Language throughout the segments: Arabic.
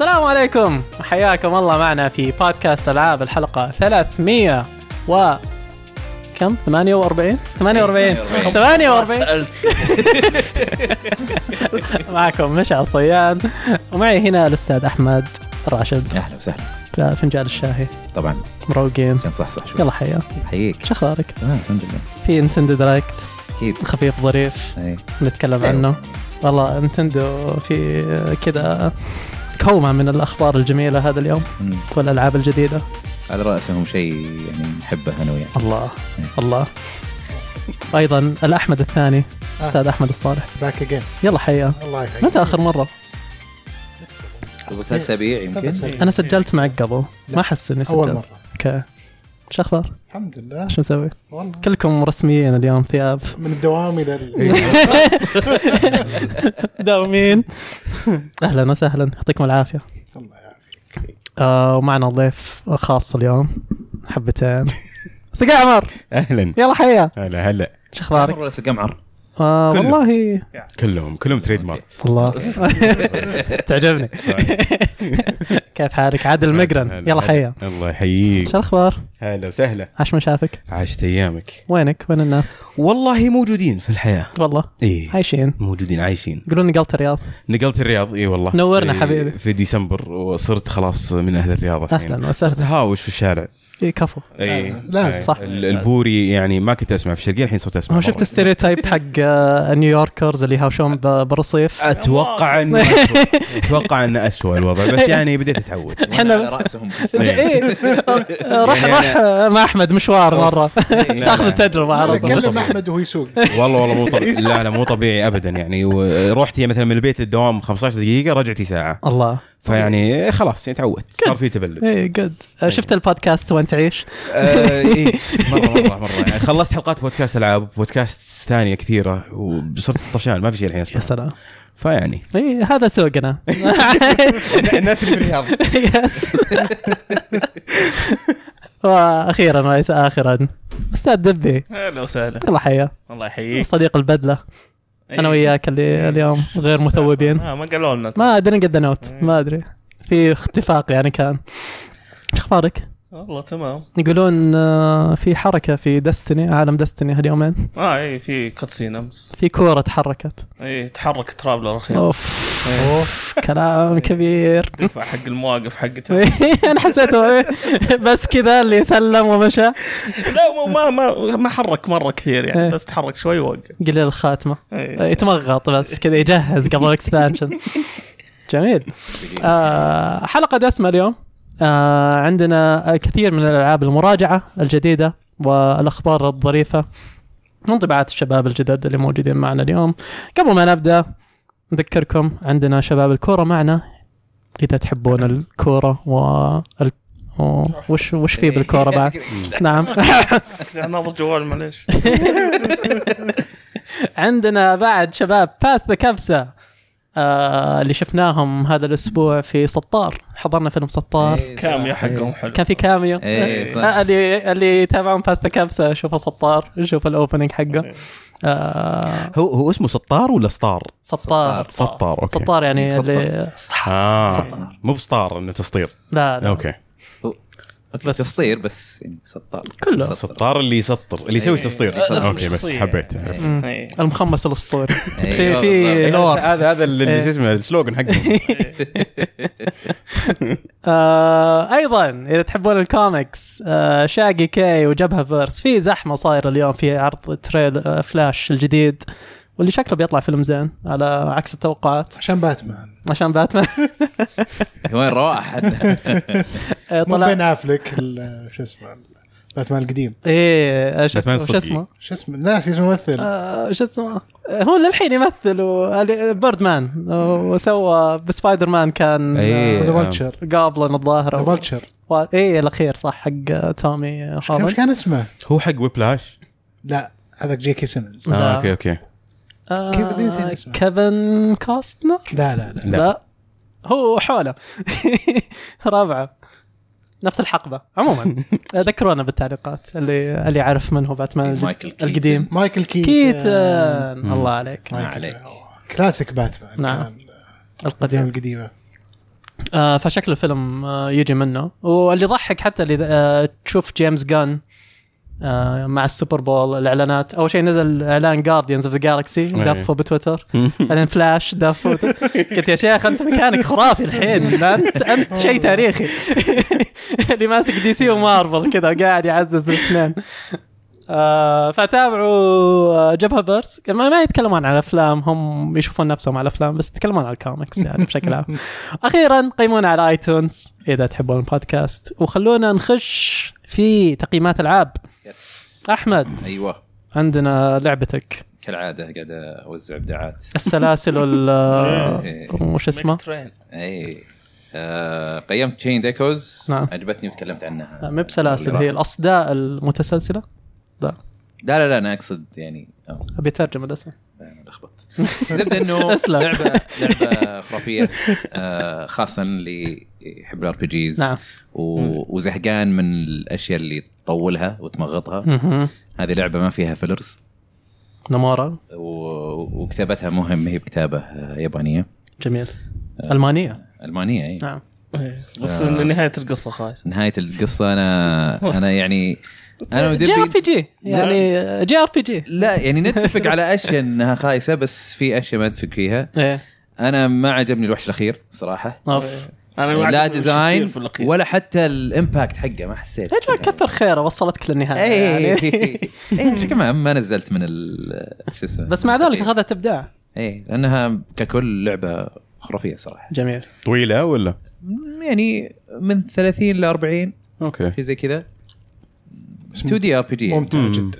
عليكم حياكم الله معنا في بودكاست العاب الحلقه 300 و كم 48 48 48 سالت معكم مشعل صياد ومعي هنا الاستاذ احمد راشد اهلا وسهلا في فنجان الشاهي طبعا مروقين كان صح صح شوي يلا حيا حييك شو اخبارك تمام الحمد لله في نتندو دايركت اكيد خفيف ظريف إيه. نتكلم أيوة. عنه والله نتندو في كذا كومة من الأخبار الجميلة هذا اليوم أمم. والألعاب الجديدة على راسهم شيء يعني نحبه انا وياك الله الله أيضا الأحمد الثاني أستاذ أحمد الصالح باك اجين يلا حيا الله يحييك متى آخر مرة؟ قبل ثلاث اسابيع ثلاث يمكن أسابيع. أنا سجلت معك قبل ما أحس إني اول سجلت مره أوكي شو أخبار؟ الحمد لله شو مسوي؟ والله كلكم رسميين اليوم ثياب من الدوام الى ال- إيه. داومين أهلا وسهلا يعطيكم العافية الله يعافيك آه، ومعنا ضيف خاص اليوم حبتين سقا عمر اهلا يلا حيا هلا هلا شو اخبارك؟ مره قمعر آه كله. والله كلهم كلهم تريد مارك الله تعجبني كيف حالك عادل مقرن هلا، يلا هلا. حيا الله يحييك شو الاخبار؟ هلا وسهلا عاش من شافك عاشت ايامك وينك؟ وين الناس؟ والله موجودين في الحياه والله ايه عايشين موجودين عايشين يقولون نقلت الرياض نقلت الرياض اي والله نورنا في- حبيبي. في ديسمبر وصرت خلاص من اهل الرياض الحين أهلاً وسهلاً. صرت هاوش في الشارع إيه كفو اي لازم. أي. صح. ال- البوري يعني ما كنت اسمع في الشرقيه الحين صرت اسمع هو مرة. شفت ستيريوتايب حق آه، نيويوركرز اللي يهاوشون ب- بالرصيف اتوقع انه أسوأ. اتوقع انه اسوء الوضع بس يعني بديت اتعود إحنا- احنا على راسهم إيه. راح يعني راح آه، مع احمد مشوار مره لا. تاخذ التجربه أنا على طول إيه. اتكلم طبيعي. احمد وهو يسوق والله والله مو طبيعي لا لا مو طبيعي ابدا يعني و- رحت مثلا من البيت للدوام 15 دقيقه رجعتي ساعه الله فيعني خلاص يعني تعودت صار في تبلد اي جود شفت البودكاست وانت تعيش آه، إيه، مره مره مره يعني خلصت حلقات بودكاست العاب بودكاست ثانيه كثيره وصرت طفشان ما في شيء الحين يا اسمع سلام فيعني اي هذا سوقنا الناس اللي بالرياض يس واخيرا وليس اخرا استاذ دبي اهلا وسهلا يلا حيا الله يحييك صديق البدله إيه. انا وياك اللي اليوم غير مثوبين آه ما قالوا لنا ما ادري قد نوت ما ادري في اختفاق يعني كان شو اخبارك؟ والله تمام يقولون آه، في حركه في دستني عالم دستني هاليومين اه اي في كاتسين امس في كوره تحركت اي تحرك ترابلر اخيرا اوف أوف، كلام كبير دفع حق المواقف حقته إيه. انا حسيته إيه. بس كذا اللي سلم ومشى لا مو- ما ما ما حرك مره كثير إيه. يعني بس تحرك شوي ووقف قليل الخاتمه إيه. يتمغط بس كذا يجهز قبل الاكسبانشن جميل آه حلقه دسمه اليوم آه عندنا كثير من الالعاب المراجعه الجديده والاخبار الظريفه وانطباعات الشباب الجدد اللي موجودين معنا اليوم قبل ما نبدا نذكركم عندنا شباب الكوره معنا اذا تحبون الكوره وال و- وش وش في إيه. بالكوره بعد؟ نعم ناظر جوال معليش إيه. عندنا بعد شباب باس ذا كبسه آه اللي شفناهم هذا الاسبوع في سطار حضرنا فيلم سطار كاميو حقهم حلو كان في كاميو اي آه إيه. صح اللي اللي يتابعون باس ذا كبسه شوفوا سطار شوفوا الاوبننج حقه إيه. آه هو هو اسمه سطار ولا سطار؟ سطار سطار اوكي سطار يعني سطار. اللي آه مو بسطار انه تسطير لا, لا اوكي اوكي بس- تسطير بس يعني سطار كله. سطار. سطار اللي يسطر اللي يسوي تسطير لا، اسم اوكي بس شخصية. حبيت عرفت. مم. إيه. المخمس الاسطوري إيه. في في بالضبط. لور هذا هذا اللي إيه. شو اسمه السلوجن حقهم آه ايضا اذا تحبون الكوميكس آه شاقي كاي وجبهه فيرس في زحمه صايره اليوم في عرض تريل آه فلاش الجديد واللي شكله بيطلع فيلم زين على عكس التوقعات عشان باتمان عشان باتمان يعني وين رواح حتى آه، مو بين طلع افلك ال- شو اسمه ال- باتمان القديم ايه آه، شو باتمان اسمه شو الصديق. اسمه شو اسمه ناسي اسمه ممثل آه، شو اسمه آه، هو للحين يمثل بيرد مان آه، وسوى بسبايدر مان كان إيه. ذا فالتشر جابلن الظاهر ذا أو- فالتشر و- ايه الاخير صح حق آه، تومي آه، كان- هولاند. وش كان اسمه؟ هو حق ويبلاش لا هذاك جي كي سيمنز لا. اه اوكي اوكي آه، كيف ذي نسيت اسمه؟ كيفن كاستنر لا لا لا لا. لا هو حوله رابعه نفس الحقبه عموما ذكرونا بالتعليقات اللي اللي يعرف من هو باتمان الج- مايكل كيتن. القديم مايكل كيتن كيتن الله عليك مايكل عليك. أوه. كلاسيك باتمان نعم. كان القديم الافلام القديمه آه فشكل الفيلم آه يجي منه واللي يضحك حتى اللي آه تشوف جيمس جان آه مع السوبر بول الاعلانات اول شيء نزل اعلان جارديانز اوف ذا جالكسي دافه بتويتر بعدين فلاش دافه قلت يا شيخ انت مكانك خرافي الحين لا انت انت شيء تاريخي اللي ماسك دي سي ومارفل كذا وقاعد يعزز الاثنين آه فتابعوا آه، جبهه بيرس ما, ما يتكلمون عن الافلام هم يشوفون نفسهم على الافلام بس يتكلمون عن الكوميكس يعني بشكل عام اخيرا قيمونا على ايتونز اذا تحبون البودكاست وخلونا نخش في تقييمات العاب يس احمد ايوه عندنا لعبتك كالعاده قاعد اوزع ابداعات السلاسل وال إيه. وش اسمه؟ ترين اي آه، قيمت تشين ديكوز نعم. عجبتني وتكلمت عنها ما بسلاسل هي الاصداء المتسلسله لا لا لا انا اقصد يعني أو، ابي اترجم الاسم أنا لخبطت زبده انه أسلم. لعبه لعبه خرافيه آه، خاصه اللي يحب الار بي جيز نعم وزهقان من الاشياء اللي تطولها وتمغطها مهم. هذه لعبه ما فيها فيلرز نمارا و- وكتابتها مهم هي بكتابه آه، يابانيه جميل المانيه المانيه اي نعم إيه. بس آه. نهايه القصه خايس نهايه القصه انا انا يعني انا جي ار ودبي بي جي يعني جي ار بي جي لا يعني نتفق على اشياء انها خايسه بس في اشياء ما نتفق فيها ايه انا ما عجبني الوحش الاخير صراحه اوف انا ما لا عجبني وش يصير ديزاين في الأخير. ولا حتى الامباكت حقه ما حسيت رجل كثر خيره وصلتك للنهايه اي يعني. اي عشان كمان ما نزلت من ال شو اسمه بس مع ذلك اخذت ابداع اي لانها ككل لعبه خرافيه صراحه جميل طويله ولا؟ يعني من 30 ل 40 اوكي إيه. شيء زي كذا بس 2 دي ار بي جي ممتع مم. جدا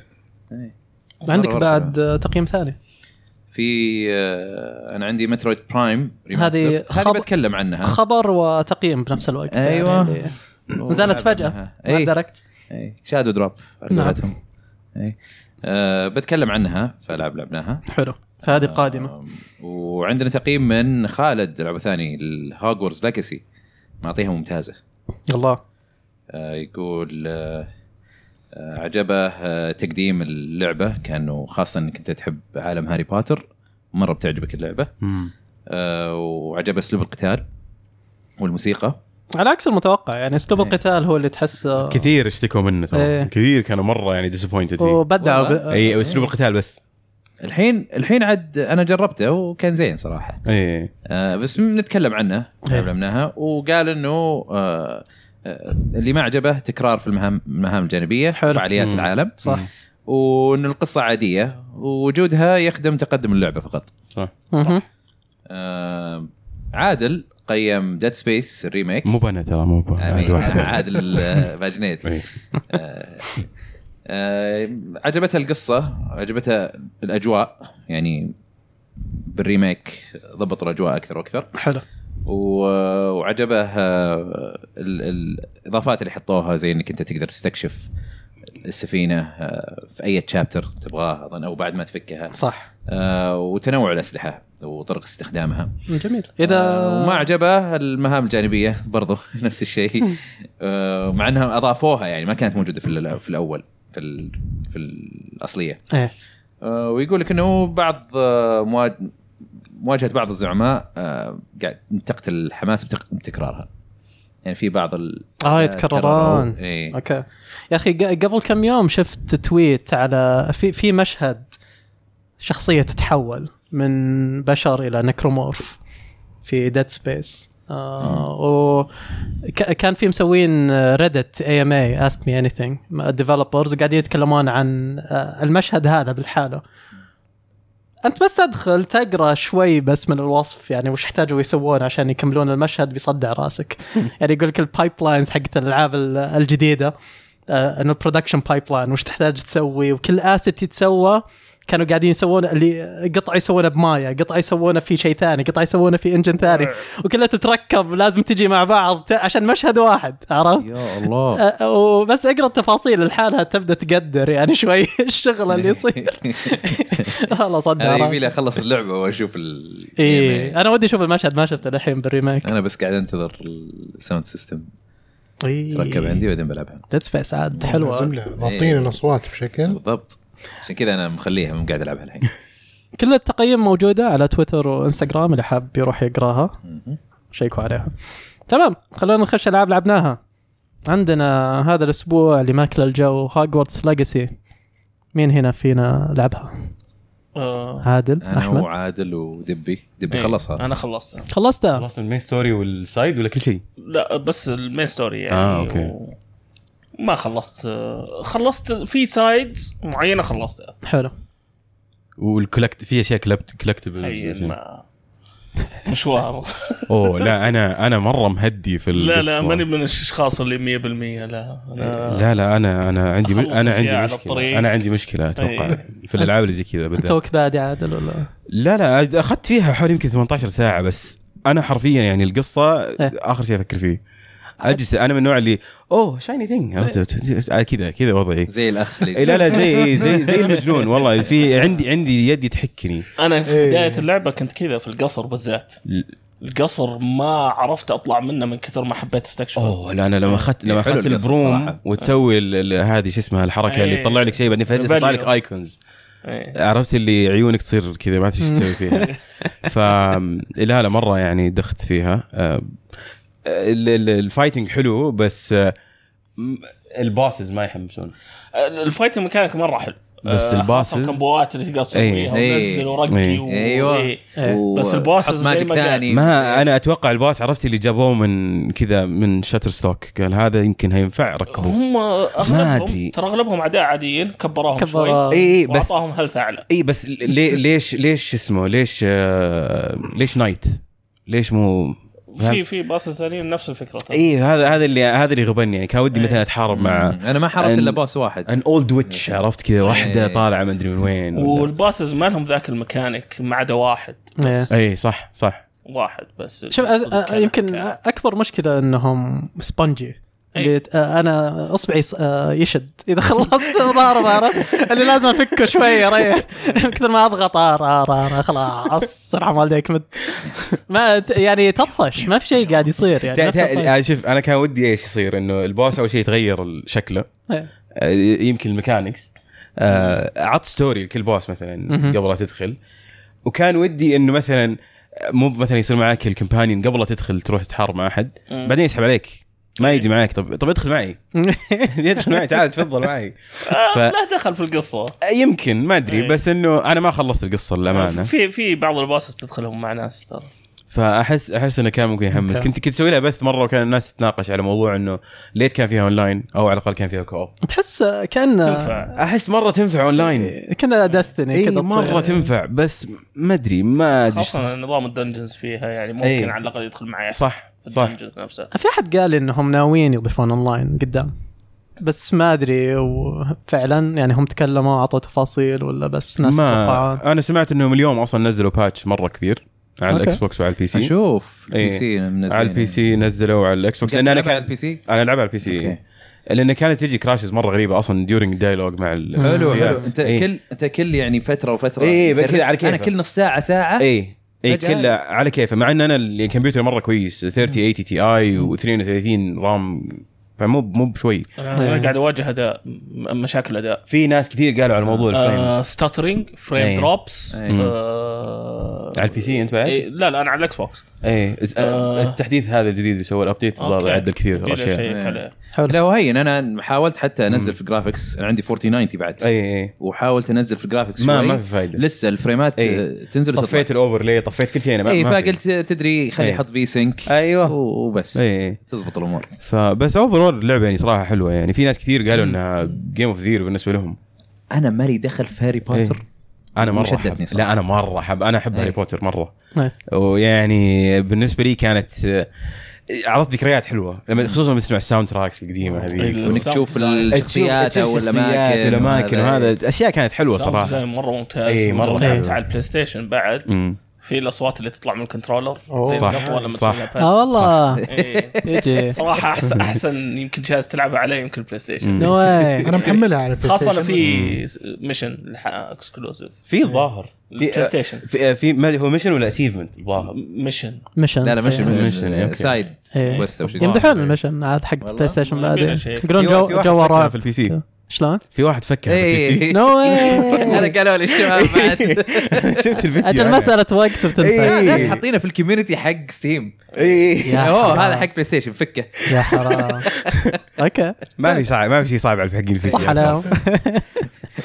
عندك مرة بعد آه، تقييم ثاني في آه، انا عندي مترويد برايم ريماستر. هذه هذه خب- بتكلم عنها خبر وتقييم بنفس الوقت يعني أيوة. اللي- نزلت فجاه ما اي دركت إيه، شادو دروب على نعم. قولتهم اي آه، بتكلم عنها فالعاب لعبناها حلو فهذه آه. قادمه آم، وعندنا تقييم من خالد لعبه ثاني الهاجورز لاكسي معطيها ممتازه الله آه، يقول آه، آه، عجبه آه، تقديم اللعبه كانه خاصه انك انت تحب عالم هاري بوتر مره بتعجبك اللعبه مم. آه، وعجبه اسلوب القتال والموسيقى على عكس المتوقع يعني اسلوب إيه. القتال هو اللي تحس كثير اشتكوا منه آه. إيه. ترى كثير كانوا مره يعني ديسابوينتد وبدعوا ب... والله. اي اسلوب القتال بس الحين الحين عاد انا جربته وكان زين صراحه اي آه، بس نتكلم عنه إيه. تكلمناها وقال انه آه، آه، اللي ما عجبه تكرار في المهام المهام الجانبيه حلو. فعاليات مم. العالم صح وان القصه عاديه ووجودها يخدم تقدم اللعبه فقط صح مهم. آه، عادل قيم ديد سبيس الريميك مو بنا ترى مو بنا عاد واحد يعني عادل آه، باجنيد إيه. آه، آه، عجبتها القصه عجبتها الاجواء يعني بالريميك ضبط الاجواء اكثر واكثر حلو و- وعجبه آه، ال- ال- الاضافات اللي حطوها زي انك انت تقدر تستكشف السفينه آه، في اي تشابتر تبغاه اظن او بعد ما تفكها صح آه، وتنوع الاسلحه وطرق استخدامها جميل اذا آه، وما عجبه المهام الجانبيه برضو نفس الشيء آه، مع انها اضافوها يعني ما كانت موجوده في ال- في الاول في ال- في الاصليه إيه. آه، ويقول لك انه بعض آه، مواج- مواجهه بعض الزعماء آه، قاعد تقتل الحماس بتق- بتكرارها يعني في بعض ال آه، اه يتكررون إيه. اوكي يا اخي ق- قبل كم يوم شفت تويت على في في مشهد شخصيه تتحول من بشر الى نكرومورف في ديد سبيس آه وكان في مسوين ريدت اي ام اي اسك مي اني ثينج ديفلوبرز وقاعدين يتكلمون عن آه، المشهد هذا بالحاله انت بس تدخل تقرا شوي بس من الوصف يعني وش احتاجوا يسوون عشان يكملون المشهد بيصدع راسك يعني يقول لك البايب لاينز حقت الالعاب ال- الجديده آه، انه البرودكشن بايب لاين وش تحتاج تسوي وكل اسيت يتسوى كانوا قاعدين يسوون اللي قطعه يسوونه بمايا، قطعه يسوونه في شيء ثاني، قطعه يسوونه في انجن ثاني، نعم. وكلها تتركب لازم تجي مع بعض ت- عشان مشهد واحد عرفت؟ يا الله آه، وبس اقرا التفاصيل لحالها تبدا تقدر يعني شوي الشغل اللي يصير والله صدق انا نعم. يبي لي عرفت. اخلص اللعبه واشوف ال إيه. ايه انا ودي اشوف المشهد ما شفته للحين بالريميك انا بس قاعد انتظر الساوند سيستم إيه. تركب عندي بعدين بلعبها ديد سبيس عاد لازم حلوه له ضابطين الاصوات بشكل بالضبط عشان كذا انا مخليها مو قاعد العبها الحين كل التقييم موجوده على تويتر وانستغرام اللي حاب يروح يقراها مهم. شيكوا عليها تمام خلونا نخش العاب لعبناها عندنا هذا الاسبوع اللي ماكل الجو هوجورتس لاجسي مين هنا فينا لعبها آه، عادل انا احمد وعادل ودبي دبي إيه، خلصها انا خلصتها خلصتها خلصت المين ستوري والسايد ولا كل شيء؟ لا بس المين ستوري يعني آه، أوكي. و... ما خلصت آه، خلصت في سايدز معينه خلصتها حلو والكولكت في اشياء كلكت هي كولكتبل ما مشوار اوه لا انا انا مره مهدي في لا القصة. لا ماني من الاشخاص اللي 100% لا انا لا لا انا انا عندي أخلص انا أشياء عندي على مشكله الطريق. انا عندي مشكله اتوقع أي. في الالعاب اللي زي كذا انت بالذات وقت بادي عادل ولا لا لا اخذت فيها حوالي يمكن 18 ساعه بس انا حرفيا يعني القصه إيه. اخر شيء افكر فيه اجلس انا من النوع اللي اوه شايني ثينج آه، كذا كذا وضعي إيه. زي الاخ إيه، اللي لا لا زي إيه، زي زي المجنون والله في عندي عندي يدي تحكني انا في إيه. بدايه اللعبه كنت كذا في القصر بالذات القصر ما عرفت اطلع منه من كثر ما حبيت استكشفه اوه لا انا لما اخذت لما إيه، حلو اخذت القصة البروم صراحة. وتسوي ال- ال- هذه شو اسمها الحركه اللي إيه. تطلع لك شيء بعدين فجاه تطلع لك Value. ايكونز إيه. عرفت اللي عيونك تصير كذا ما تدري ايش تسوي فيها ف لا لا مره يعني دخت فيها آه، ال- ال- الفايتنج حلو بس آه، م- الباسز ما يحمسون الفايتنج ميكانيك مره حلو بس آه، الباسز- خاصة الكمبوات اللي تقدر تسويها إيه. ونزل ورقي إيه. و- ايوه إيه. و- بس البوسز حط زي ماجيك ما قال. ثاني ما انا اتوقع الباس عرفت اللي جابوه من كذا من شاتر ستوك قال هذا يمكن هينفع ركبوه هم أدري. اغلبهم ترى اغلبهم اعداء عاديين كبروهم شوي كبر اي اي بس واعطاهم هيلث اعلى اي بس ليه ليش ليش اسمه ليش آه ليش نايت؟ ليش مو في في باص ثانيين نفس الفكره ترى. اي هذا هذا اللي هذا اللي غبني يعني كان ودي مثلا اتحارب مع انا ما حاربت أن- الا باص واحد ان اولد ويتش عرفت كذا واحده إيه. طالعه ما ادري من وين ولا- والباسز ما لهم ذاك الميكانيك ما عدا واحد إيه. بس اي صح صح واحد بس آه، شوف أز- أ- يمكن كان- اكبر مشكله انهم سبونجي أي. اللي ت- انا اصبعي ص- آه، يشد اذا خلصت ضارب عرفت اللي لازم افكه شوي ريح كثر ما آه، اضغط ار ار ار خلاص ارحم والديك مت ما ت- يعني تطفش ما في شيء قاعد يصير يعني تا- نفس الطريقة. تا- آه، شوف انا كان ودي ايش يصير انه البوس اول شيء يتغير شكله إيه. آه، يمكن الميكانكس آه، عط ستوري لكل بوس مثلا مهم. قبل لا تدخل وكان ودي انه مثلا آه، مو مثلا يصير معك الكمبانيون قبل لا تدخل تروح تحارب مع احد مم. بعدين يسحب عليك ما يجي معك طب طب ادخل معي إيه. ادخل معي تعال تفضل معي آه، ف- له دخل في القصه يمكن ما ادري إيه. بس انه انا ما خلصت القصه للامانه في في بعض الباسز تدخلهم مع ناس ترى فاحس احس انه كان ممكن يحمس أوكي. كنت كنت اسوي لها بث مره وكان الناس تتناقش على موضوع انه ليت كان فيها اونلاين او على الاقل كان فيها كوب تحس كان تنفع احس مره تنفع اونلاين كنا داستني اي إيه، كذا مره تصير. إيه، تنفع بس ما ادري ما ادري إيش- خاصة نظام الدنجنز فيها يعني ممكن إيه. على الأقل يدخل معي أحد صح في صح الدنجنز نفسها في احد قال انهم ناويين يضيفون اونلاين قدام بس ما ادري وفعلا يعني هم تكلموا اعطوا تفاصيل ولا بس ناس توقعات ما انا سمعت انهم اليوم اصلا نزلوا باتش مره كبير على أوكي. الاكس بوكس وعلى البي سي اشوف إيه. البي سي منزلين يعني. على البي سي نزلوا على الاكس بوكس لان انا على كان البي سي انا العبها على البي سي أوكي. إيه. لان كانت تجي كراشز مره غريبه اصلا ديورنج دايلوج مع ال- حلو الشخصيات. حلو انت إيه. كل انت كل يعني فتره وفتره إيه، يكرر. كذا على كيفك. إيه. انا كل نص ساعه ساعه اي اي فجأة- كله على كيفه مع ان انا الكمبيوتر مره يعني كويس 3080 تي اي و32 إيه رام فمو مو بشوي أنا إيه. أنا قاعد أواجه أداء م- مشاكل أداء في ناس كثير قالوا على موضوع آه، الفريمز ستاترينج إيه. فريم دروبس إيه. آه، على البي سي انت بعد؟ إيه، لا لا أنا على الإكس بوكس اي إز- آه. التحديث هذا الجديد اللي سووه الابديت أوكي. الظاهر عدل كثير بلا اشياء شيء إيه. كلا. حلو لا وهين انا حاولت حتى انزل في الجرافكس انا عندي 4090 بعد اي اي وحاولت انزل في الجرافكس إيه. ما شوي. ما في فايده لسه الفريمات إيه. آه، تنزل طفيت الاوفرلي طفيت كل شيء انا ما اي ما في. إيه، فقلت تدري خلي إيه. احط في سينك ايوه وبس إيه. تزبط الامور فبس اوفرول اللعبه يعني صراحه حلوه يعني في ناس كثير قالوا انها جيم اوف ذير بالنسبه لهم انا مالي دخل في إيه. هاري بوتر انا مره وشدتني أحب. صراحة. لا انا مره احب انا احب إيه. هاري بوتر مره نايس ويعني بالنسبه لي كانت آه، عرضت ذكريات حلوه لما خصوصا لما تسمع الساوند تراكس القديمه هذيك إيه. وانك الساوند تشوف ديزاين. الشخصيات او الاماكن الاماكن وهذا اشياء كانت حلوه ساوند ديزاين صراحه مرة ممتاز إيه، مرة مرة حلو. على البلاي ستيشن بعد مم. في الأصوات اللي تطلع من الكنترولر أوه. زي صح. القطوة لما صح. تسويها اه والله pad. إيه. يجي صراحة أحسن أحسن يمكن جهاز تلعبه عليه يمكن البلاي ستيشن مم. نو واي انا محملها على البلاي خاصة ستيشن أنا في ميشن اكسكلوسيف في الظاهر البلاي ستيشن في, في ما هو ميشن ولا اتشيفمنت الظاهر ميشن مشن لا لا مش ميشن، مش- أوكي. سايد إيه. بس او شيء يمدحون المشن عاد حق والله. بلاي ستيشن ما يبينا بعدين شيء. يقولون جو جو الرعب الرعب في البي سي شلون؟ في واحد فكر بالبي سي. اي نو انا قالوا لي الشباب بعد إيه. شفت الفيديو اجل هذا؟ مساله وقت بتنفع يعني. إيه. الناس حاطينه في الكوميونتي حق ستيم اي يا اوه حرام. هذا حق بلاي ستيشن فكه يا حرام اوكي ما في صعب ما في شيء صعب على الحقين في صح عليهم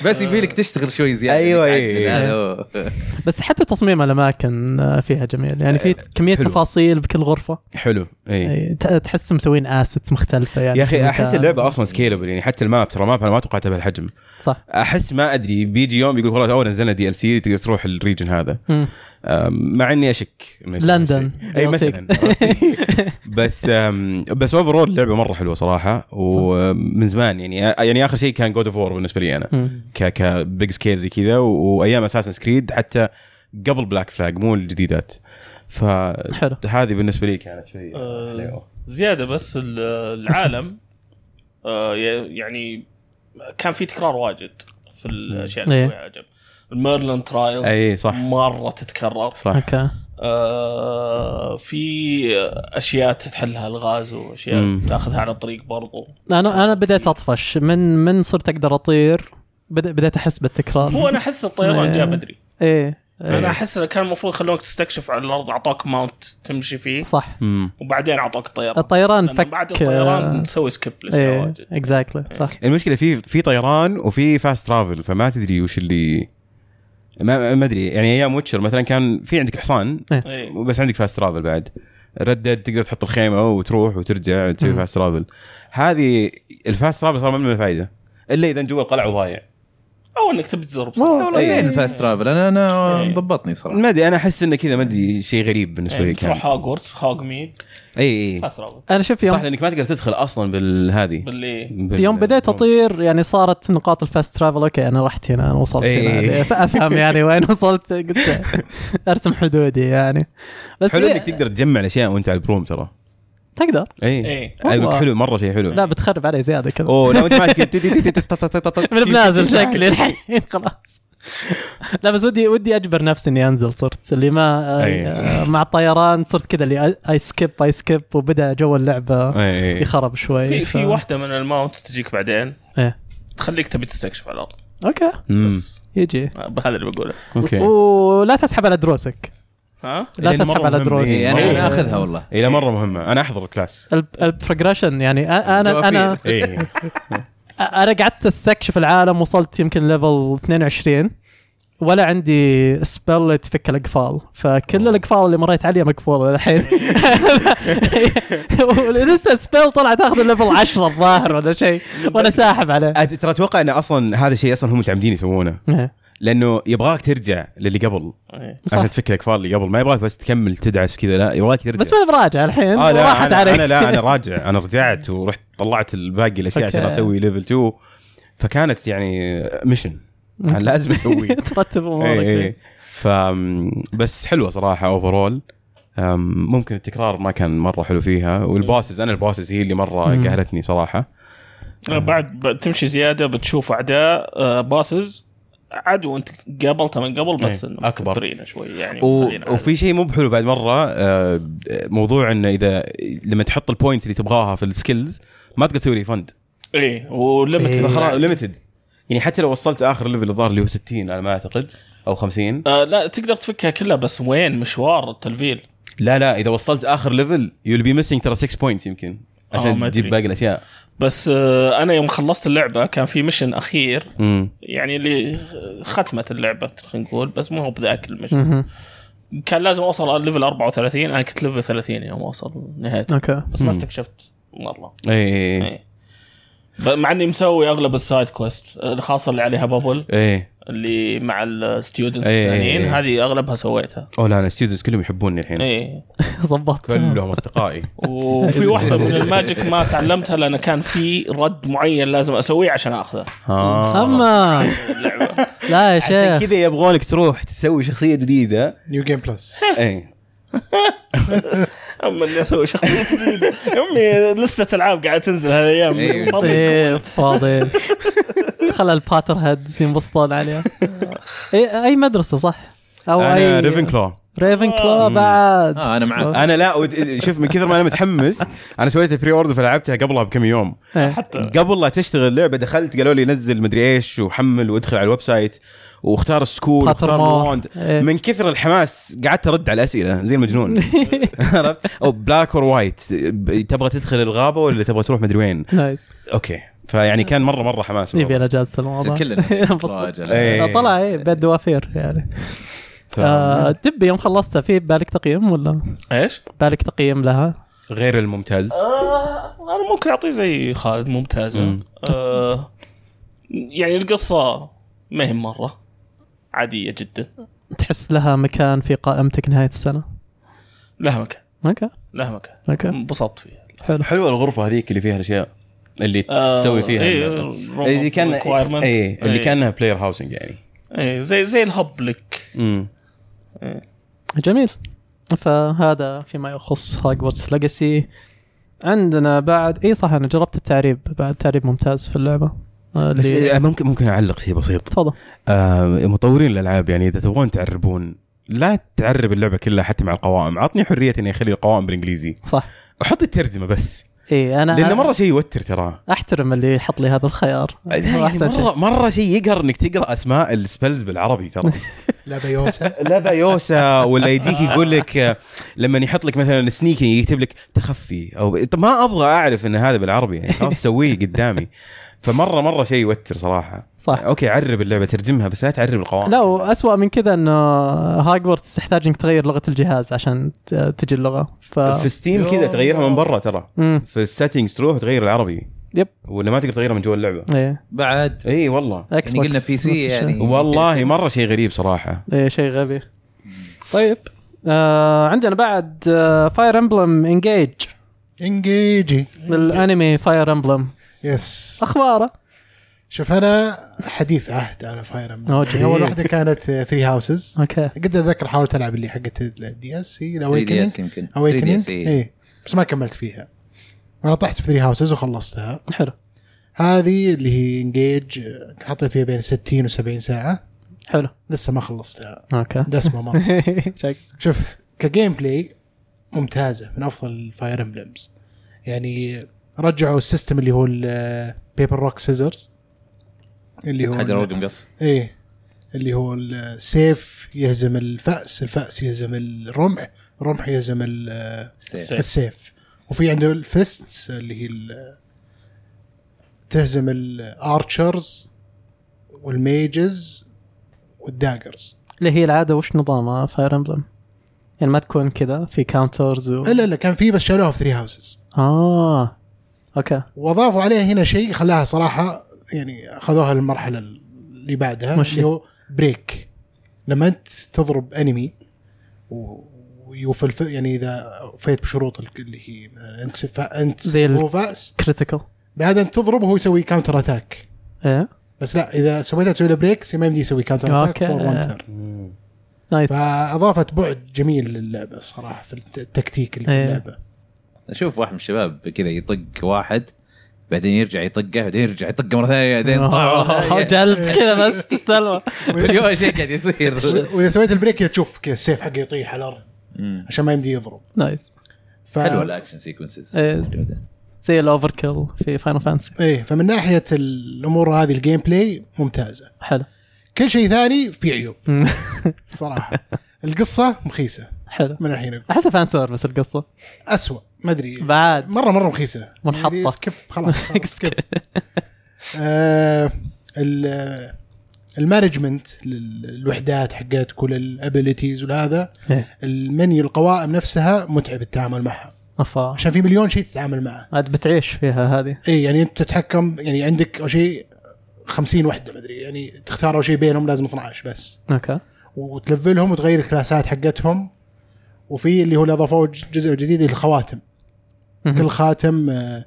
بس يبي لك تشتغل شوي زياده أيوة، إنك إيه. تعدل هذا، أوه. بس حتى تصميم الاماكن آه، فيها جميل يعني في كميه حلو. تفاصيل بكل غرفه حلو اي إيه، ت- تحس مسوين اسيتس مختلفه يعني يا اخي احس ممتاز. اللعبه اصلا سكيلبل يعني حتى الماب ترى الماب انا ما توقعتها بهالحجم صح احس ما ادري بيجي يوم بيقول والله اول نزلنا دي ال سي تقدر تروح الريجن هذا مم. أم، مع اني اشك من لندن. الشيء. اي مثلا بس أم، بس اوفرول اللعبه مره حلوه صراحه ومن زمان يعني يعني اخر شيء كان جود اوف وور بالنسبه لي انا مم. ك ك بيج سكيل زي كذا و- وايام اساسن سكريد حتى قبل بلاك فلاج مو الجديدات فهذه حلو بالنسبه لي كانت شيء آه. حلوة. زياده بس ال- العالم آه، ي- يعني كان في تكرار واجد في الاشياء اللي إيه. يسويها عجب الميرلين ترايلز اي صح مره تتكرر صح اوكي آه، في اشياء تحلها الغاز واشياء مم. تاخذها على الطريق برضو انا انا بديت اطفش من من صرت اقدر اطير بد- بديت احس بالتكرار هو انا احس الطيران جاء بدري ايه انا إيه. احس إنه كان المفروض يخلونك تستكشف على الارض اعطوك ماونت تمشي فيه إيه، صح مم. وبعدين اعطوك الطيران الطيران لأنه فك بعد الطيران نسوي سكيب إيه. لاشياء ايه واجد اكزاكتلي صح المشكله في في طيران وفي فاست ترافل فما تدري وش اللي ما ما ادري يعني ايام ويتشر مثلا كان في عندك حصان إيه. بس عندك فاست ترافل بعد ردد تقدر تحط الخيمه وتروح وترجع تسوي مم. فاست ترافل هذه الفاست ترافل صار ما منه فائده الا اذا جوا القلعه وضايع او انك تبي تزور مو- بسرعه والله زين فاست ترافل انا انا إيه. ضبطني صراحه ما ادري انا احس انه كذا ما ادري شيء غريب بالنسبه لي يعني كان تروح هوجورتس هوج ميد اي اي اسرع انا شوف صح يوم لانك ما تقدر تدخل اصلا بالهذه باللي بال- يوم بديت اطير يعني صارت نقاط الفاست ترافل اوكي انا رحت هنا انا وصلت إيه. هنا يعني فافهم يعني وين وصلت قلت ارسم حدودي يعني بس حلو هي- انك تقدر تجمع الاشياء وانت على البروم ترى تقدر اي ايه أنا قلت والله. حلو مره شيء حلو لا بتخرب علي زياده كذا اوه لو انت ماسك من بنازل شكلي الحين خلاص لا بس ودي ودي اجبر نفسي اني انزل صرت اللي ما أي. آه، مع الطيران صرت كذا اللي اي سكيب اي سكيب وبدا جو اللعبه يخرب شوي في في ف- واحده من الماونت تجيك بعدين إيه. تخليك تبي تستكشف على الارض اوكي بس يجي هذا اللي بقوله اوكي ولا تسحب على دروسك ها لا لأن مرة تسحب على مهم. دروس إيه، يعني انا انا اخذها والله اي لا مره مهمه انا احضر الكلاس إيه. الب- البروجريشن يعني أ- انا انا دوافير. اي انا قعدت استكشف العالم وصلت يمكن ليفل 22 ولا عندي سبل تفك الاقفال فكل الاقفال اللي مريت عليها مقفوله الحين لسه سبل طلعت اخذ الليفل 10 الظاهر ولا شيء وانا ساحب عليه أت- ترى اتوقع انه اصلا هذا الشيء اصلا هم متعمدين يسوونه إيه. لانه يبغاك ترجع للي قبل إيه. صح. عشان تفك الاكفال اللي قبل ما يبغاك بس تكمل تدعس كذا لا يبغاك ترجع بس ماني براجع الحين آه لا راحت أنا, علي انا لا انا راجع انا رجعت ورحت طلعت الباقي الاشياء أوكي. عشان اسوي ليفل 2 فكانت يعني ميشن كان لازم اسويه ترتب امورك اي اي ف بس حلوه صراحه اوفرول ممكن التكرار ما كان مره حلو فيها والباسز انا الباسز هي اللي مره مم. قهرتني صراحه آه، بعد ب- تمشي زياده بتشوف اعداء آه، باسز عدو انت قابلته من قبل بس إيه. إنه أكبر. مكبرينه شوي يعني و... مخلينا وفي شيء مو بحلو بعد مره آه، موضوع انه اذا لما تحط البوينت اللي تبغاها في السكيلز ما تقدر تسوي ريفند ايه وليمت إيه. فخلاص ليمتد يعني حتى لو وصلت اخر ليفل الظاهر اللي هو 60 على ما اعتقد او 50 آه لا تقدر تفكها كلها بس وين مشوار التلفيل لا لا اذا وصلت اخر ليفل يو بي ميسنج ترى 6 بوينت يمكن آه، ما عشان أدري. تجيب باقي الاشياء بس آه انا يوم خلصت اللعبه كان في مشن اخير امم يعني اللي ختمت اللعبه خلينا نقول بس ما هو بذاك المشن مهم. كان لازم اوصل على ليفل 34 انا كنت ليفل 30 يوم اوصل نهايته اوكي بس ما مم. استكشفت مره اي اي اي إيه. ب- مع اني مسوي اغلب السايد كويست خاصه آه، اللي عليها بابل ايه اللي مع الستودنتس إيه. إيه. الثانيين هذه اغلبها سويتها اوه لا انا ستودنتس كلهم يحبوني الحين ايه ظبطت كلهم اصدقائي وفي واحده من الماجيك ما تعلمتها لان كان في رد معين لازم اسويه عشان اخذه ها اما اللعبه لا يا عشان شيخ كذا يبغونك تروح تسوي إيه. شخصيه جديده نيو جيم بلس اي اما اني اسوي شخصيه جديده امي لسته العاب قاعده تنزل هالايام إيه. إيه، فاضي خلى الباتر هيدز ينبسطون عليها اي اي مدرسه إيه، صح او انا اي إيه. ريفن كلو ريفن كلو مم. بعد آه، أنا معاك. انا لا ود- شوف من كثر ما انا متحمس انا سويت بري اوردر فلعبتها قبلها بكم يوم إيه. حتى قبل لا تشتغل اللعبه دخلت قالوا لي نزل مدري ايش وحمل وادخل على الويب سايت واختار السكول واختار Pottermore. الراوند إيه. من كثر الحماس قعدت ارد على الاسئله زي المجنون عرفت او بلاك اور وايت تبغى تدخل الغابه ولا تبغى تروح مدري وين نايس اوكي فيعني كان مره مره حماس إيه، يبي والله. له جلسه الموضوع إيه، كلنا انبسط. راجل. إيه. طلع إيه، بيت دوافير يعني ف- آه، تبي يوم خلصتها في بالك تقييم ولا ايش؟ بالك تقييم لها؟ غير الممتاز آه انا ممكن اعطيه زي خالد ممتازه مم. آه يعني القصه ما هي مره عاديه جدا تحس لها مكان في قائمتك نهايه السنه؟ لها مكان اوكي لها مكان اوكي انبسطت فيها حلو حلوه الغرفه هذيك اللي فيها الاشياء اللي آه، تسوي فيها إيه، اللعبة. room اللي of كان requirement. اي اللي إيه، كانها بلاير هاوسنج يعني إيه، زي زي الهب لك امم جميل فهذا فيما يخص هاجورتس ليجاسي عندنا بعد اي صح انا جربت التعريب بعد تعريب ممتاز في اللعبه آه، بس اللي- إيه، آه، ممكن ممكن اعلق شيء بسيط تفضل آه، مطورين الالعاب يعني اذا تبغون تعربون لا تعرب اللعبه كلها حتى مع القوائم عطني حريه اني اخلي القوائم بالانجليزي صح احط الترجمه بس اي انا لانه مره شيء يوتر ترى احترم اللي يحط لي هذا الخيار هو يعني أحسن شيء. مره مره شيء يقهر انك تقرا اسماء السبلز بالعربي ترى لا بيوسا لا بايوسا ولا يجيك يقول لك آه، لما يحط لك مثلا سنيكي يكتب لك تخفي او طب ما ابغى اعرف ان هذا بالعربي يعني خلاص سويه قدامي فمره مره شيء يوتر صراحه صح اوكي عرب اللعبه ترجمها بس لا تعرب القوائم لا واسوء من كذا انه هاجورتس تحتاج انك تغير لغه الجهاز عشان ت- تجي اللغه ف في ستيم كذا تغيرها من برا ترى امم في السيتنجز تروح تغير العربي يب. ولا ما تقدر تغيرها من جوا اللعبه ايه بعد اي والله اكس يعني قلنا بوكس بي سي نفس الشيء. يعني والله مره شيء غريب صراحه ايه شيء غبي طيب آه عندنا بعد آه فاير امبلم انجيج انجيجي الانمي فاير امبلم يس اخباره شوف انا حديث عهد على فاير امبلم أوه، يعني اول جميل. واحده كانت 3 هاوسز اوكي قد اتذكر حاولت العب اللي حقت الدي اس هي 3 دي الاويكننج اس يمكن 3 دي اويكننج اس اي إيه. بس ما كملت فيها انا طحت في 3 هاوسز وخلصتها حلو هذه اللي هي انجيج حطيت فيها بين 60 و70 ساعه حلو لسه ما خلصتها اوكي دسمه مره شك شوف كجيم بلاي ممتازه من افضل الفاير امبلمز يعني رجعوا السيستم اللي هو آه، البيبر روك سيزرز اللي هو حجر ورقم قص ايه اللي هو السيف يهزم الفأس الفأس يهزم الرمح الرمح يهزم ال- آه، سيف. سيف. السيف وفي عنده الفيستس اللي هي ال- آه، تهزم آه، الارشرز والميجز والداجرز اللي هي العاده وش نظامها فاير امبلم يعني ما تكون كذا في كاونترز و... لا لا كان في بس شالوها في 3 هاوسز اه اوكي واضافوا عليها هنا شيء خلاها صراحه يعني اخذوها للمرحله اللي بعدها ماشي. اللي هو بريك لما انت تضرب انمي و- ويوفي الف... يعني اذا وفيت بشروط ال- اللي هي انت ف... انت زي ال- هو فاس كريتيكال بعد انت تضرب وهو يسوي كاونتر اتاك ايه بس لا اذا سويتها تسوي له بريك يصير ما يمدي يسوي كاونتر أوكي. اتاك فور وانتر نايس فاضافت بعد جميل للعبه صراحه في الت- التكتيك اللي في إيه. اللعبه اشوف واحد من الشباب كذا يطق واحد بعدين يرجع يطقه بعدين يرجع يطقه مره ثانيه بعدين طاع مره ثانيه جلد كذا بس تستلمه اليوم شيء قاعد يصير واذا سويت البريك تشوف كذا السيف حقه يطيح على الارض مم. عشان ما يمدي يضرب نايس ف... حلوه الاكشن سيكونسز إيه. زي الاوفر كيل في فاينل فانسي ايه فمن ناحيه الامور هذه الجيم بلاي ممتازه حلو كل شيء ثاني في عيوب مم. صراحه القصه مخيسه حلو من الحين اقول احسها فان سيرفس القصه اسوء ما ادري بعد مره مره مخيسه منحطة. يعني سكيب خلاص صار سكيب آه ال- آه، المانجمنت لل- الوحدات حقت كل الابيلتيز وهذا إيه. المنيو القوائم نفسها متعب التعامل معها افا عشان في مليون شيء تتعامل معه عاد بتعيش فيها هذه اي يعني انت تتحكم يعني عندك او شيء 50 وحده مدري يعني تختار او شيء بينهم لازم 12 بس اوكي وتلفلهم وتغير الكلاسات حقتهم وفي اللي هو اللي اضافوه ج- جزء جديد الخواتم مهم. كل خاتم آه،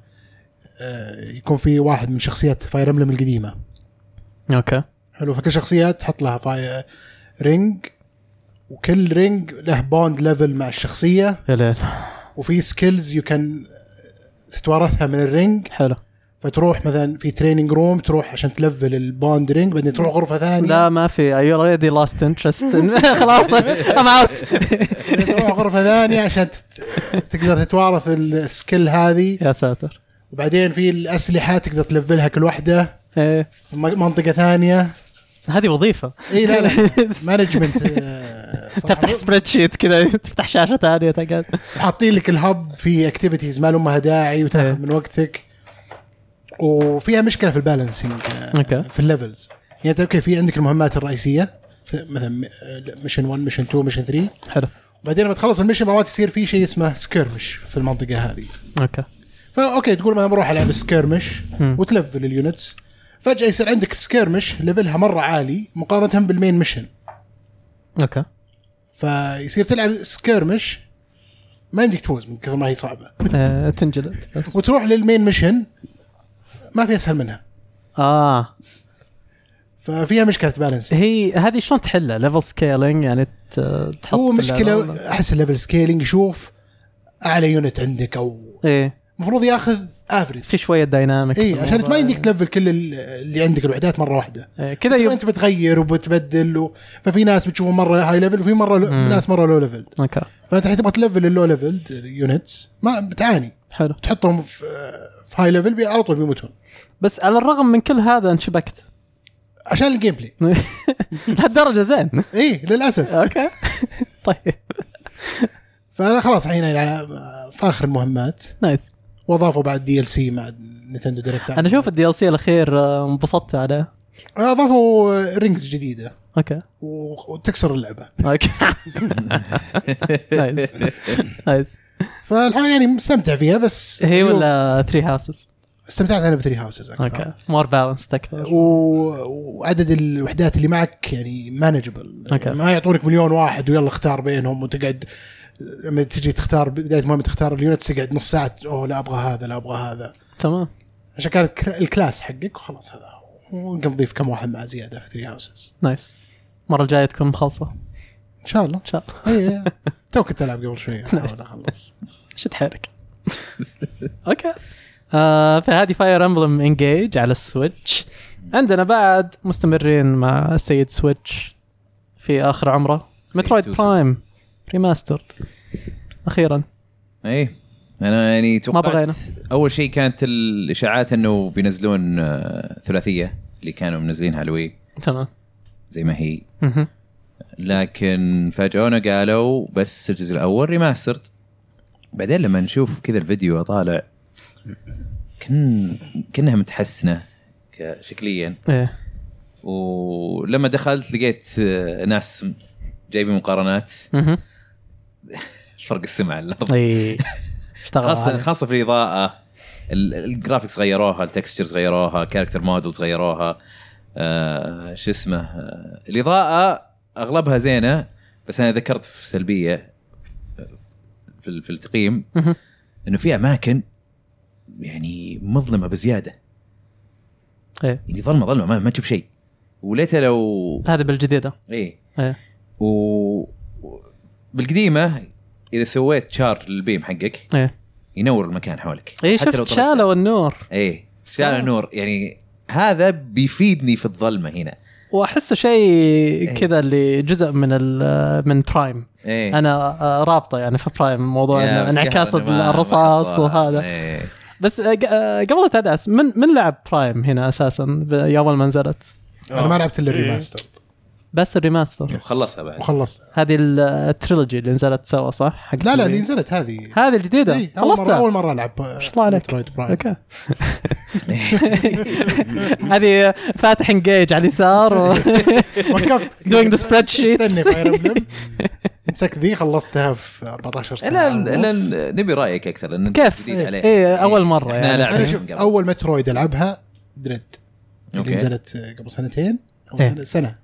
آه، يكون في واحد من شخصيات فاير امبلم القديمه اوكي حلو فكل شخصيه تحط لها فاير رينج وكل رينج له بوند ليفل مع الشخصيه يا ليل وفي سكيلز يو كان تتوارثها من الرينج حلو فتروح مثلا في تريننج روم تروح عشان تلفل البوندرينج بعدين تروح غرفه ثانيه لا ما في اي اوريدي لاست انترست خلاص ام اوت بعدين تروح غرفه ثانيه عشان تت- تقدر تتوارث السكيل هذه يا ساتر وبعدين في الاسلحه تقدر تلفلها كل واحده ايه في م- منطقه ثانيه هذه وظيفه اي لا لا مانجمنت آه، صراحة تفتح سبريد شيت كذا تفتح شاشه ثانيه تقعد حاطين لك الهب في اكتيفيتيز ما لهم داعي إيه. وتاخذ من وقتك وفيها مشكله في البالانسنج أوكي. في الليفلز يعني انت اوكي في عندك المهمات الرئيسيه مثلا ميشن 1 ميشن 2 ميشن 3 حلو بعدين لما تخلص الميشن مرات يصير في شيء اسمه سكيرمش في المنطقه هذه اوكي فا اوكي تقول ما بروح العب سكيرمش مم. وتلفل اليونتس فجاه يصير عندك سكيرمش ليفلها مره عالي مقارنه بالمين ميشن اوكي فيصير تلعب سكيرمش ما يمديك تفوز من كثر ما هي صعبه إيه، تنجلد بس. وتروح للمين ميشن ما في اسهل منها اه ففيها مشكله بالانس هي هذه شلون تحلها ليفل سكيلينج يعني ت- تحط هو في مشكله اللعبة ولا- احس الليفل سكيلينج يشوف اعلى يونت عندك او ايه المفروض ياخذ افريج في شويه دايناميك اي إيه، عشان انت ما يمديك تلفل كل ال- اللي عندك الوحدات مره واحده إيه، كذا أيوه. يب... انت بتغير وبتبدل و... ففي ناس بتشوفهم مره هاي ليفل وفي مره لو... مم. ناس مره لو ليفل اوكي فانت حتى تبغى تلفل اللو ليفل يونتس ما بتعاني حلو تحطهم في, في هاي ليفل بي- على طول بيموتون بس على الرغم من كل هذا انشبكت عشان إيه، الجيم بلاي لهالدرجه زين اي للاسف اوكي طيب فانا خلاص الحين يعني في اخر المهمات نايس واضافوا بعد دي ال سي مع نتندو دايركت انا اشوف الدي ال سي الاخير آه، انبسطت عليه اضافوا رينجز جديده اوكي و- وتكسر اللعبه اوكي نايس نايس فالحين يعني مستمتع فيها بس هي ولا ثري هاوسز استمتعت انا بثري هاوسز اوكي مور بالانس اكثر و... وعدد الوحدات اللي معك يعني مانجبل أوكي. ما يعطونك مليون واحد ويلا اختار بينهم وتقعد لما تجي تختار بدايه مهمه تختار اليونت تقعد نص ساعه اوه لا ابغى هذا لا ابغى هذا تمام عشان كانت كلا- الكلاس حقك وخلاص هذا هو. ويمكن نضيف كم واحد مع زياده في ثري هاوسز نايس المره الجايه تكون مخلصه ان شاء الله ان شاء الله اي تو إيه، كنت العب قبل شوي احاول اخلص شد حيلك اوكي آه فهذه فاير امبلم انجيج على السويتش عندنا بعد مستمرين مع السيد سويتش في اخر عمره مترويد سوسو. برايم ريماسترد اخيرا اي انا إيه. يعني توقعت بغينا. اول شيء كانت الاشاعات انه بينزلون آه، ثلاثيه اللي كانوا منزلينها لوي تمام زي ما هي مهم. لكن فاجئونا قالوا بس الجزء الاول ريماسترد بعدين لما نشوف كذا الفيديو طالع كن كانها متحسنه ك- شكليا ايه ولما دخلت لقيت آه، ناس م- جايبين مقارنات مهم. فرق السمع على الارض اي اشتغل خاصه عليه. خاصه في الاضاءه ال- الجرافيكس غيروها التكستشرز غيروها كاركتر مودلز غيروها آه شو اسمه آه الاضاءه اغلبها زينه بس انا ذكرت في سلبيه في, ال- في التقييم مهم. انه في اماكن يعني مظلمه بزياده إيه. يعني ظلمه ظلمه ما, ما تشوف شيء وليته لو هذا بالجديده ايه إيه. و و- بالقديمه اذا سويت شار للبيم حقك إيه. ينور المكان حولك اي حتى لو إيه، شفت طلعت- شالوا النور ايه شالوا نور يعني هذا بيفيدني في الظلمه هنا واحسه شيء كذا اللي جزء من ال- من برايم ايه انا آه، رابطه يعني في برايم موضوع يا إنه مسكين انعكاس هذا ما- ما الرصاص حطها. وهذا إيه. بس آه، ق- آه، قبل لا تدعس من من لعب برايم هنا اساسا ب- يوم ما نزلت انا ما لعبت الا إيه. الريماستر بس الريماستر وخلصها بعد. وخلصت هذه ال- التريلوجي اللي نزلت سوا صح؟ حق لا لا الوي. اللي نزلت هذه هذه الجديده إيه، اول مره خلصتها اول مره العب ما شاء الله عليك. برايم اوكي هذه فاتح انجيج على اليسار و... وقفت Doing the spreadsheets. استني Fire Emblem. مسكت ذي خلصتها في 14 سنه لا ونص. لا لا، نبي رايك اكثر لان أنت كيف؟ جديد عليه إيه، أول مرة احنا يعني. لاعبين انا شوف قبل. اول مترويد العبها دريد اللي أوكي. نزلت قبل سنتين او إيه. سنة- سنه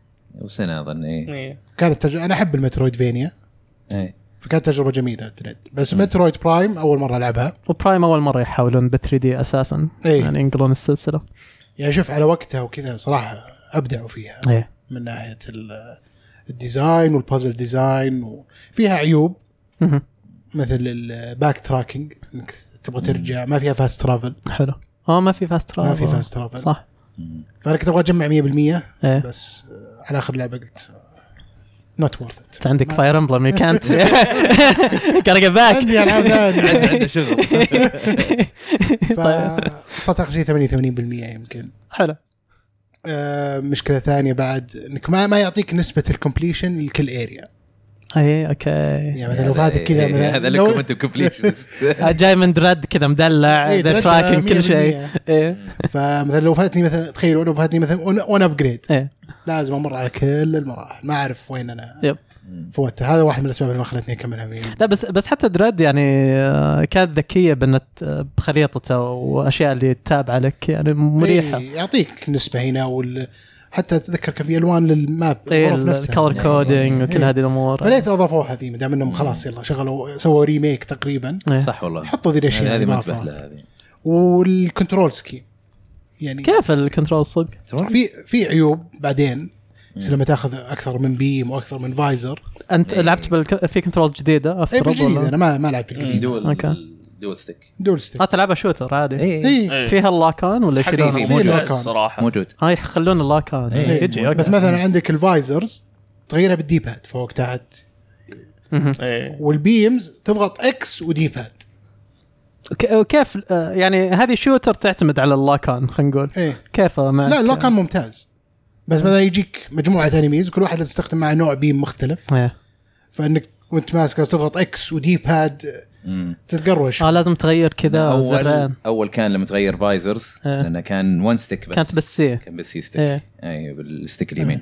سنه اظن ايه إيه. كانت تجربه انا احب المترويد فينيا إيه. فكانت تجربه جميله دريد بس مترويد برايم اول مره العبها وبرايم اول مره يحاولون ب 3 دي اساسا إيه. يعني ينقلون السلسله يعني شوف على وقتها وكذا صراحه ابدعوا فيها ايه من ناحيه ال- الديزاين والبازل ديزاين وفيها عيوب مهم. مثل الباك تراكنج انك تبغى ترجع ما فيها فاست ترافل حلو اه ما في فاست ترافل ما في فاست ترافل صح فانا كنت ابغى اجمع 100% ايه بس آه، على اخر لعبه قلت نوت ورث ات انت عندك فاير امبلم يو كانت gotta get back عندي العاب عنده ثانيه عنده شغل فصلت اخر شيء 88% يمكن طيب. حلو آه، مشكله ثانيه بعد انك ما ما يعطيك نسبه الكومبليشن لكل اريا اي اوكي يعني مثلا لو فاتك كذا مثلا إيه، هذا لو- لكم انتم completionist. آه، جاي من درد كذا مدلع إيه، ذا درجة تراكن كل 100%. شيء ايه فمثلا لو فاتني مثلا تخيلوا لو فاتني مثلا ون ابجريد ايه لازم امر على كل المراحل ما اعرف وين انا يب. فوتها هذا واحد من الاسباب اللي ما خلتني اكملها مية. لا بس بس حتى دراد يعني آه، كانت ذكيه بنت بخريطته واشياء اللي تتابعه لك يعني مريحه إيه، يعطيك نسبه هنا وال... حتى اتذكر كان في الوان للماب ايه الغرف نفسها. الكولر كودينج وكل إيه. هذه الامور فليت اضافوها ذي ما دام انهم خلاص يلا شغلوا سووا ريميك تقريبا إيه. صح والله حطوا ذي الاشياء هذه ما إضافة. انتبهت لها هذه والكنترول سكي يعني كيف الكنترول صدق؟ في في عيوب بعدين بس لما تاخذ اكثر من بيم واكثر من فايزر انت إيه. لعبت بالك... في كنترول جديده اي افترض إيه، بالجديد ولا؟ انا ما ما لعبت القديم دول أوكي. دول ستيك دول ستيك اه تلعبها شوتر عادي اي إيه. فيها اللاكان ولا حقيقي يشيلونها؟ في إيه، موجود. لا، كان. الصراحه موجود اه يخلون اللاكان إيه. يجي اوكي بس مثلا عندك الفايزرز تغيرها بالدي باد فوق تحت مهم. ايه والبيمز تضغط اكس ودي باد ك- وكيف آه، يعني هذه شوتر تعتمد على اللاكان خلينا نقول ايه كيف مع لا اللو كان ممتاز بس مثلا يجيك مجموعه انميز وكل واحد لازم تستخدم معه نوع بيم مختلف إيه. فانك وانت ماسك لازم تضغط اكس ودي باد مم. تتقروش اه لازم تغير كذا اول زرين اول كان لما تغير فايزرز إيه. لانه كان ون ستيك بس كانت بس سي كان بس ستيك إيه. اي بالستيك اليمين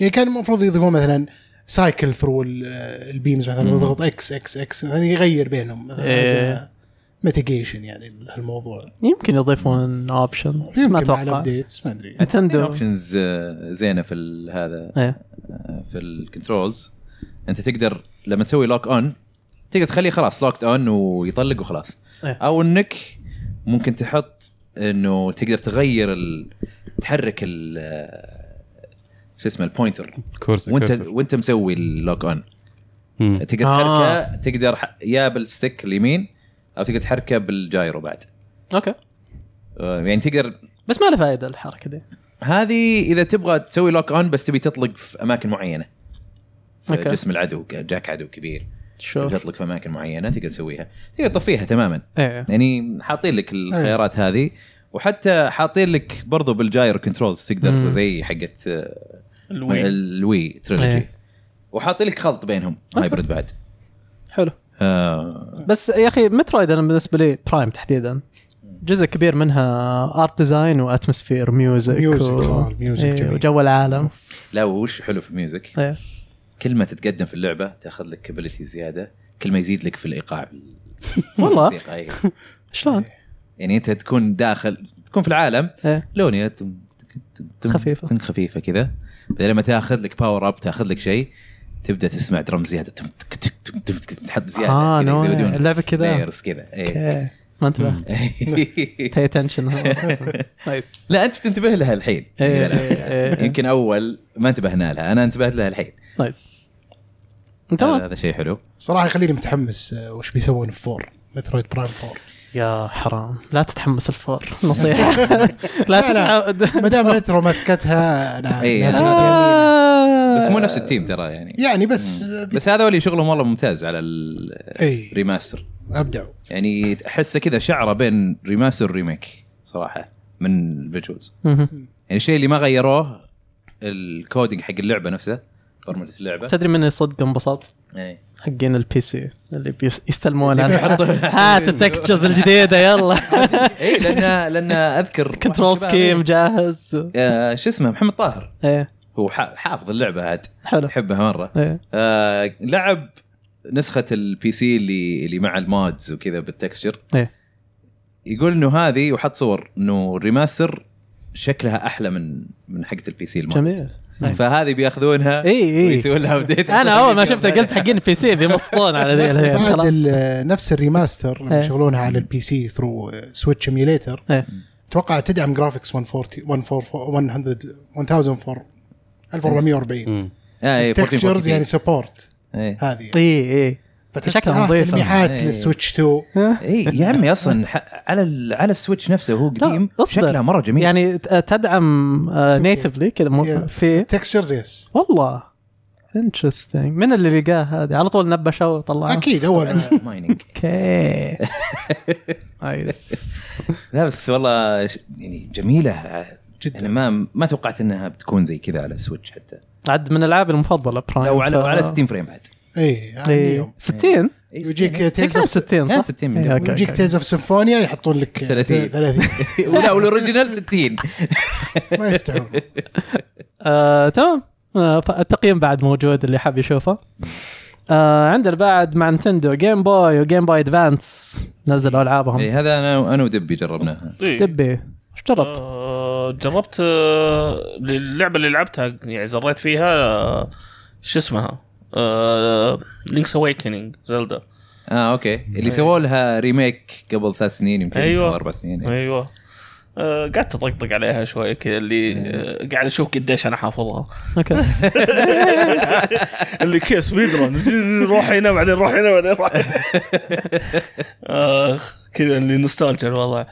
يعني كان المفروض يضيفون مثلا سايكل ثرو البيمز مثلا يضغط اكس اكس اكس يعني يغير بينهم مثلا إيه. ميتيجيشن يعني الموضوع يمكن يضيفون اوبشن بس ما يمكن مع اتوقع الابديتس ما ادري نتندو اوبشنز زينه آه، في ال- هذا ايه آه، في الكنترولز انت تقدر لما تسوي لوك اون تقدر تخليه خلاص لوكت اون ويطلق وخلاص إيه. او انك ممكن تحط انه تقدر تغير ال... تحرك ال آه، شو اسمه البوينتر كورس وانت وانت مسوي اللوك اون مم. تقدر آه. تحركه تقدر ح- يا بالستيك اليمين او تقدر تحركه بالجايرو بعد اوكي آه، يعني تقدر بس ما له فائده الحركه دي هذه اذا تبغى تسوي لوك اون بس تبي تطلق في اماكن معينه في أوكي. جسم العدو جاك عدو كبير شوف تطلق في اماكن معينه تقدر تسويها تقدر تطفيها تماما ايه يعني حاطين لك الخيارات هذه وحتى حاطين لك برضو بالجاير كنترولز تقدر مم. زي حقت آه، الوي الوي تريلوجي إيه. وحاطين لك خلط بينهم أوكي. هايبرد بعد حلو آه، بس يا اخي مترويد انا بالنسبه لي برايم تحديدا جزء كبير منها ارت ديزاين واتموسفير ميوزك ميوزك، آه، الميوزك جميل. إيه، وجو العالم لا وش حلو في الميوزك ايه كل ما تتقدم في اللعبه تاخذ لك ابيلتي زياده كل ما يزيد لك في الايقاع والله الموسيقى، إيه. شلون؟ يعني انت تكون داخل تكون في العالم ايه لونية تم- تك- تك- تم- خفيفة. تم خفيفه كذا بعدين لما تاخذ لك باور اب تاخذ لك شيء تبدا تسمع درم زياده تم- تك- تك- تم- تم- تك- تحط زياده اه كذا نو يزودون اللعبه كذا layers كذا إيه. اوكي ما انتبه باي اتنشن نايس لا انت بتنتبه لها الحين إيه، إذا إيه، إيه. لا. يمكن اول ما انتبهنا لها انا انتبهت لها الحين نايس تمام هذا هذا شيء حلو صراحه يخليني متحمس آه، وش بيسوون في 4 مترويد برايم 4 يا حرام لا تتحمس الفور نصيحه لا لا. تتعود ما دام ريترو مسكتها انا إيه. أنا- آه. بس مو نفس التيم ترى يعني يعني بس بس هذا اللي شغلهم والله ممتاز على الريماستر اي ابدعوا يعني احسه كذا شعره بين ريماستر وريميك صراحه من الفيجوالز مهم. يعني الشيء اللي ما غيروه الكودينج حق اللعبه نفسها فورمولا اللعبه تدري من صدق انبسط إيه. حقين البي سي اللي بيس- يستلمون هات يحطوا- التكستشرز الجديده يلا اي لان لان اذكر كنترول سكيم جاهز آه، شو اسمه محمد طاهر ايه هو ح- حافظ اللعبه عاد حلو يحبها مره ايه آه، لعب نسخه البي سي اللي اللي مع المادز وكذا بالتكستشر إيه. يقول انه هذه وحط صور انه الريماستر شكلها احلى من من حقه البي سي الماد جميل إيه، نايس. فهذه بياخذونها إي إي. ويسوون لها ابديت انا اول ما شفتها قلت حقين البي سي بيمسطون على ذي الحين بعد خلاص ال- نفس الريماستر لما إيه. يشغلونها على البي سي ثرو سويتش ايميليتر إيه. اتوقع تدعم جرافيكس 140 144 100 1400 1440 مم. آه، إي، 1440. تكستشرز يعني سبورت إي. هذه اي اي فتحس إيه، شكلها آه، نظيفة. تلميحات إيه. للسويتش 2 اي يا عمي اصلا ح- على ال- على السويتش نفسه هو لا، قديم اصبر. شكله مره جميل يعني يعني ت- تدعم نيتفلي كذا مو- Yeah. في تكستشرز يس والله انترستنج من اللي لقاه هذه على طول نبشه وطلعه اكيد اول ما- مايننج اوكي نايس لا بس والله ش- يعني جميله يعني جدا ما ما توقعت انها بتكون زي كذا على السويتش حتى عاد من العابي المفضله برايم لو على ف- على 60 فريم بعد اي يعني إيه. يعني يوم. 60 إي، يجيك 60. هي تيلز كانت اوف 60 كان صح؟ 60 إيه، مليون أوكي، يجيك أوكي. تيلز اوف سيمفونيا يحطون لك 30. 30 لا والاوريجينال 60 ما يستحون آه، تمام آه، فالتقييم بعد موجود اللي حاب يشوفه آه، عندنا بعد مع نتندو جيم بوي وجيم بوي ادفانس نزلوا العابهم إي، هذا انا انا ودبي جربناها إيه. دبي ايش جربت؟ آه، جربت آه، اللعبه اللي لعبتها يعني زريت فيها آه، شو اسمها آه، لينكس اويكننج زلدا اه اوكي اللي سووا لها ريميك قبل ثلاث سنين يمكن أيوة. أو اربع سنين إي. ايوه آه، قعدت اطقطق عليها شوي كذا اللي آه، قاعد اشوف قديش انا حافظها اوكي اللي كذا سبيد رن روح هنا بعدين روح هنا بعدين روح هنا. اخ كذا اللي نوستالجيا الوضع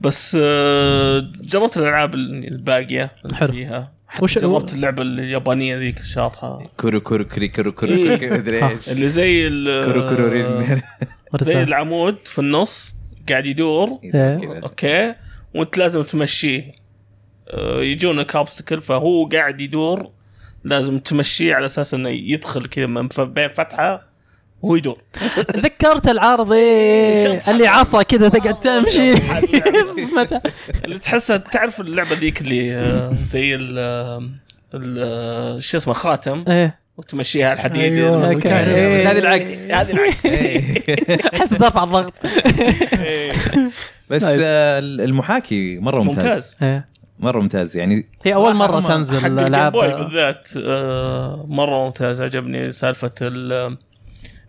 بس آه، جربت الالعاب الباقيه اللي حلو. فيها وش- وش جربت اللعبه اليابانيه ذيك الشاطحه كرو كرو كري كرو كرو إي. كرو كرو مدري ايش اللي زي ال كرو كرو آه، رين. زي العمود في النص قاعد يدور إيه. يعني. كذا. اوكي وانت لازم تمشيه آه، يجونك اوبستكل فهو قاعد يدور لازم تمشيه على اساس انه يدخل كذا من ف- بين فتحه وهو يدور تذكرت العارض إيه، اللي عصا كذا تقعد تمشي متى اللي تحسها تعرف اللعبه ذيك اللي آه، زي ال آه، ال- آه، شو اسمه خاتم ايه وتمشيها على الحديد أيوة. يلمس أوكي. الكهرباء. إيه. بس هذه العكس إيه. هذه العكس احس دفع الضغط إيه. بس آه، المحاكي مره ممتاز, ممتاز إيه. مره ممتاز يعني هي اول صراحة مره هم- حق تنزل الجيم العاب بوي بالذات آه، مره ممتاز عجبني سالفه ال-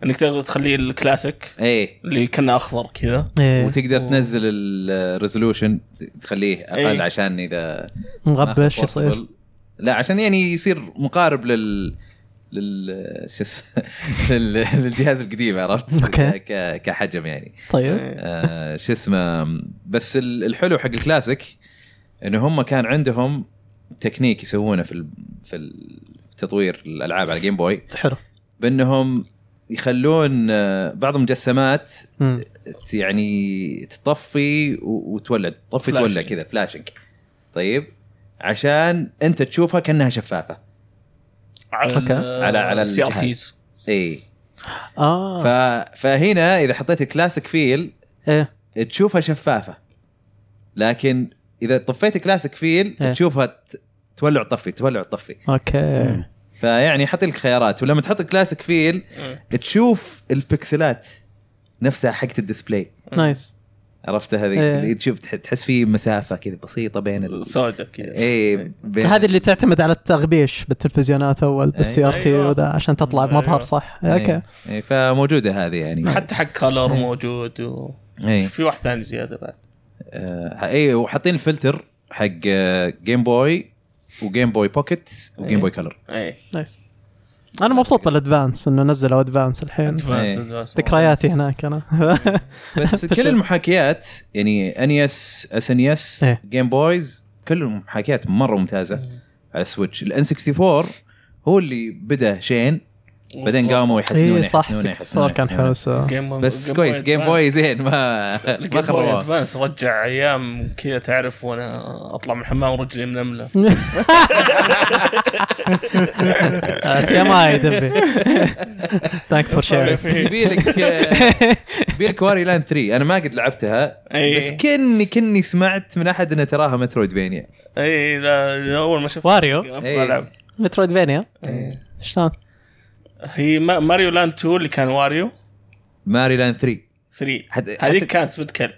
انك تقدر تخليه الكلاسيك ايه اللي كنا اخضر كذا إيه، وتقدر تنزل الريزولوشن تخليه اقل إيه. عشان اذا مغبش ما خفت يصير وصل. لا عشان يعني يصير مقارب لل لل شو اسمه لل- للجهاز القديم عرفت؟ أوكي. ك... كحجم يعني طيب آه، شو اسمه بس ال- الحلو حق الكلاسيك انه هم كان عندهم تكنيك يسوونه في ال... في ال- تطوير الالعاب على جيم بوي حلو بانهم يخلون آه، بعض المجسمات مم. يعني تطفي و- وتولع تطفي فلاشينج. تولع كذا فلاشنج طيب عشان انت تشوفها كانها شفافه على أوكي. على- على السي ار الجهاز. آه، تيز اي ف... اه فهنا اذا حطيت الكلاسيك فيل ايه تشوفها شفافه لكن اذا طفيت كلاسيك فيل إيه. تشوفها ت- تولع طفي تولع طفي اوكي فيعني حط لك خيارات ولما تحط كلاسيك فيل آه، تشوف البكسلات نفسها حقت الديسبلاي نايس عرفت هذه إيه. اللي تشوف تح- تحس في مسافه كذا بسيطه بين ال... سوداء كذا إيه. اي بين- هذه اللي تعتمد على التغبيش بالتلفزيونات اول بالسي ار تي أيوة. وذا عشان تطلع أيوة. مظهر صح اوكي إيه، إيه، فموجوده هذه يعني نعم. حتى حق إيه. كالر موجود وفي اي واحد ثاني زياده بعد آه اي وحاطين الفلتر حق آه، جيم بوي وجيم بوي بوكيت وجيم إيه. بوي كلر اي نايس انا مبسوط بالادفانس انه نزلوا ادفانس الحين إيه. ذكرياتي هناك إيه، انا بس كل المحاكيات يعني انيس اس ان اس إيه. جيم بويز كل المحاكيات مره ممتازه على سويتش الان 64 هو اللي بدا شين بعدين قاموا يحسنونه اي إيه، صح يحسنونه، 64 كان يحسنونه. حلو سو بس كويس جيم بوي زين ما ما الجيم بوي خربوه ادفانس رجع ايام كذا تعرف وانا اطلع من الحمام ورجلي منمله يا ماي دبي ثانكس فور بس شيرز يبيلك يبيلك واري لاند 3 انا ما قد لعبتها أي. بس كني كني سمعت من احد انها تراها مترويد فينيا اي إيه، لا اول ما شفت واريو إيه. أبغى ألعب. مترويد فينيا إيه. شلون؟ هي ما- ماريو لاند 2 اللي كان واريو ماري لاند 3 3 حد- هذيك حتى- كانت متكلم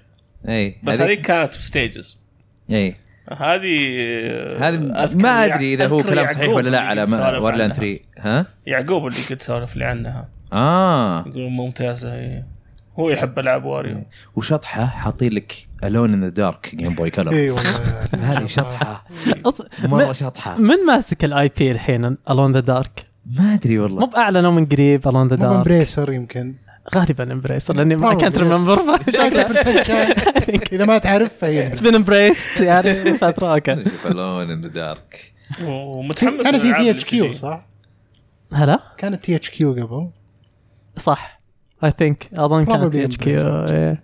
اي بس هذيك كانت ستيجز اي هذه آه، هذا أذكر إيه. ما يع- ادري اذا هو أذكر كلام صحيح يعقوب ولا لا اللي على قد سولف وارلاند عنها. 3 ها يعقوب اللي قد سولف لي عنها اه يقول ممتازه هي هو يحب العاب واريو إيه. وشطحه حاطين لك الون ان ذا دارك جيم بوي كلر اي إيه والله هذه شطحه أص- مره م- شطحه من ماسك الاي بي الحين الون ذا دارك؟ ما ادري مو والله باعلنوا من قريب الون ذا مو دارك امبريسر يمكن غالبا امبريسر لاني ما Probably, كنت yes. ريمبر 90% chance. اذا ما تعرف فهي اتس بين امبريسد يعني فتره اوكي نشوف الون ان ذا دارك ومتحمس كانت للألعاب تي اللي اتش كيو بتجي. صح؟ هلا كانت تي اتش كيو قبل صح اي ثينك اظن كانت Probably اتش كيو Embracer.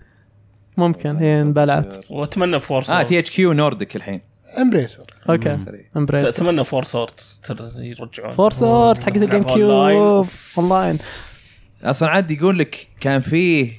ممكن هي انبلعت واتمنى فور اه سورد تي اتش كيو نوردك الحين امبريسر اوكي سريع. امبريسر اتمنى فور سورد ترى يرجعون فور سورد حقت الجيم كيوب اونلاين اصلا عاد يقول لك كان فيه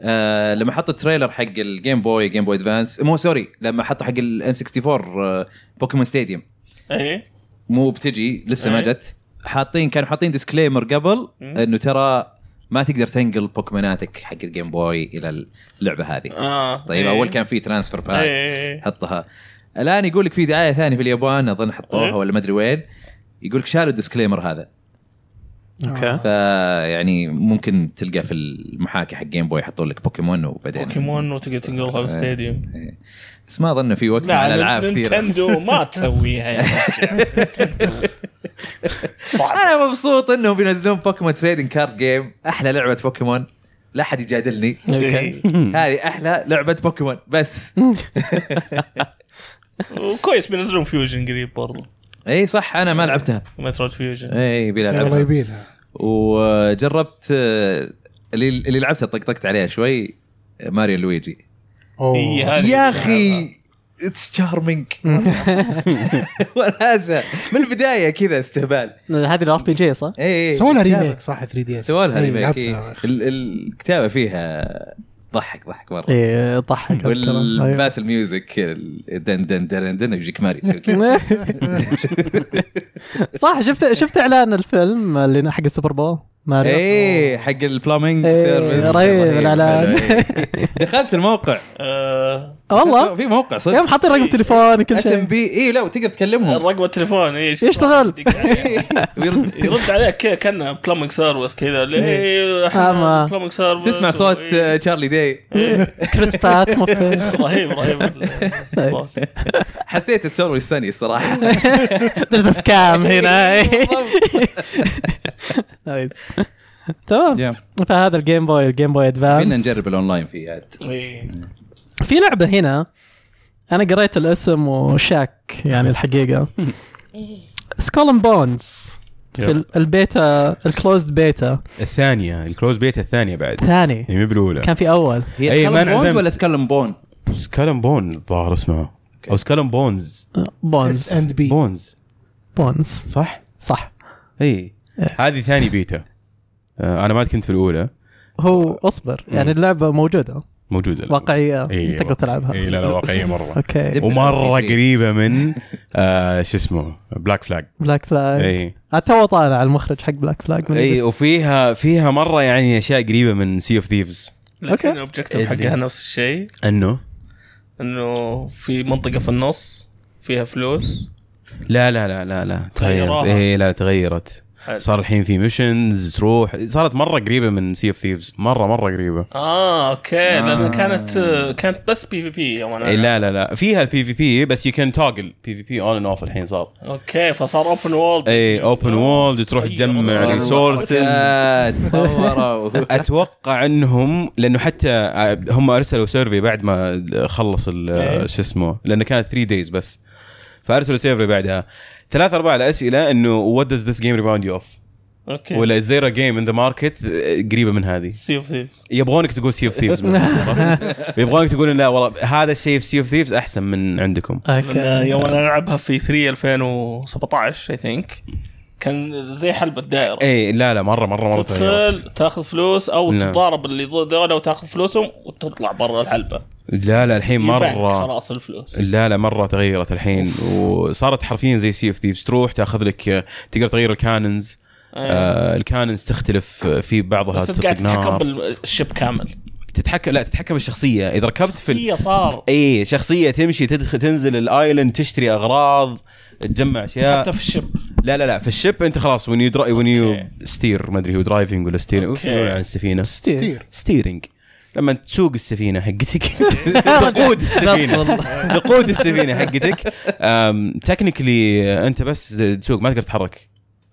آه لما حط التريلر حق الجيم بوي جيم بوي ادفانس مو سوري لما حط حق الان 64 آه بوكيمون ستاديوم ايه مو بتجي لسه ما إيه. جت حاطين كانوا حاطين ديسكليمر قبل مم. انه ترى ما تقدر تنقل بوكيموناتك حق الجيم بوي الى اللعبه هذه اه طيب إيه. اول كان في ترانسفير باك ايه حطها الان يقول لك في دعايه ثانيه في اليابان اظن حطوها إيه. ولا ما ادري وين يقول لك شالوا الديسكليمر هذا آه. اوكي آه. فيعني ممكن تلقى في المحاكي حق جيم بوي يحطون لك بوكيمون وبعدين بوكيمون وتقدر إيه. تنقلها بالستاديوم بس ما اظن في وقت على العاب كثيره نعم، نينتندو ما تسويها يا رجال. صعب انا مبسوط انهم بينزلون بوكيمون تريدنج كارد جيم احلى لعبه بوكيمون لا احد يجادلني اوكي هذه احلى لعبه بوكيمون بس وكويس بينزلون فيوجن قريب برضو اي صح انا ما لعبتها مترويد فيوجن اي الله بيلعبها يبينها وجربت آه، اللي اللي لعبتها طقطقت عليها شوي آه، ماريو لويجي اوه إيه، هذا- يا اخي اتس تشارمينج وناسه من البدايه كذا استهبال هذه الار بي جي صح؟ اي إي. سووا لها ريميك صح 3 دي اس إيه، سووا إيه، لها ريميك إي. لعبتها ال- ال- الكتابه فيها ضحك ضحك مره إيه، ايه ضحك أذكر. أيوه. أيوة. والباتل ميوزك ال- دن دن دن دن يجيك ماري يسوي كذا صح شفت شفت اعلان الفيلم اللي حق السوبر بول ماريو ايه حق البلامينج إيه، سيرفيس رهيب الإعلان. حلو، إيه. دخلت الموقع آه، والله في موقع يوم صدق حاطين رقم تليفون وكل اس ام شيء بي اي إيه، لا وتقدر تكلمهم رقم التليفون ايش يشتغل. ويرد- يرد عليك كذا كانه بلمنج سيرفس كذا ليه أما. بلمنج سيرفس إيه. آه، تسمع صوت آه، تشارلي داي كريس بات ممثل. إيه، رهيب رهيب الصوت. حسيت تسولف السني الصراحه There's a scam هنا نايس تمام Yeah. فهذا الجيم بوي الجيم بوي ادفانس فينا نجرب الاونلاين في عاد إيه. في لعبه هنا انا قريت الاسم وشاك يعني الحقيقه سكولن بونز في ال- البيتا الكلوزد بيتا الثانيه الكلوز بيت الثانيه بعد ثاني يعني مو بالاولى كان في اول أي، هي ما سكالم أنا بونز عزمت. ولا سكالم بون؟ سكالم بون الظاهر اسمه او سكالم بونز اس بونز اند بي بونز بونز صح؟ صح إيه. اي هذه ثاني بيتا آه، انا ما كنت في الاولى هو اصبر يعني اللعبه موجوده موجوده واقعيه إيه، تقدر تلعبها اي لا لا واقعيه مره اوكي دب- ومره قريبه من آه شو اسمه بلاك فلاج بلاك فلاج اي عاد تو طالع على المخرج حق بلاك فلاج اي وفيها فيها مره يعني اشياء قريبه من سي اوف ثيفز لكن أوكي. إيه، الاوبجيكتيف حقها نفس الشيء انه انه في منطقه في النص فيها فلوس لا لا لا لا لا تغيرت غيروها. اي لا تغيرت حلو. صار الحين في ميشنز تروح صارت مره قريبه من سي اوف ثيفز مره مره قريبه اه اوكي آه. لانها كانت آه، كانت بس بي في بي يوم إيه، انا لا لا لا فيها البي في بي بس يو كان توجل بي في بي اون اند اوف الحين صار اوكي فصار اوبن وورلد اي اوبن وولد تروح تجمع أيوة. ريسورسز آه، تطوروا اتوقع انهم لانه حتى آه، هم ارسلوا سيرفي بعد ما خلص إيه. ال- آه، شو اسمه لانه كانت 3 دايز بس فارسلوا سيرفي بعدها ثلاث ارباع الاسئله انه وات داز ذس جيم ريباوند يو اوف اوكي ولا ولا از ذير ا جيم ان ذا ماركت قريبه آه، من هذه سي اوف ثيفز يبغونك تقول سي اوف ثيفز يبغونك تقول إن لا والله هذا الشيء في سي اوف ثيفز احسن من عندكم اوكي إيه. يوم انا العبها في 3 2017 اي ثينك كان زي حلبة دائرة اي إيه، لا لا مره مره مره تغيرت. تدخل تاخذ فلوس او لا. تضارب اللي ضد ذولا وتاخذ فلوسهم وتطلع برا الحلبة إيه، لا لا الحين يبانك مره خلاص الفلوس لا لا مره تغيرت الحين وصارت حرفيا زي سي اوف ثيفز تروح تاخذ لك آه، تقدر تغير الكانونز آه. آه نعم. الكانونز تختلف آه، في بعضها بس انت قاعد تطلق تتحكم نار بالشب كامل تتحكم لا تتحكم بالشخصيه اذا ركبت في ال... هي صار اي شخصيه تمشي تدخل تنزل الايلاند تشتري اغراض تجمع اشياء حتى في الشب لا لا لا في الشip انت خلاص وين يو وين يو أوكي. ستير ما ادري هو درايفنج ولا ستير وش أوكي. يقولون على السفينه ستير ستيرنج لما تسوق السفينه حقتك رجع. تقود السفينه تقود السفينه حقتك تكنيكلي انت بس تسوق ما تقدر تتحرك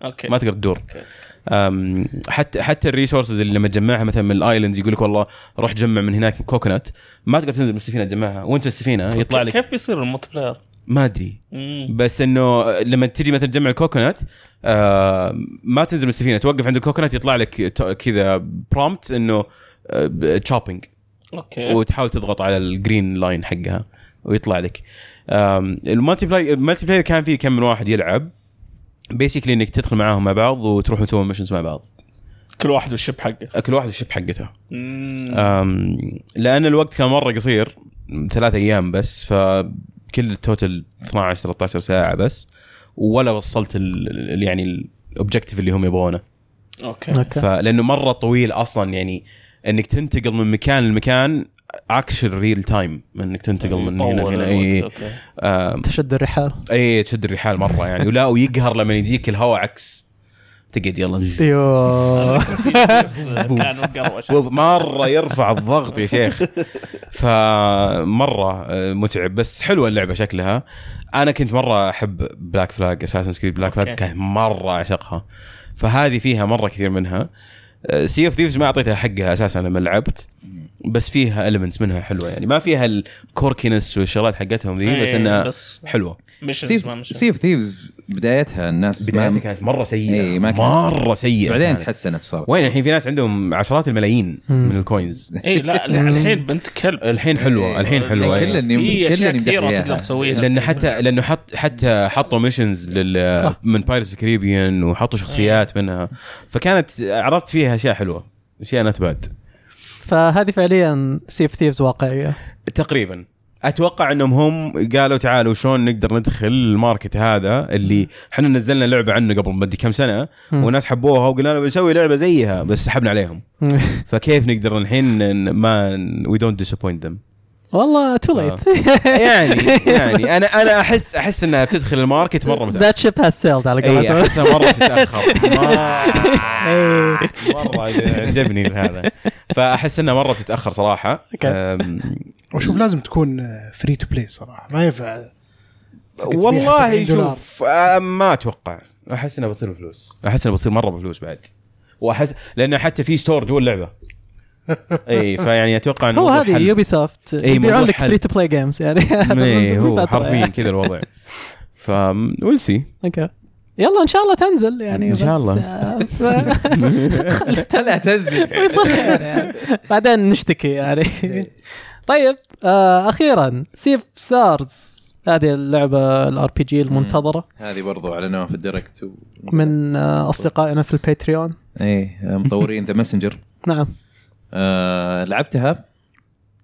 اوكي ما تقدر تدور أوكي. أم، حتى حتى الريسورسز اللي لما تجمعها مثلا من الايلاندز يقول لك والله روح جمع من هناك كوكونات ما تقدر تنزل من السفينه تجمعها وانت في السفينه يطلع لك كيف بيصير الملتي بلاير؟ ما ادري مم. بس انه لما تجي مثلا تجمع الكوكونات آه ما تنزل من السفينه توقف عند الكوكونات يطلع لك ت- كذا برومبت انه تشوبينج اوكي وتحاول تضغط على الجرين لاين حقها ويطلع لك آم، المالتي بلاي المالتي بلاير كان فيه كم من واحد يلعب بيسكلي انك تدخل معاهم مع بعض وتروحوا تسوون ميشنز مع بعض كل واحد والشب حقه كل واحد الشب حقته مم. آه. أم، لان الوقت كان مره قصير ثلاث ايام بس فكل التوتل 12 13 ساعه بس ولا وصلت ال ال- يعني الاوبجكتيف اللي هم يبغونه اوكي اوكي فلانه مره طويل اصلا يعني انك تنتقل من مكان لمكان اكشن ريل تايم انك تنتقل من هنا يعني يطول لهنا إيه. الوقت، اي أوكي. أم، تشد الرحال اي تشد الرحال مره يعني ولا ويقهر لما يجيك الهواء عكس تقعد يلا ايوه كانوا مقروش شوف مره يرفع الضغط يا شيخ فمره آه، متعب بس حلوه اللعبه شكلها انا كنت مره احب بلاك فلاج اساسن كريد بلاك فلاج أوكي. كان مره اعشقها فهذه فيها مره كثير منها آه، سي اوف ثيفز ما اعطيتها حقها اساسا لما لعبت بس فيها المنتس منها حلوه يعني ما فيها الكوركينس والشغلات حقتهم ذي إيه، إيه. بس انها بس حلوه مش ما مش سيف ثيفز بدايتها الناس ما- بدايتها كانت مره سيئه إيه، ما كانت- مره سيئه بعدين كانت. تحسنت صارت وين الحين في ناس عندهم عشرات الملايين مم. من الكوينز اي إيه، لا لا، الحين بنت كلب الحين إيه. حلوه الحين حلوه كل أيوة. اللي- في كل اللي اشياء مدحت كثيره إياها. تقدر تسويها لانه حتى لانه حط حتى حطوا ميشنز لل صح. إيه. من بايرتس كاريبيان وحطوا شخصيات منها فكانت عرفت فيها اشياء حلوه اشياء نتبات فهذه فعليا سيف ثيفز واقعيه تقريبا اتوقع انهم هم قالوا تعالوا شلون نقدر ندخل الماركت هذا اللي احنا نزلنا لعبه عنه قبل ما ادري كم سنه مم. والناس حبوها وقلنا لنا بنسوي لعبه زيها بس سحبنا عليهم فكيف نقدر الحين ن- ما وي دونت ديسابوينت ذم والله تو آه. ليت يعني يعني انا انا احس احس انها بتدخل الماركت مره متاخر ذات شيب هاز سيلد على اي قولتهم احسها مره تتاخر إيه. ما- مره عجبني هذا فاحس انها مره تتاخر صراحه أوكي. أم، واشوف لازم تكون آه، فري تو بلاي صراحه ما ينفع تقعد تبيعها والله 70 دولار. شوف أم، ما اتوقع احس انها بتصير بفلوس احس انها بتصير مره بفلوس بعد واحس لانه حتى في ستور جوا اللعبه اي فيعني اتوقع انه هو موضوع هذه حل. إيه، يوبي سوفت يبيعون موضوع لك حل. فري تو بلاي جيمز يعني هذا من إيه، هو فترة حرفيا يعني. كذا الوضع ف ويل سي اوكي يلا ان شاء الله تنزل يعني إن شاء بس، الله. آه، ف- لا تنزل ويصير يعني. بعدين نشتكي يعني طيب آه اخيرا سيف ستارز هذه اللعبه الار بي جي المنتظره هذه برضو اعلنوها في الديركت و... من آه اصدقائنا في الباتريون ايه مطورين ذا ماسنجر نعم آه، لعبتها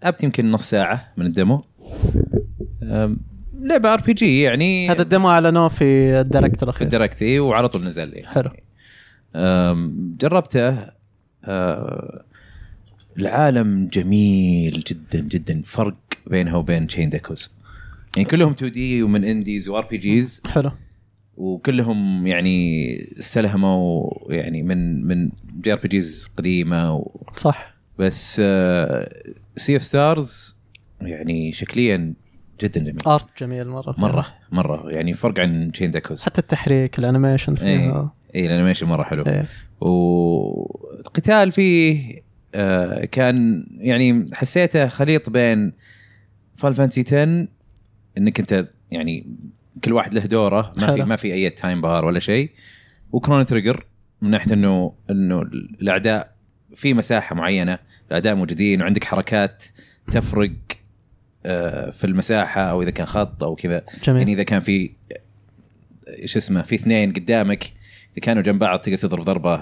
لعبت يمكن نص ساعة من الديمو آم، لعبة ار بي جي يعني هذا الديمو اعلنوه في الدايركت في الاخير الدايركت إيه، وعلى طول نزل لي حلو. جربته آه، العالم جميل جدا جدا فرق بينها وبين تشين داكوز يعني كلهم 2 دي ومن انديز وار بي جيز حلو وكلهم يعني استلهموا يعني من من جي ار بي جيز قديمه و صح بس آه، سي اوف ستارز يعني شكليا جدا جميل ارت جميل مره مره مره يعني فرق عن تشين داكوز حتى التحريك الانيميشن فيها اي الانيميشن مره إيه، حلو إيه. والقتال فيه آه، كان يعني حسيته خليط بين فال فانسي 10 انك انت يعني كل واحد له دوره ما في حلو. ما في اي تايم بار ولا شيء وكرون تريجر من ناحيه انه انه الاعداء في مساحه معينه الاعداء موجودين وعندك حركات تفرق آه، في المساحه او اذا كان خط او كذا يعني جميل اذا كان في ايش اسمه في اثنين قدامك اذا كانوا جنب بعض تقدر تضرب آه، ضربه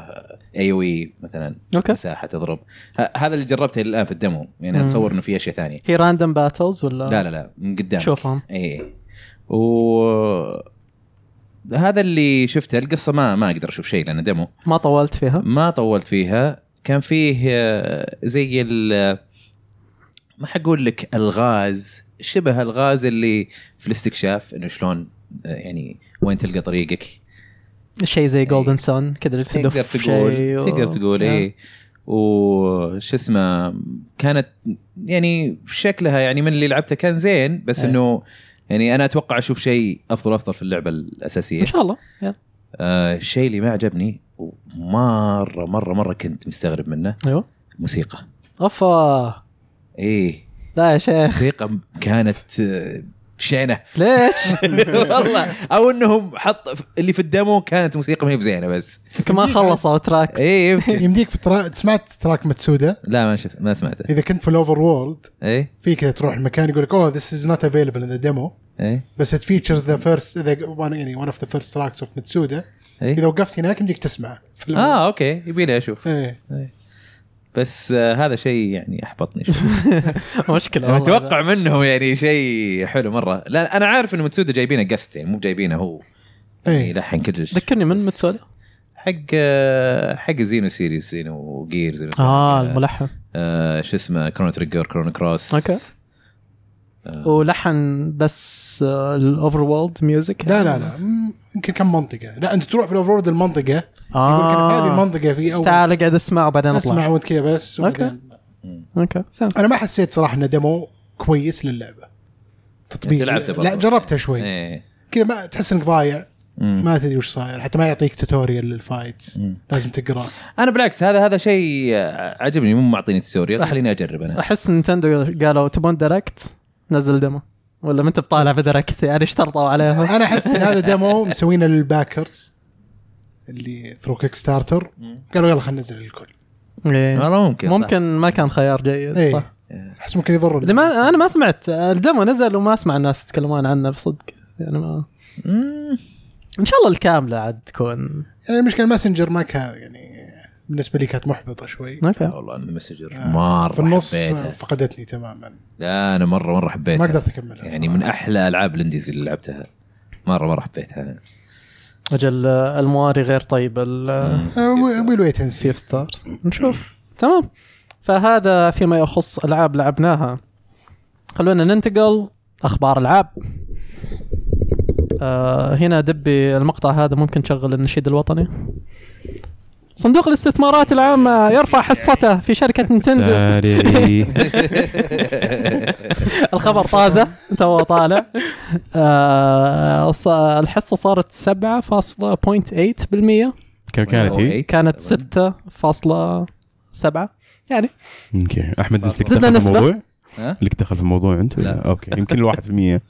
اي او اي مثلا اوكي مساحه E تضرب ه- هذا اللي جربته الى الان في الدمو يعني مم. آه. اتصور انه في اشياء ثانيه هي راندوم باتلز ولا لا لا لا من قدامك شوفهم اي و هذا اللي شفته القصه ما ما اقدر اشوف شيء لانه دمو ما طولت فيها ما طولت فيها كان فيه آه، زي ال ما حقول لك الغاز شبه الغاز اللي في الاستكشاف انه شلون آه، يعني وين تلقى طريقك شيء زي جولدن سان كذا اللي تدف إيه. تقدر شيء تقول و- نعم. تقدر تقول إيه. اي وش اسمه كانت يعني شكلها يعني من اللي لعبته كان زين بس إيه. انه يعني انا اتوقع اشوف شيء افضل افضل في اللعبه الاساسيه ان شاء الله يلا. آه الشيء اللي ما عجبني ومره مره مره كنت مستغرب منه أيوه. ايوه موسيقى اوفا ايه لا يا شيخ موسيقى كانت آه، شينه ليش؟ والله او انهم حط اللي في الدمو كانت موسيقى ما هي بزينه بس يمكن ما خلصوا تراك اي يمكن يمديك في ترا... سمعت تراك متسودا لا ما شفت ما سمعته إيه، اذا كنت في الاوفر وورلد اي في كذا تروح المكان يقول لك اوه ذس از نوت افيلبل ان ذا ديمو اي بس it features the first the one يعني one of the first tracks of Mitsuda اذا اي وقفت هناك يمديك تسمعه في الم- اه اوكي إيه. يبي لي اشوف ايه بس آه هذا شيء يعني احبطني شوي. مشكله إيه، والله. اتوقع منهم يعني شيء حلو مره لا انا عارف انه متسودا جايبينه قست يعني مو جايبينه هو يعني ايه يلحن كل شيء ذكرني من بس متسودا حق آه، حق زينو سيريز زينو وجيرز اه الملحن آه، شو اسمه كرونو تريجر كرونو كروس اوكي آه. ولحن بس آه، الاوفر وولد ميوزك لا لا لا مم، يمكن كم منطقه لا انت تروح في الاوفرورد المنطقه يقول لك إن في هذه اه المنطقه في اول تعال اقعد اسمع وبعدين اسمع اطلع وانت كذا بس أوكي. وبعدين- اوكي سام. انا ما حسيت صراحه انه ديمو كويس للعبه تطبيق أنت لعبته لا برضو. جربتها شوي ايه كذا ما تحس انك ضايع مم. ما تدري وش صاير حتى ما يعطيك توتوريال للفايتس مم. لازم تقرا انا بالعكس هذا هذا شيء آه، عجبني مو معطيني توتوريال خليني اجرب انا احس نينتندو قالوا تبون دايركت نزل ديمو ولا ما انت بطالع في دايركت يعني اشترطوا عليهم انا احس ان هذا ديمو مسوينه للباكرز اللي ثرو كيك ستارتر مم. قالوا يلا خلينا ننزل الكل إيه. والله ممكن صح. ممكن ما كان خيار جيد صح ايه احس ممكن يضر اللي ما انا ما سمعت الدمو نزل وما اسمع الناس يتكلمون عنه بصدق يعني ما مم. ان شاء الله الكامله عاد تكون يعني المشكله الماسنجر ما كان يعني بالنسبه لي كانت محبطه شوي اوكي والله انا المسجر آه، مره في النص حبيتها فقدتني تماما لا انا مره مره حبيتها ما قدرت اكملها يعني من احلى العاب الانديز اللي لعبتها مره مره حبيتها انا اجل آه، المواري غير طيبه آه، ال- آه، ويل ويت اند سي اف ستارز نشوف تمام فهذا فيما يخص العاب لعبناها خلونا ننتقل اخبار العاب آه هنا دبي المقطع هذا ممكن تشغل النشيد الوطني صندوق الاستثمارات العامة يرفع حصته في شركة نينتندو ساري الخبر طازة تو طالع آه ص- الحصة صارت 7.8% كم كانت هي؟ كانت 6.7 يعني اوكي احمد انت لك زدنا دخل في نسبة. الموضوع؟ ها؟ لك دخل في الموضوع انت؟ ولا؟ لا. اوكي يمكن الواحد في المية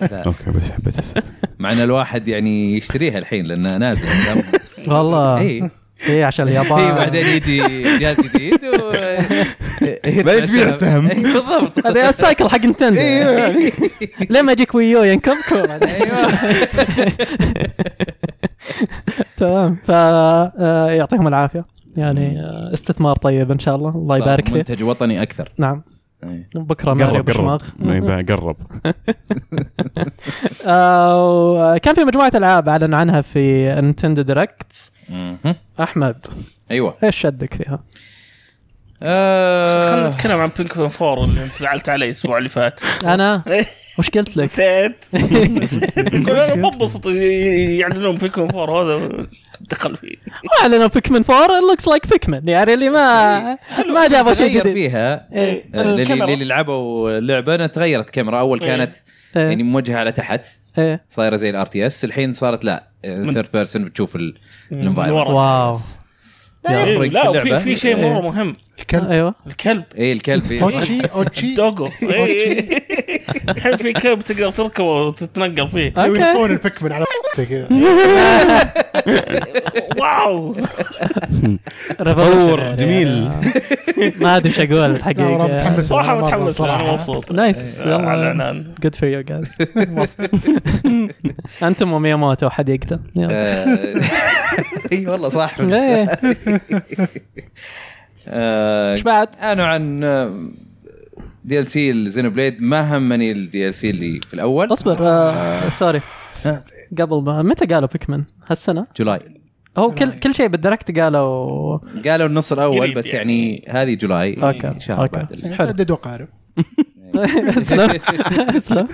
لا. اوكي بس حبيت أسأل. مع ان الواحد يعني يشتريها الحين لانها نازله والله إيه. اي اي ايه عشان اليابان آه. إيه. بعدين يجي جهاز جديد و بعدين تبيع السهم. إي، بالضبط هذا السايكل حق نتندو إيه، ليه ما يجيك ويو ينكبكم ايوه تمام فيعطيهم العافيه يعني آه، استثمار طيب ان شاء الله الله يبارك صار فيه منتج وطني إيه. اكثر نعم إي. بكره ماريو قرب قرب بشماغ ما يباع، قرب آه، كان في مجموعه العاب اعلن عنها في نينتندو دايركت مهم. احمد ايوه ايش شدك فيها؟ آه، خلينا نتكلم عن بينك فون فور اللي انت زعلت علي الاسبوع اللي فات انا وش قلت لك؟ نسيت يقول انا بنبسط يعلنون بينك فون فور هذا دخل فيه اعلنوا بيكمن 4 لوكس لايك بيكمن يعني اللي ما آه، ما جابوا شيء تغير جديد فيها إيه. اللي الكاميرا. اللي لعبوا اللعبه أنا تغيرت الكاميرا اول كانت إيه. يعني موجهه على تحت ايه صايره زي الار تي اس الحين صارت لا ثيرد بيرسون بتشوف من الانفايرمنت ورا. واو لا إيه، يفرق في لا اللعبه في في شيء إيه. مره مهم الكلب ايوه الكلب اي إيه، الكلب في- اوتشي اوتشي دوجو إيه. الحين في كلب تقدر تركبه وتتنقل فيه اوكي يلقون البيكمن على كذا واو تطور جميل. ما ادري ايش اقول لا والله الحقيقه متحمس صراحه لها مرة متحمس لها، انا صراحة. مبسوط إيه، نايس على يلا العنان جود فور يو جايز انتم ومياموتو حديقته يلا. آه، اي والله صح إيه. آه، ايش بعد؟ انا عن دي ال سي الزينو بليد ما همني الدي ال سي اللي في الاول اصبر آه، سوري قبل ما متى قالوا بيكمن؟ هالسنه؟ جولاي هو كل كل شيء بالدركت قالوا قالوا النص الاول قريب بس يعني. يعني هذه جولاي أوكي، شهر أوكي. بعد ال- يعني سدد وقارب اسلم اسلم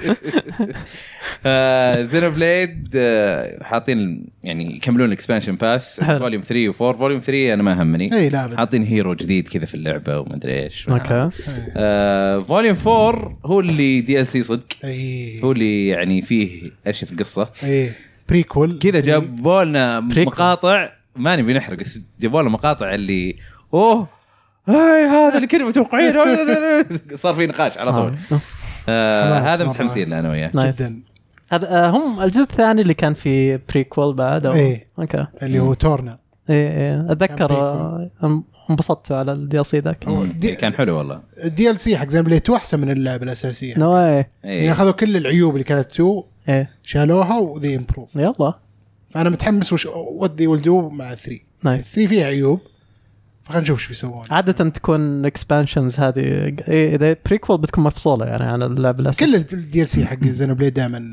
زينو بليد آه، حاطين يعني يكملون الاكسبانشن باس حلو. فوليوم 3 و4 فوليوم 3 انا ما همني اي إيه، لا أبد. حاطين هيرو جديد كذا في اللعبه وما ادري ايش اوكي آه، فوليوم 4 هو اللي دي ال سي صدق اي هو اللي يعني فيه اشياء في القصه اي بريكول كذا جابوا لنا بريكول. مقاطع ما نبي نحرق بس جابوا لنا مقاطع اللي اوه هاي هذا اللي كنا متوقعينه صار في نقاش على طول آه. آه خلاص هذا مرة. متحمسين له انا وياه نايس. جدا هذا آه، هم الجزء الثاني اللي كان في بريكول بعد أو... إيه. اوكي اللي هو تورنا اي اي اتذكر كان آه، أم- انبسطت على الدي سي ذاك هو مم. دي- كان حلو والله الدي ال سي حق زنبليت 2 احسن من اللعبه الاساسيه نو إيه. يعني ايه اخذوا كل العيوب اللي كانت 2 ايه شالوها وذي امبروف يلا فانا متحمس وش وات ذي ويل دو مع 3 نايس 3 فيها عيوب فخلينا نشوف ايش بيسوون عادة تكون الاكسبانشنز هذه إيه، اذا بريكول بتكون مفصولة يعني عن اللعبة الاساسية كل الدي ال سي حق زينوبليد دائما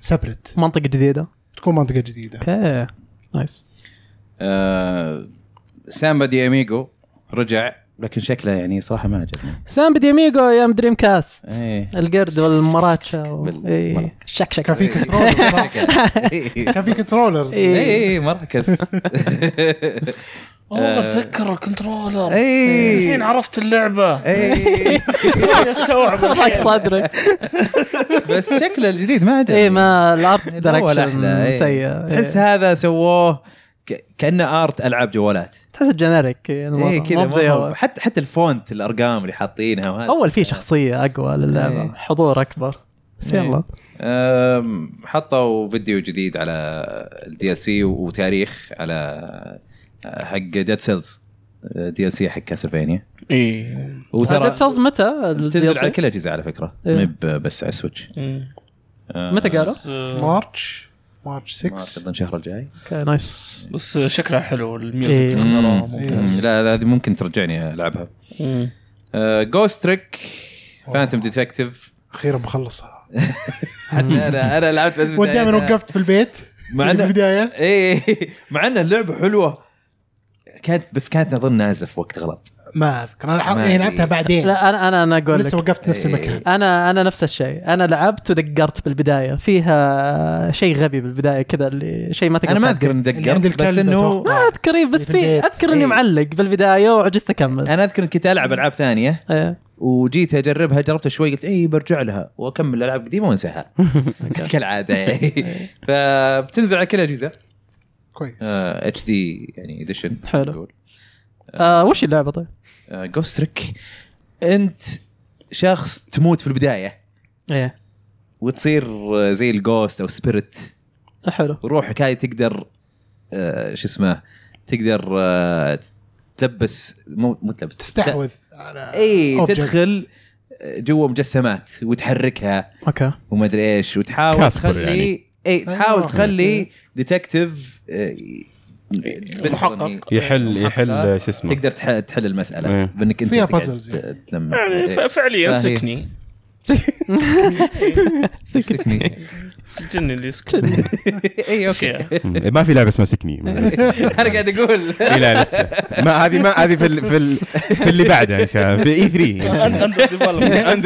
سبرت منطقة جديدة آه، تكون منطقه جديده اوكي نايس آه سامبا دي اميجو رجع لكن شكله يعني صراحه ما عجبني سامبي دي اميجو يا ام دريم كاست ايه القرد والمراتشا و... بال- إيه. مراتش. شك شك كان في كنترولرز صح؟ كان في كنترولرز إيه. اي مركز والله اتذكر الكنترولر إيه. الحين عرفت إيه، اللعبه اي توني استوعب حق الحين. صدرك بس شكله الجديد ما عجبني اي إيه، ما الارت الأول أحلى، دايركشن إيه. سيء تحس إيه. هذا سووه ك- كانه ارت العاب جوالات تحس جنريك يعني اي إيه كذا كذا ما زي هو- هو. حتى حتى الفونت الارقام اللي حاطينها وهذا اول في شخصيه اقوى للعبه إيه. حضور اكبر بس إيه. يلا أم، حطوا فيديو جديد على الدي ال سي وتاريخ على أه، حق أه، ديد سيلز دي ال سي حق كاسلفينيا ايه ديد سيلز متى ال تنزل على DLC? كل الاجهزه على فكره إيه. مب بس على السويتش مم. أه، متى قالوا؟ بس- آه، مارتش مارتش مارس 6 اظن الشهر الجاي اوكي نايس بس شكلها حلو إيه. الميوزك اختاره مم، ممتاز لا لا، هذه ممكن ترجعني أه، العبها مم. جوست تريك فانتوم ديتكتيف اخيرا مخلصها إيه، حتى انا انا لعبت بس ودائما وقفت في البيت مع في إن- البدايه ايه مع ان اللعبه حلوه كانت بس كانت اظن نازله في وقت غلط ما اذكر انا ح- ما يعني لعبتها أدري. بعدين لا انا انا انا اقول لسه لك وقفت نفس إيه. المكان انا انا نفس الشيء انا لعبت ودقرت بالبدايه فيها شيء غبي بالبدايه كذا اللي شيء ما تقدر انا ما تعدل. اذكر اني اللي عند دققت الكلب بس انه ما أتوقع. اذكر إيه، بس في في البيت. اذكر اني إيه. معلق بالبدايه وعجزت اكمل انا اذكر إن كنت العب العاب ثانيه إيه. وجيت اجربها جربتها شوي قلت اي برجع لها واكمل العاب قديمه وانساها كالعاده يعني فبتنزل على كل الاجهزه كويس اتش دي يعني اديشن حلو. آه وش اللعبه طيب؟ آه، جوستريك انت شخص تموت في البدايه ايه وتصير آه، زي الجوست او سبيريت حلو روحك هاي تقدر آه، شو اسمه تقدر آه، تلبس مو مو تلبس تستحوذ على اي إيه، objects. تدخل جوا مجسمات وتحركها اوكي وما ادري ايش وتحاول كاسبر تخلي يعني. اي تحاول آه. تخلي ديتكتيف آه، محقق. يحل يحل شو اسمه تقدر تح- تحل المساله إيه. بانك انت فيها تقعد puzzles يعني. ت- تلمع. يعني ف- فعليا ما إيه. هي. سكني سكني. الجن اللي يسكن اي اوكي أشياء. مم. ما في لعبه اسمها سكني انا قاعد اقول إيه، لا لسه ما هذه ما هذه في ال- في ال- في اللي بعدها ان شاء الله في E اي 3 اندر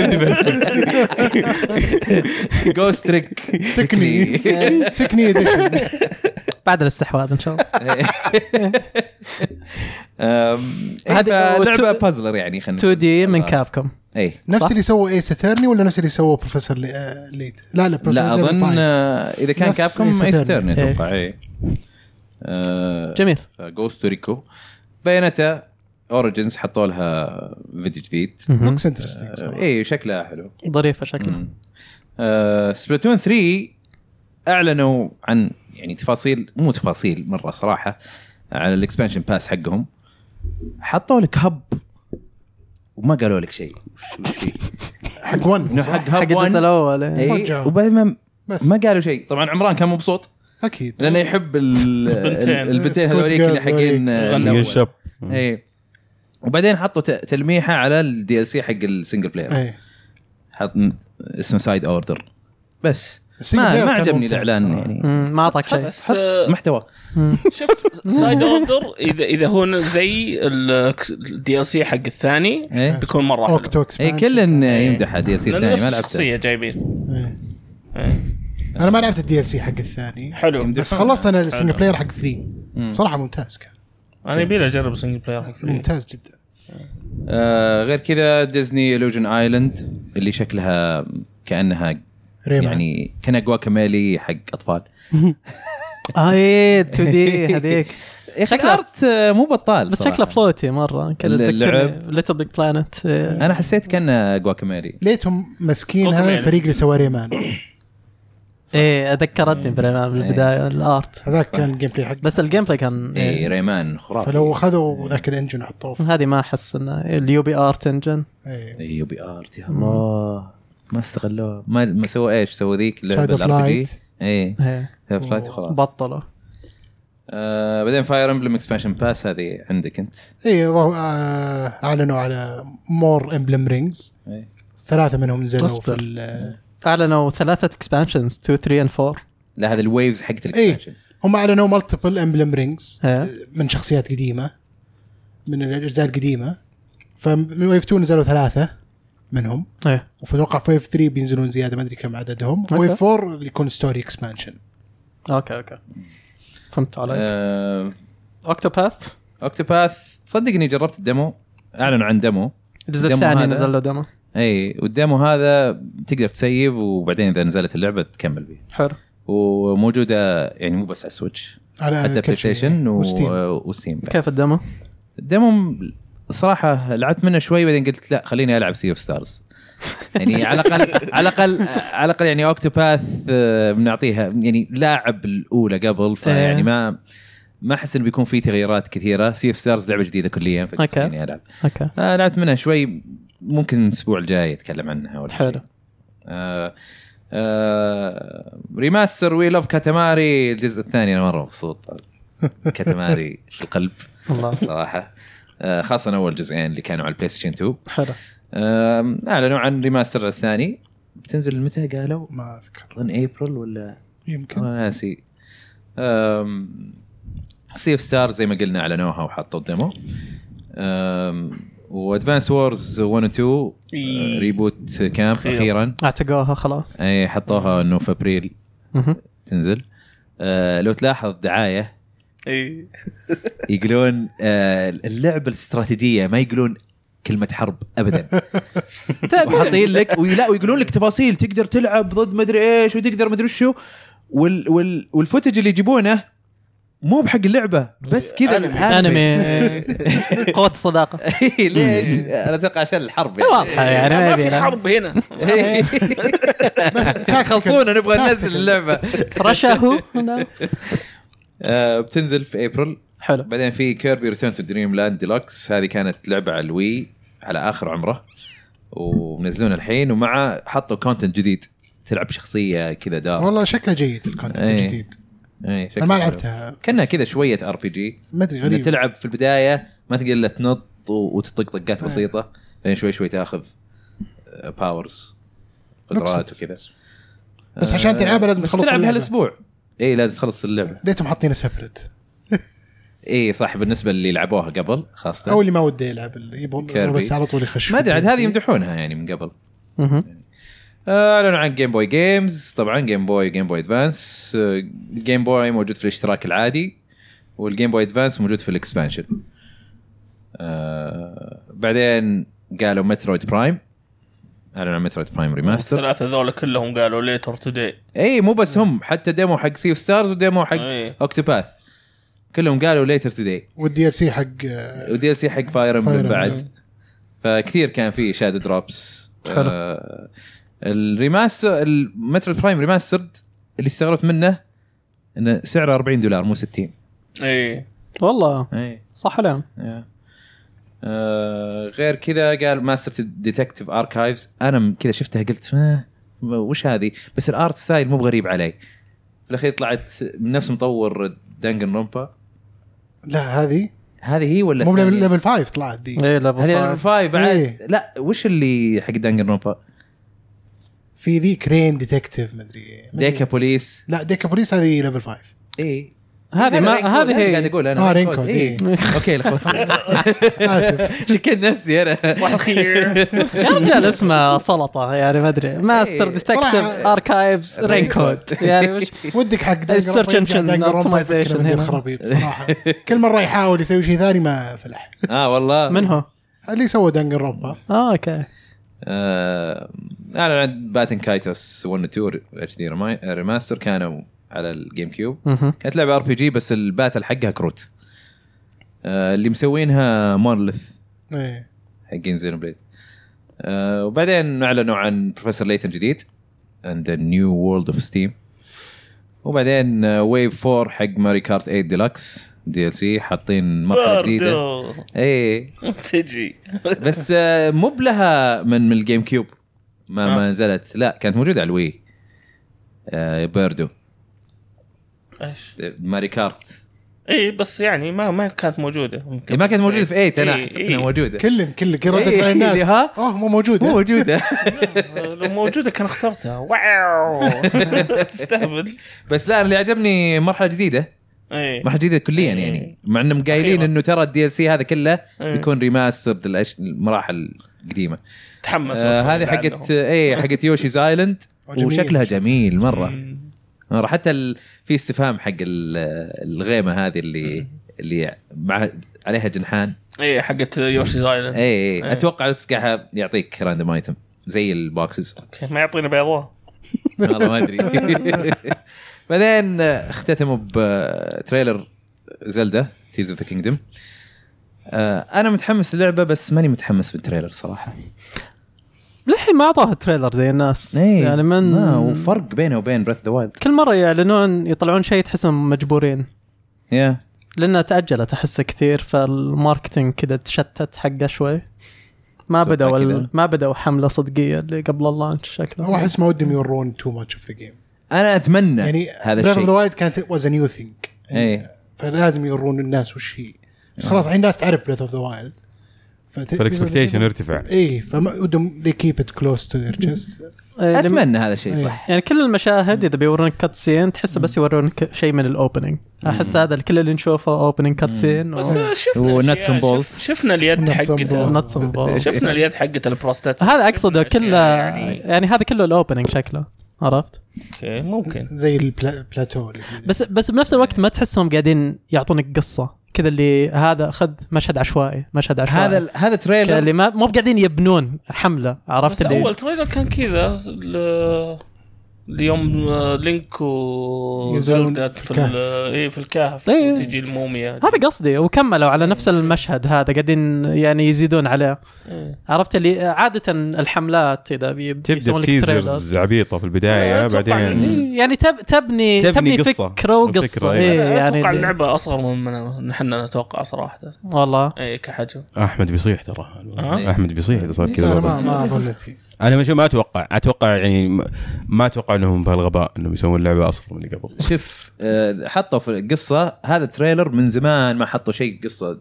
ديفلوبمنت جوست تريك سكني سكني اديشن بعد الاستحواذ ان شاء الله هذه- هذه لعبه بازلر إيه، يعني خلينا إيه. 2 دي من خلاص. كابكم اي نفس صح؟ اللي سوى ايس اترني ولا نفس اللي سوى بروفيسور لي- آه، ليت لا لا لا بروفيسور ليت اظن فايف. آه، اذا كان نفس كابكم Ace ايس Attorney. تيرن اتوقع Yes. اي آه، جميل جوست ريكو بياناتا اوريجنز حطوا لها فيديو جديد مهم. looks آه، interesting صراحة. اي شكلها حلو آه، ظريفه شكلها سبلاتون 3 اعلنوا عن يعني تفاصيل مو تفاصيل مره صراحه على الاكسبانشن باس حقهم حطوا لك هب وما قالوا لك شيء وش فيه؟ حق 1 انه حق حق هب الجزء 1 الاول إيه. إي، رجعوا. وبعدين ما بس ما قالوا شيء طبعا عمران كان مبسوط اكيد لانه يحب ال- البنتين. ال- البنتين Squid هذوليك اللي Girls حقين آه، هذوليك. الأول. شب اي إيه. وبعدين حطوا ت- تلميحه على الدي ال سي حق السنجل بلاير ايه حط اسمه سايد اوردر بس السنجل ما بلاير ما كان عجبني ممتاز الاعلان صراحة. يعني مم، ما اعطاك شيء بس آه، محتوى مم. شوف سايد اوردر اذا اذا هو زي الدي ال سي حق الثاني ايه بيكون مره حلو اوكتو اي اكسبانشن إيه، كل يمدح على دي ال سي لان الثاني ما نفس لعبته الشخصيه جايبين إيه. إيه. انا ما لعبت الدي ال سي حق الثاني حلو بس خلصت انا السنجل بلاير حق 3 صراحه ممتاز كان انا يبي لي اجرب سنجل بلاير حق ثري. ممتاز جدا آه غير كذا ديزني الوجن ايلاند اللي شكلها كانها ريمان يعني يعني كان جواكاميلي حق اطفال اه ايه 2 دي هذيك يا اخي شكله- الارت آه، مو بطال بس صراحة. شكله فلوتي مره الل- اللعب. ليتل بيج بلانت انا حسيت كان إيه. جواكاميلي ليتهم قطب ماسكينها يعني. الفريق اللي سوى ريمان ايه ذكرتني بريمان بالبدايه الارت هذاك كان الجيم بلاي حق بس الجيم بلاي كان اي إيه. ريمان خرافي فلو اخذوا ذاك الانجن وحطوه في هذه ما احس انه اليو بي ارت انجن إيه. اي بي ارت يا الله ما استغلوه ما ما سووا ايش سووا ذيك Child of Light. اي إيه. فلايت خلاص بطلوا آه بعدين فاير امبلم اكسبانشن باس هذه عندك انت اي ظهر- إيه، آه، اعلنوا على مور امبلم رينجز إيه. ثلاثه منهم نزلوا في أصبر. ال- اعلنوا ثلاثه اكسبانشنز 2 3 and 4 لا هذا الويفز حقت إيه. الاكسبانشن هم اعلنوا مالتيبل امبلم رينجز إيه. من شخصيات قديمه من الاجزاء القديمه فمن ويف 2 نزلوا ثلاثه منهم ايه وفاتوقع في ويف 3 بينزلون زياده ما ادري كم عددهم أوكي. ويف 4 اللي يكون ستوري اكسبانشن اوكي اوكي فهمت علي آه اوكتوباث اوكتوباث صدقني جربت الديمو اعلنوا عن ديمو الجزء الديمو الثاني هذا. نزل له ديمو اي والديمو هذا تقدر تسيب وبعدين اذا نزلت اللعبه تكمل به حلو وموجوده يعني مو بس على السويتش على حتى آه، كل بلاي شيء. ستيشن و- وستيم وستيم بعد. كيف الديمو؟ الديمو صراحة لعبت منه شوي بعدين قلت لا خليني العب سي اوف ستارز يعني على الاقل على الاقل على الاقل يعني اوكتوباث آه، بنعطيها يعني لاعب الاولى قبل فيعني إيه. ما ما احس انه بيكون في تغييرات كثيره سي اوف ستارز لعبه جديده كليا فقلت أوكي. خليني العب اوكي آه لعبت منها شوي ممكن الاسبوع الجاي اتكلم عنها ولا حلو. شيء. آه آه ريماستر وي لوف كاتاماري الجزء الثاني انا مره مبسوط كاتاماري في القلب والله صراحه آه خاصه اول جزئين اللي كانوا على البلاي ستيشن 2 حلو آه اعلنوا عن ريماستر الثاني بتنزل متى قالوا؟ ما اذكر اظن ابريل ولا يمكن أنا ناسي سي اوف ستار زي ما قلنا اعلنوها وحطوا الديمو وادفانس وورز 1 و 2 إيه. آه، ريبوت كامب أخيراً. اخيرا اعتقوها خلاص اي حطوها انه في ابريل مهم. تنزل آه، لو تلاحظ دعايه اي يقولون آه، اللعبه الاستراتيجيه ما يقولون كلمه حرب ابدا وحاطين لك ولا ويقولون لك تفاصيل تقدر تلعب ضد مدري ايش وتقدر مدري شو وال وال والفوتج اللي يجيبونه مو بحق اللعبه بس كذا أنمي. انمي قوة الصداقة إيه، ليش؟ انا اتوقع عشان الحرب يعني واضحة يعني ما ما في يبي لها. حرب هنا إيه. خلصونا نبغى ننزل اللعبه رشا هو آه، بتنزل في ابريل حلو بعدين في كيربي ريتيرن تو دريم لاند ديلوكس هذه كانت لعبه على الوي على اخر عمره ومنزلونها الحين ومع حطوا كونتنت جديد تلعب شخصيه كذا إيه، دار والله شكله جيد الكونتنت إيه. الجديد اي انا ما لعبتها كانها كذا شويه ار بي جي ما ادري إنه غريب تلعب في البدايه ما تقدر الا تنط و- وتطق طقات إيه. بسيطه بعدين شوي شوي تاخذ باورز قدرات نقصد. وكذا بس عشان تلعبها لازم بس تخلص تلعب اللعبة. هالاسبوع اي لازم تخلص اللعبه ليتهم حاطينه سبريت إيه. اي صح بالنسبه اللي لعبوها قبل خاصه او اللي ما وده يلعب اللي يبغى كيربي. بس على طول يخش ما ادري عاد في هذه ال DLC. يمدحونها يعني من قبل مهم. اعلنوا آه، عن جيم بوي جيمز طبعا جيم بوي جيم بوي ادفانس الجيم بوي آه، موجود في الاشتراك العادي والجيم بوي ادفانس موجود في الاكسبانشن آه بعدين قالوا مترويد برايم اعلنوا عن مترويد برايم ريماستر الثلاثه ذولا كلهم قالوا ليتر توداي اي إيه، مو بس هم حتى ديمو حق سيف ستارز وديمو حق إيه. اوكتوباث كلهم قالوا ليتر توداي والدي ال سي حق آه، ودي ال سي حق فاير Fire امبلم Emblem. بعد فكثير كان في شادو دروبس حلو. آه الريماستر المترو برايم ريماسترد اللي استغربت منه انه سعره 40 دولار مو 60 اي والله اي صح ولا إيه. آه غير كذا قال ماستر ديتكتيف اركايفز انا م- كذا شفتها قلت ما ما- وش هذه بس الارت ستايل مو بغريب علي في الاخير طلعت من نفس مطور دانجن رومبا لا هذه هذه هي ولا مو الثانية؟ ليفل 5 طلعت دي ايه هذه ليفل ليفل 5 بعد إيه. لا وش اللي حق دانجن رومبا في ذي كرين ديتكتيف مدري مدري. ديكا بوليس لا ديكا بوليس هذه ليفل 5 اي هذه ما رينكود، هذه قاعد هي اقول انا آه، رينكود، رينكود، إيه. اوكي لخبطت اسف شكيت نفسي انا صباح الخير يا رجال اسمه سلطة يعني ما ادري ماستر إيه. ديتكتيف صراحة- اركايفز رينكود يعني وش ودك حق السيرش engine optimization اوبتمايزيشن هنا. الخرابيط صراحه كل مره يحاول يسوي شيء ثاني ما فلح اه والله من هو؟ اللي سوى دانجر رومبا اه اوكي آه انا عند باتن كايتوس 1 و 2 اتش دي ريماستر آه، كانوا على الجيم كيوب مهم. كانت لعبه ار بي جي بس الباتل حقها كروت آه اللي مسوينها مونلث ايه حقين زينو بليد آه وبعدين اعلنوا عن بروفيسور ليتن جديد اند ذا نيو وورلد اوف ستيم وبعدين ويف 4 حق ماري كارت 8 ديلكس دي ال سي حاطين مرحله جديده برضو اي تجي بس آه، مو بلها من من الجيم كيوب ما آه. ما نزلت لا كانت موجوده على الوي آه، بيردو ايش ماري كارت اي بس يعني ما ما كانت موجوده إيه، ما كانت موجوده في 8 انا إيه، حسيت إيه. انها موجوده كلن كلن كل إيه، ردت على الناس إيه، ها؟ اه مو مو موجوده موجوده لو موجوده كان اخترتها واو تستهبل بس لا أنا اللي عجبني مرحله جديده اي مرحله جديده كليا يعني مع انهم قايلين إيه. أخيراً. انه ترى الدي ال سي هذا كله إيه. بيكون ريماسترد الأش- المراحل القديمه تحمس آه، والله هذه بعد حقت لهم. اي حقت يوشيز ايلاند جميل. وشكلها جميل مره مم. مره حتى ال... في استفهام حق ال... الغيمه هذه إيه. اللي اللي مع... عليها جنحان اي حقت يوشيز ايلاند اي اي إيه. اتوقع لو تسقعها يعطيك راندوم ايتم زي البوكسز اوكي ما يعطينا بيضاء والله ما ادري بعدين آه، اختتموا بتريلر زلدا تيرز اوف ذا كينجدم انا آه، متحمس للعبه بس ماني متحمس بالتريلر صراحه للحين ما اعطاها تريلر زي الناس إيه، يعني من ما وفرق بينه وبين بريث ذا وايلد كل مره يعلنون يطلعون شيء تحسهم مجبورين يا لانها تاجلت احسها كثير فالماركتينج كذا تشتت حقه شوي ما أتوقع بدأوا كذا. ال- ما بدأوا حمله صدقيه اللي قبل اللانش هو شكله احس ما ودهم يورون تو ماتش اوف ذا جيم انا اتمنى يعني نعم. هذا براذر ذا الشيء إيه. وايلد كانت واز ا نيو ثينج اي يعني يعني فلازم يورون الناس وش هي بس خلاص الحين الناس تعرف بريث اوف ذا وايلد فالاكسبكتيشن ارتفع اي إيه، فما ودهم they keep it close to their chest إيه، لم- اتمنى هذا الشيء صح يعني كل المشاهد اذا بيورونك كات سين تحسه بس يورونك شيء من الاوبننج احس هذا كل اللي نشوفه اوبننج كات سين بس شفنا ونتس أشياء، آه. and balls. شف- شفنا اليد Nuts and حقته balls. شفنا اليد حقت البروستات هذا اقصده شفنا كله أشياء يعني, يعني يعني هذا كله الاوبننج شكله عرفت اوكي ممكن زي البلا- البلاتو اللي كذا. بس بس بنفس الوقت ما تحسهم قاعدين يعطونك قصه كذا اللي هذا خذ مشهد عشوائي مشهد عشوائي هذا هذا كذا تريلر اللي ما مو قاعدين يبنون حمله عرفت بس اللي اول تريلر كان كذا ال- اليوم لينك ينزلون وزلدة في في الكهف. ال- ايه في الكهف إيه. وتجي الموميا هذا قصدي وكملوا على نفس المشهد هذا قاعدين يعني يزيدون عليه إيه. عرفت اللي عاده الحملات اذا بي- تبدا بيسوون لك تريلرز تيزرز عبيطه في البدايه أتوقع بعدين يعني تب تبني تبني تبني, قصة. فكره وقصه فكرة، إيه إيه. أنا يعني اتوقع اللعبه اصغر من- من نحن نتوقع صراحه والله اي كحجم احمد بيصيح ترى إيه. أه؟ احمد بيصيح اذا صار كذا انا برضه. ما ما اظنت هي. انا مش ما اتوقع اتوقع يعني ما- ما اتوقع انهم بهالغباء انهم يسوون لعبه اصغر من اللي قبل شوف آه، حطوا في القصه هذا تريلر من زمان ما حطوا شيء قصه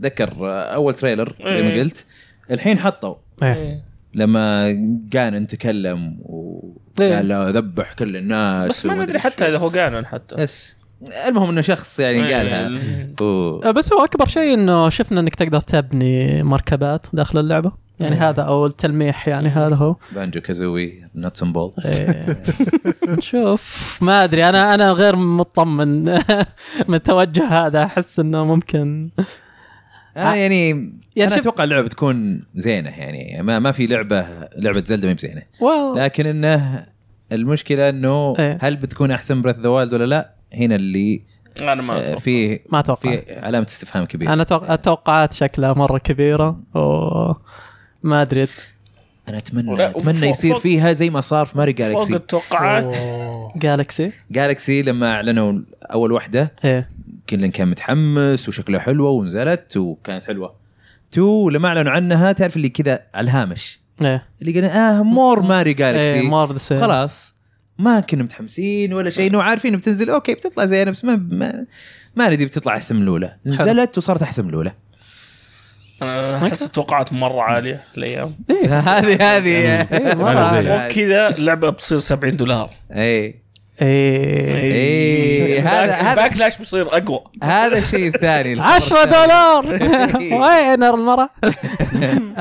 ذكر اول تريلر زي ما إيه. قلت الحين حطوا إيه. إيه. لما جانن تكلم إيه. وقال له ذبح كل الناس بس ما ومدري ندري حتى شو. اذا هو قانون إيه، حتى بس المهم انه شخص يعني قالها إيه. و- بس هو اكبر شيء انه شفنا انك تقدر تبني مركبات داخل اللعبه يعني إيه. هذا اول تلميح يعني هذا هو بانجو كازوي نوتس اند بول إيه. نشوف ما ادري انا انا غير مطمن من التوجه هذا احس انه ممكن آه. انا يعني انا شوف- اتوقع اللعبه تكون زينه يعني ما ما في لعبه لعبه زلده ما هي بزينه واو لكن انه المشكله انه إيه. هل بتكون احسن بريث ذا وايلد ولا لا هنا اللي انا إيه، ما آه، أتوقع. فيه ما اتوقع في علامه استفهام كبيره انا أتوقع التوقعات شكلها مره كبيره و ما ادري انا اتمنى لا، اتمنى فوق- يصير فوق- فيها زي ما صار في ماري فوق جالكسي التوقعات أوه. جالكسي جالكسي لما اعلنوا اول واحده ايه كلن كان متحمس وشكلها حلوه ونزلت وكانت حلوه تو لما اعلنوا عنها تعرف اللي كذا على الهامش ايه اللي قلنا اه مور ماري جالكسي ايه مور ذا سيم خلاص ما كنا متحمسين ولا شيء انه عارفين بتنزل اوكي بتطلع زي بس ما ما, ما ندري بتطلع احسن من الاولى نزلت وصارت احسن من الاولى انا احس التوقعات مره عاليه الايام إيه، هذه هذه يعني آه. أنا زيك. فوق كذا اللعبه بتصير 70 دولار اي ايه اي إيه، هذا هذا الباكلاش بيصير اقوى هذا الشيء الثاني الخبر 10 الثاني. دولار إيه. وين المره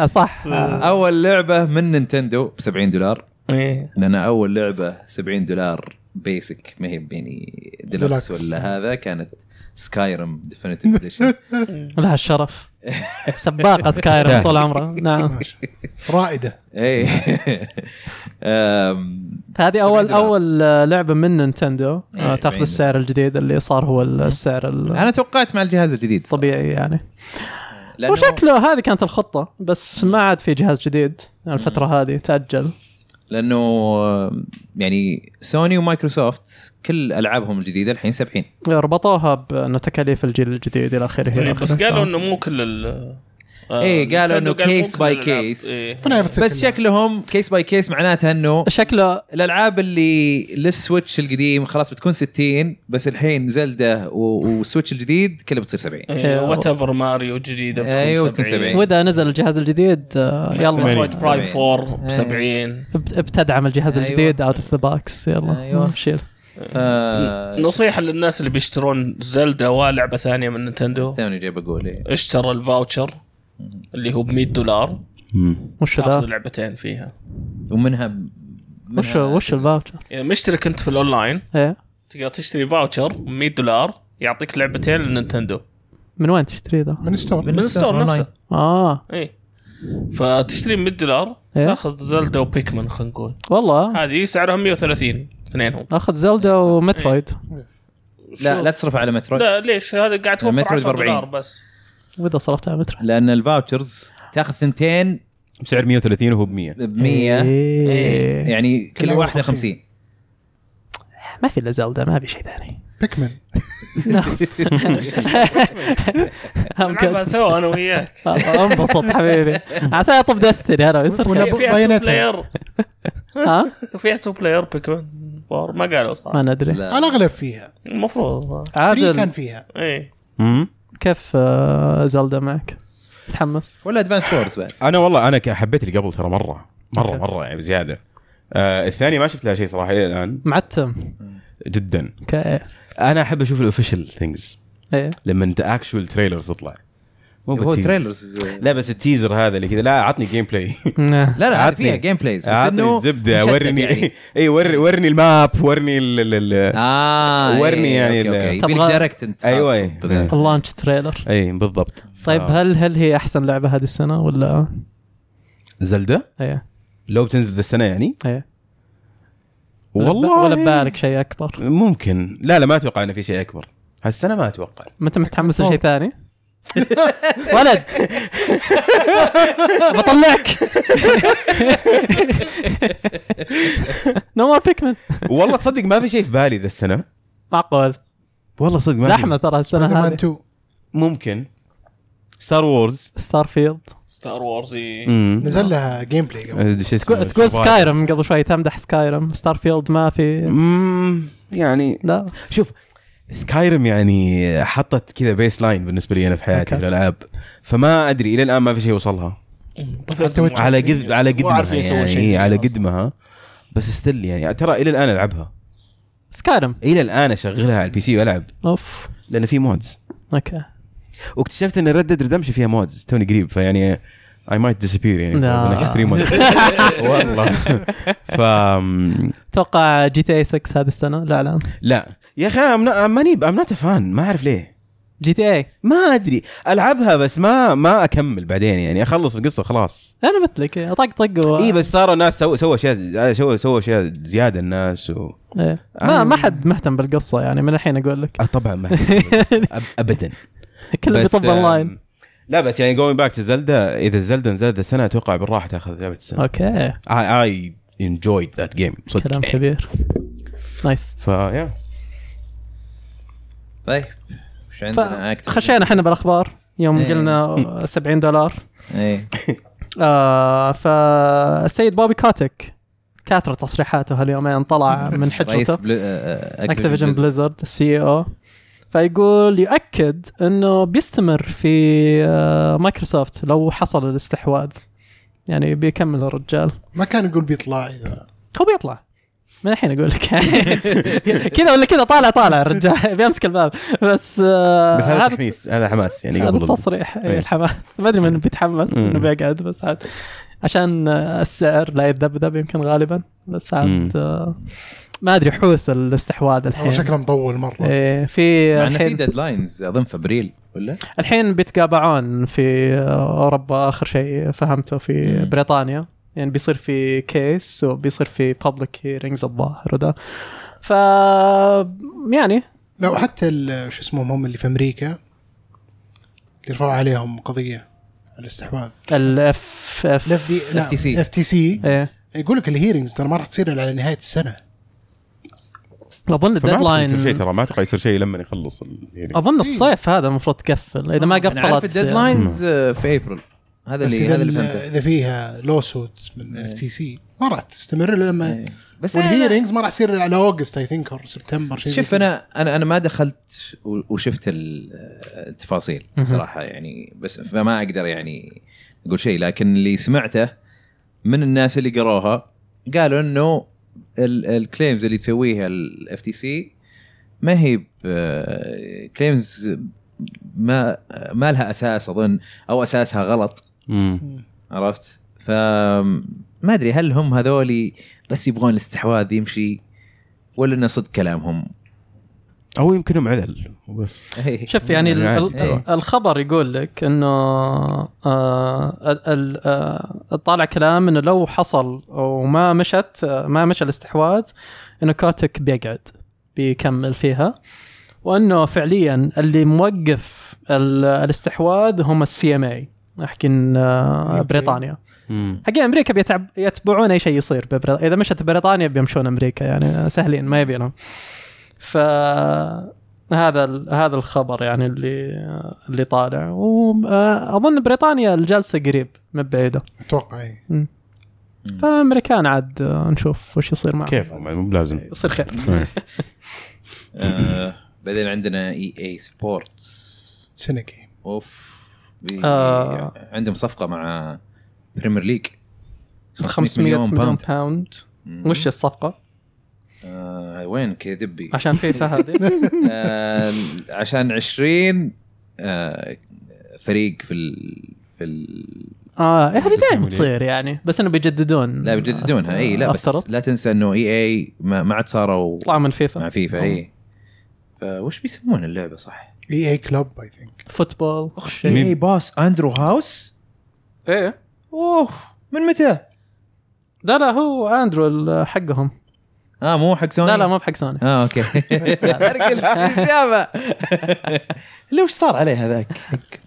صح اول لعبه من نينتندو ب 70 دولار ايه لان اول لعبه 70 دولار بيسك ما هي يعني ديلوكس ديلوكس. ولا هذا كانت سكايرم ديفينيتيف اديشن لها الشرف سباقه سكايرم طول عمرها نعم ماشي. رائده اي إيه. أم، هذه 70 اول دولار. اول آه، لعبه من نينتندو آه، إيه، 70 تاخذ السعر الجديد اللي صار هو السعر انا توقعت مع الجهاز الجديد صراحة. الطبيعي يعني لأنه- وشكله هذه كانت الخطه بس ما عاد في جهاز جديد الفتره هذه تاجل لانه آه، يعني سوني ومايكروسوفت كل العابهم الجديده الحين 70 ربطوها بانه تكاليف الجيل الجديد الى اخره إلى إيه، آخره. بس قالوا انه مو كل ال إيه، قالوا إنه Nintendo آه، قال مو case كل by الألعاب. case. إيه. في النهايه بتصير بس كلها. شكلهم كيس باي كيس معناتها انه شكله الالعاب اللي للسويتش القديم خلاص بتكون 60 بس الحين زلده و- والسويتش الجديد كلها بتصير 70 إيه. إيه، وات ايفر ماريو جديده بتكون أيوة، بتكون إيه. 70. واذا نزل الجهاز الجديد آه، ثمانين. يلا ماكروسوفت برايم 4 ب إيه. 70 ابت- ابتدعم الجهاز أيوه. أيوة. الجديد اوت اوف ذا بوكس يلا أيوة. أيوة. شيل آه نصيحه للناس اللي بيشترون زلدا ولعبه ثانيه من نينتندو توني جاي بقول إيه. اشترى الفاوتشر اللي هو ب 100 دولار وش تاخذ ذا؟ لعبتين فيها ومنها منها- وش وش الفاوتشر؟ يعني مشترك انت في الاونلاين ايه تقدر تشتري فاوتشر ب 100 دولار يعطيك لعبتين للنينتندو من وين تشتري ذا؟ من ستور من الستور أونلاين. نفسه اه اي إيه. فتشتري 100 دولار إيه. تاخذ زلدا وبيكمان خلينا نقول والله هذه سعرهم 130 اثنينهم اخذ زلدا إيه. ومترويد لا لا تصرف على مترويد لا ليش هذا قاعد توفر مترويد 10 ب 40. دولار بس واذا صرفت على مترويد لان الفاوتشرز تاخذ ثنتين بسعر 130 وهو ب 100 ب 100 إيه. يعني كل كلها واحده 50. 50 ما في الا زلدا ما في شيء ثاني بيكمان نلعبها سوا انا وياك أه، انبسط حبيبي عسى اطب دستني انا ويصير ولا خير. ب- فيها تو باينتها. بلاير ها فيها تو بلاير بيكمان فور ما قالوا ما صراحة. ندري لا. على الاغلب فيها المفروض إيه. فري كان عادل فيها اي مم. كيف آه، زلدا معك؟ متحمس؟ ولا ادفانس وورز بعد انا والله انا ك- حبيت اللي قبل ترى مره مره مره يعني بزياده آه الثاني ما شفت لها شيء صراحه الى الان معتم إيه. جدا اوكي انا احب اشوف الاوفيشال ثينجز ايه لما انت اكشوال تريلر تطلع مو هو بالتيزر. تريلرز لا بس التيزر هذا اللي كذا لا عطني جيم بلاي لا لا لا عاد عطني. فيها جيم بلايز بس عطني انه الزبده مشتت ورني يعني. اي ورني ورني الماب ورني ال ال ال اه ورني يعني اوكي, ال- أوكي. طب يبي لك غا- دايركت انت أيوة. خاص بذا. اللانش تريلر اي بالضبط طيب آه. هل هل هي احسن لعبه هذه السنه ولا زلدة ايه لو بتنزل ذا السنه يعني ايه والله ولا ببالك شيء اكبر ممكن لا لا ما اتوقع انه في شيء اكبر هالسنه ما اتوقع ما انت متحمس لشيء ثاني ولد بطلعك نو مور بيكمن والله تصدق ما في شيء في بالي ذا السنه معقول والله صدق ما في. زحمه ترى سبايدر السنه مان هذه 2 ممكن ستار وورز ستار فيلد ستار وورز إي. امم نزل لها جيم بلاي إيه. قبل تقول تقول سكايرم قبل شوي تمدح سكايرم ستار فيلد ما في امم يعني لا شوف سكايرم يعني حطت كذا بيس لاين بالنسبه لي انا في حياتي أوكي. في الالعاب فما ادري الى الان ما في شيء وصلها بثلاثة مو على عارفين. قد على مو قدمها عارفين يسوون يعني شيء هي فيها على أصلاً. قدمها بس ستيل يعني ترى الى الان العبها سكايرم الى الان اشغلها على البي سي والعب اوف لان في مودز اوكي واكتشفت ان ريد ديد ريدمشن فيها مودز توني قريب فيعني اي مايت ديسابير يعني لا. next 3 months. والله ف اتوقع جي تي اي 6 هذه السنه لا لا لا يا اخي انا ماني ام نوت فان ما اعرف ليه جي تي اي ما ادري العبها بس ما ما اكمل بعدين يعني اخلص القصه خلاص انا مثلك إيه، اطقطق و... اي بس صار الناس سووا سووا اشياء سووا سووا اشياء زياده الناس و... إيه. ما ما حد مهتم بالقصه يعني من الحين اقول لك آه طبعا ما أب- ابدا كله بس، يعني- بيطب اونلاين آم، لا بس يعني جوينج باك تو زلدا اذا زلدا نزلت السنه اتوقع بالراحه تاخذ لعبه السنه اوكي اي انجويد ذات جيم صدق كلام إيه. كبير نايس فيا طيب وش عندنا اكثر خشينا احنا بالاخبار يوم إيه. قلنا 70 دولار ايه آه فالسيد بوبي كوتك كاثر تصريحاته هاليومين طلع من رئيس حجته بل- آه، اكتيفيجن بليزرد. بليزرد السي او E فيقول يؤكد انه بيستمر في آه، مايكروسوفت لو حصل الاستحواذ يعني بيكمل الرجال ما كان يقول بيطلع اذا هو بيطلع من الحين اقول لك كذا ولا كذا طالع طالع الرجال بيمسك الباب بس آه، بس هذا هذا تحميس هذا حماس يعني هذا قبل التصريح إيه. الحماس ما ادري من بيتحمس مم. انه بيقعد بس عاد عشان آه، السعر لا يتذبذب يمكن غالبا بس مم. عاد آه، ما ادري حوس الاستحواذ والله الحين شكله مطول مره إيه في مع انه في الحين ديدلاينز اظن في ابريل ولا؟ الحين بيتقابعون في اوروبا اخر شيء فهمته إيه. في مم. بريطانيا يعني بيصير في كيس وبيصير في بابليك هيرنجز الظاهر وذا ف يعني لا وحتى ال- شو اسمهم هم اللي في امريكا اللي رفعوا عليهم قضيه الاستحواذ الاف الاف اف دي FTC. اف تي سي ايه يقول لك الهيرنجز ترى ما راح تصير الا على نهايه السنه اظن فما أعتقد يصير شيء الديدلاين ترى ما اتوقع يصير شيء لما يخلص ال- يعني. اظن الصيف هذا المفروض تقفل اذا ما قفلت انا يعني عارف الديدلاينز في ابريل هذا بس اللي هذا اذا اللي ال- فهمته اذا فيها لوسوت من الاف تي سي ما راح تستمر الا لما إيه. بس أنا- والهيرنجز ما راح تصير إلا على اوجست اي ثينك او سبتمبر شيء زي شوف كذا. انا انا انا ما دخلت و- وشفت ال- التفاصيل صراحه يعني بس فما اقدر يعني اقول شيء لكن اللي سمعته من الناس اللي قروها قالوا انه الكليمز اللي تسويها الاف تي سي ما هي كليمز ما ما لها اساس اظن او اساسها غلط مم. مم. عرفت؟ فما ادري هل هم هذولي بس يبغون الاستحواذ يمشي ولا انه صدق كلامهم او يمكن هم علل وبس إيه. شوف يعني ال- يعني ال- عادي. الخبر يقول لك انه آه، ال- ال- آه، طالع كلام انه لو حصل وما مشت آه، ما مشى الاستحواذ انه كوتك بيقعد بيكمل فيها وانه فعليا اللي موقف ال- الاستحواذ هم السي ام اي حقين آه، أوكي. بريطانيا مم. حقين امريكا بيتعب يتبعون اي شيء يصير ببر... اذا مشت بريطانيا بيمشون امريكا يعني سهلين ما يبينهم ف هذا ال... هذا الخبر يعني اللي اللي طالع واظن بريطانيا الجلسه قريب ما بعيده اتوقع اي فالامريكان عاد نشوف وش يصير معهم كيف ما- مو بلازم يصير خير إيه. آه، بعدين عندنا إيه اي اي سبورتس سنه جيم اوف بي- آه. عندهم صفقه مع بريمير ليج 500 مليون باوند, باوند. وش الصفقه آه، وين كذبي عشان فيفا هذه آه، عشان 20 آه، فريق في ال في ال اه إيه، هذه دائما تصير يعني بس انه بيجددون لا بيجددونها اي لا أفترض. بس لا تنسى انه اي اي ما ما عاد صاروا طلعوا من فيفا مع فيفا اي فوش بيسمون اللعبه صح؟ اي اي كلوب اي ثينك فوتبول مين؟ اي باس اندرو هاوس ايه اوه من متى؟ لا لا هو اندرو ال- حقهم اه مو حق سوني لا لا ما بحق سوني اه اوكي ارقل الجامع لو ايش صار عليه هذاك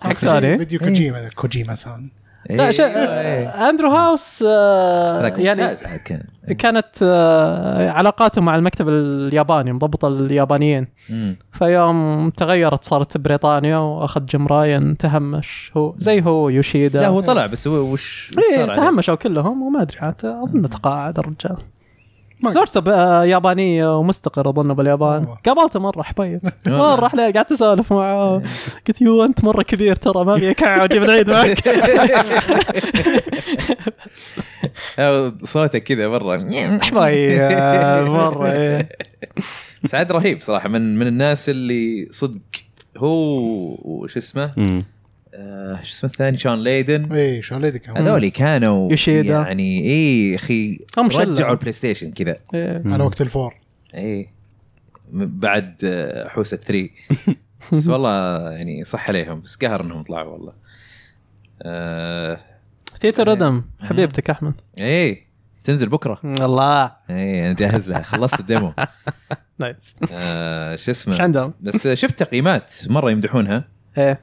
حق سوني فيديو كوجيما ذا كوجيما سان لا شيء إيه. اندرو هاوس آه، هذاك يعني ممتاز عاد كان كانت آه، علاقاته مع المكتب الياباني مضبطه اليابانيين مم. فيوم تغيرت صارت بريطانيا واخذ جيم راين تهمش هو زي هو يوشيدا لا إيه. هو طلع بس هو وش وش إيه صار عليه؟ تهمشوا كلهم وما ادري عاد اظن تقاعد الرجال ما زوجته ب- آه، يابانيه ومستقر اظن باليابان والله. قابلته مره حبيب والله. مره احنا قعدت اسولف معه قلت يو انت مره كبير ترى ما ابي اكعب وأجيب العيد معك آه، صوته كذا مره حبايب مره إيه. بس عاد رهيب صراحه من من الناس اللي صدق هو وش اسمه مم. آه، شو اسمه الثاني شون ليدن اي إيه، شو ليدك هذول كانوا يوشيدا. يعني اي اخي هم شلة. رجعوا البلاي ستيشن كذا إيه. على وقت الفور اي م- إيه. بعد آه، حوسه 3 بس والله يعني صح عليهم بس قهر انهم طلعوا والله آه تيتا ردم حبيبتك احمد اي تنزل بكره الله اي انا جاهز لها خلصت الديمو نايس آه شو ايش اسمه عندهم؟ بس شفت تقييمات مره يمدحونها ايه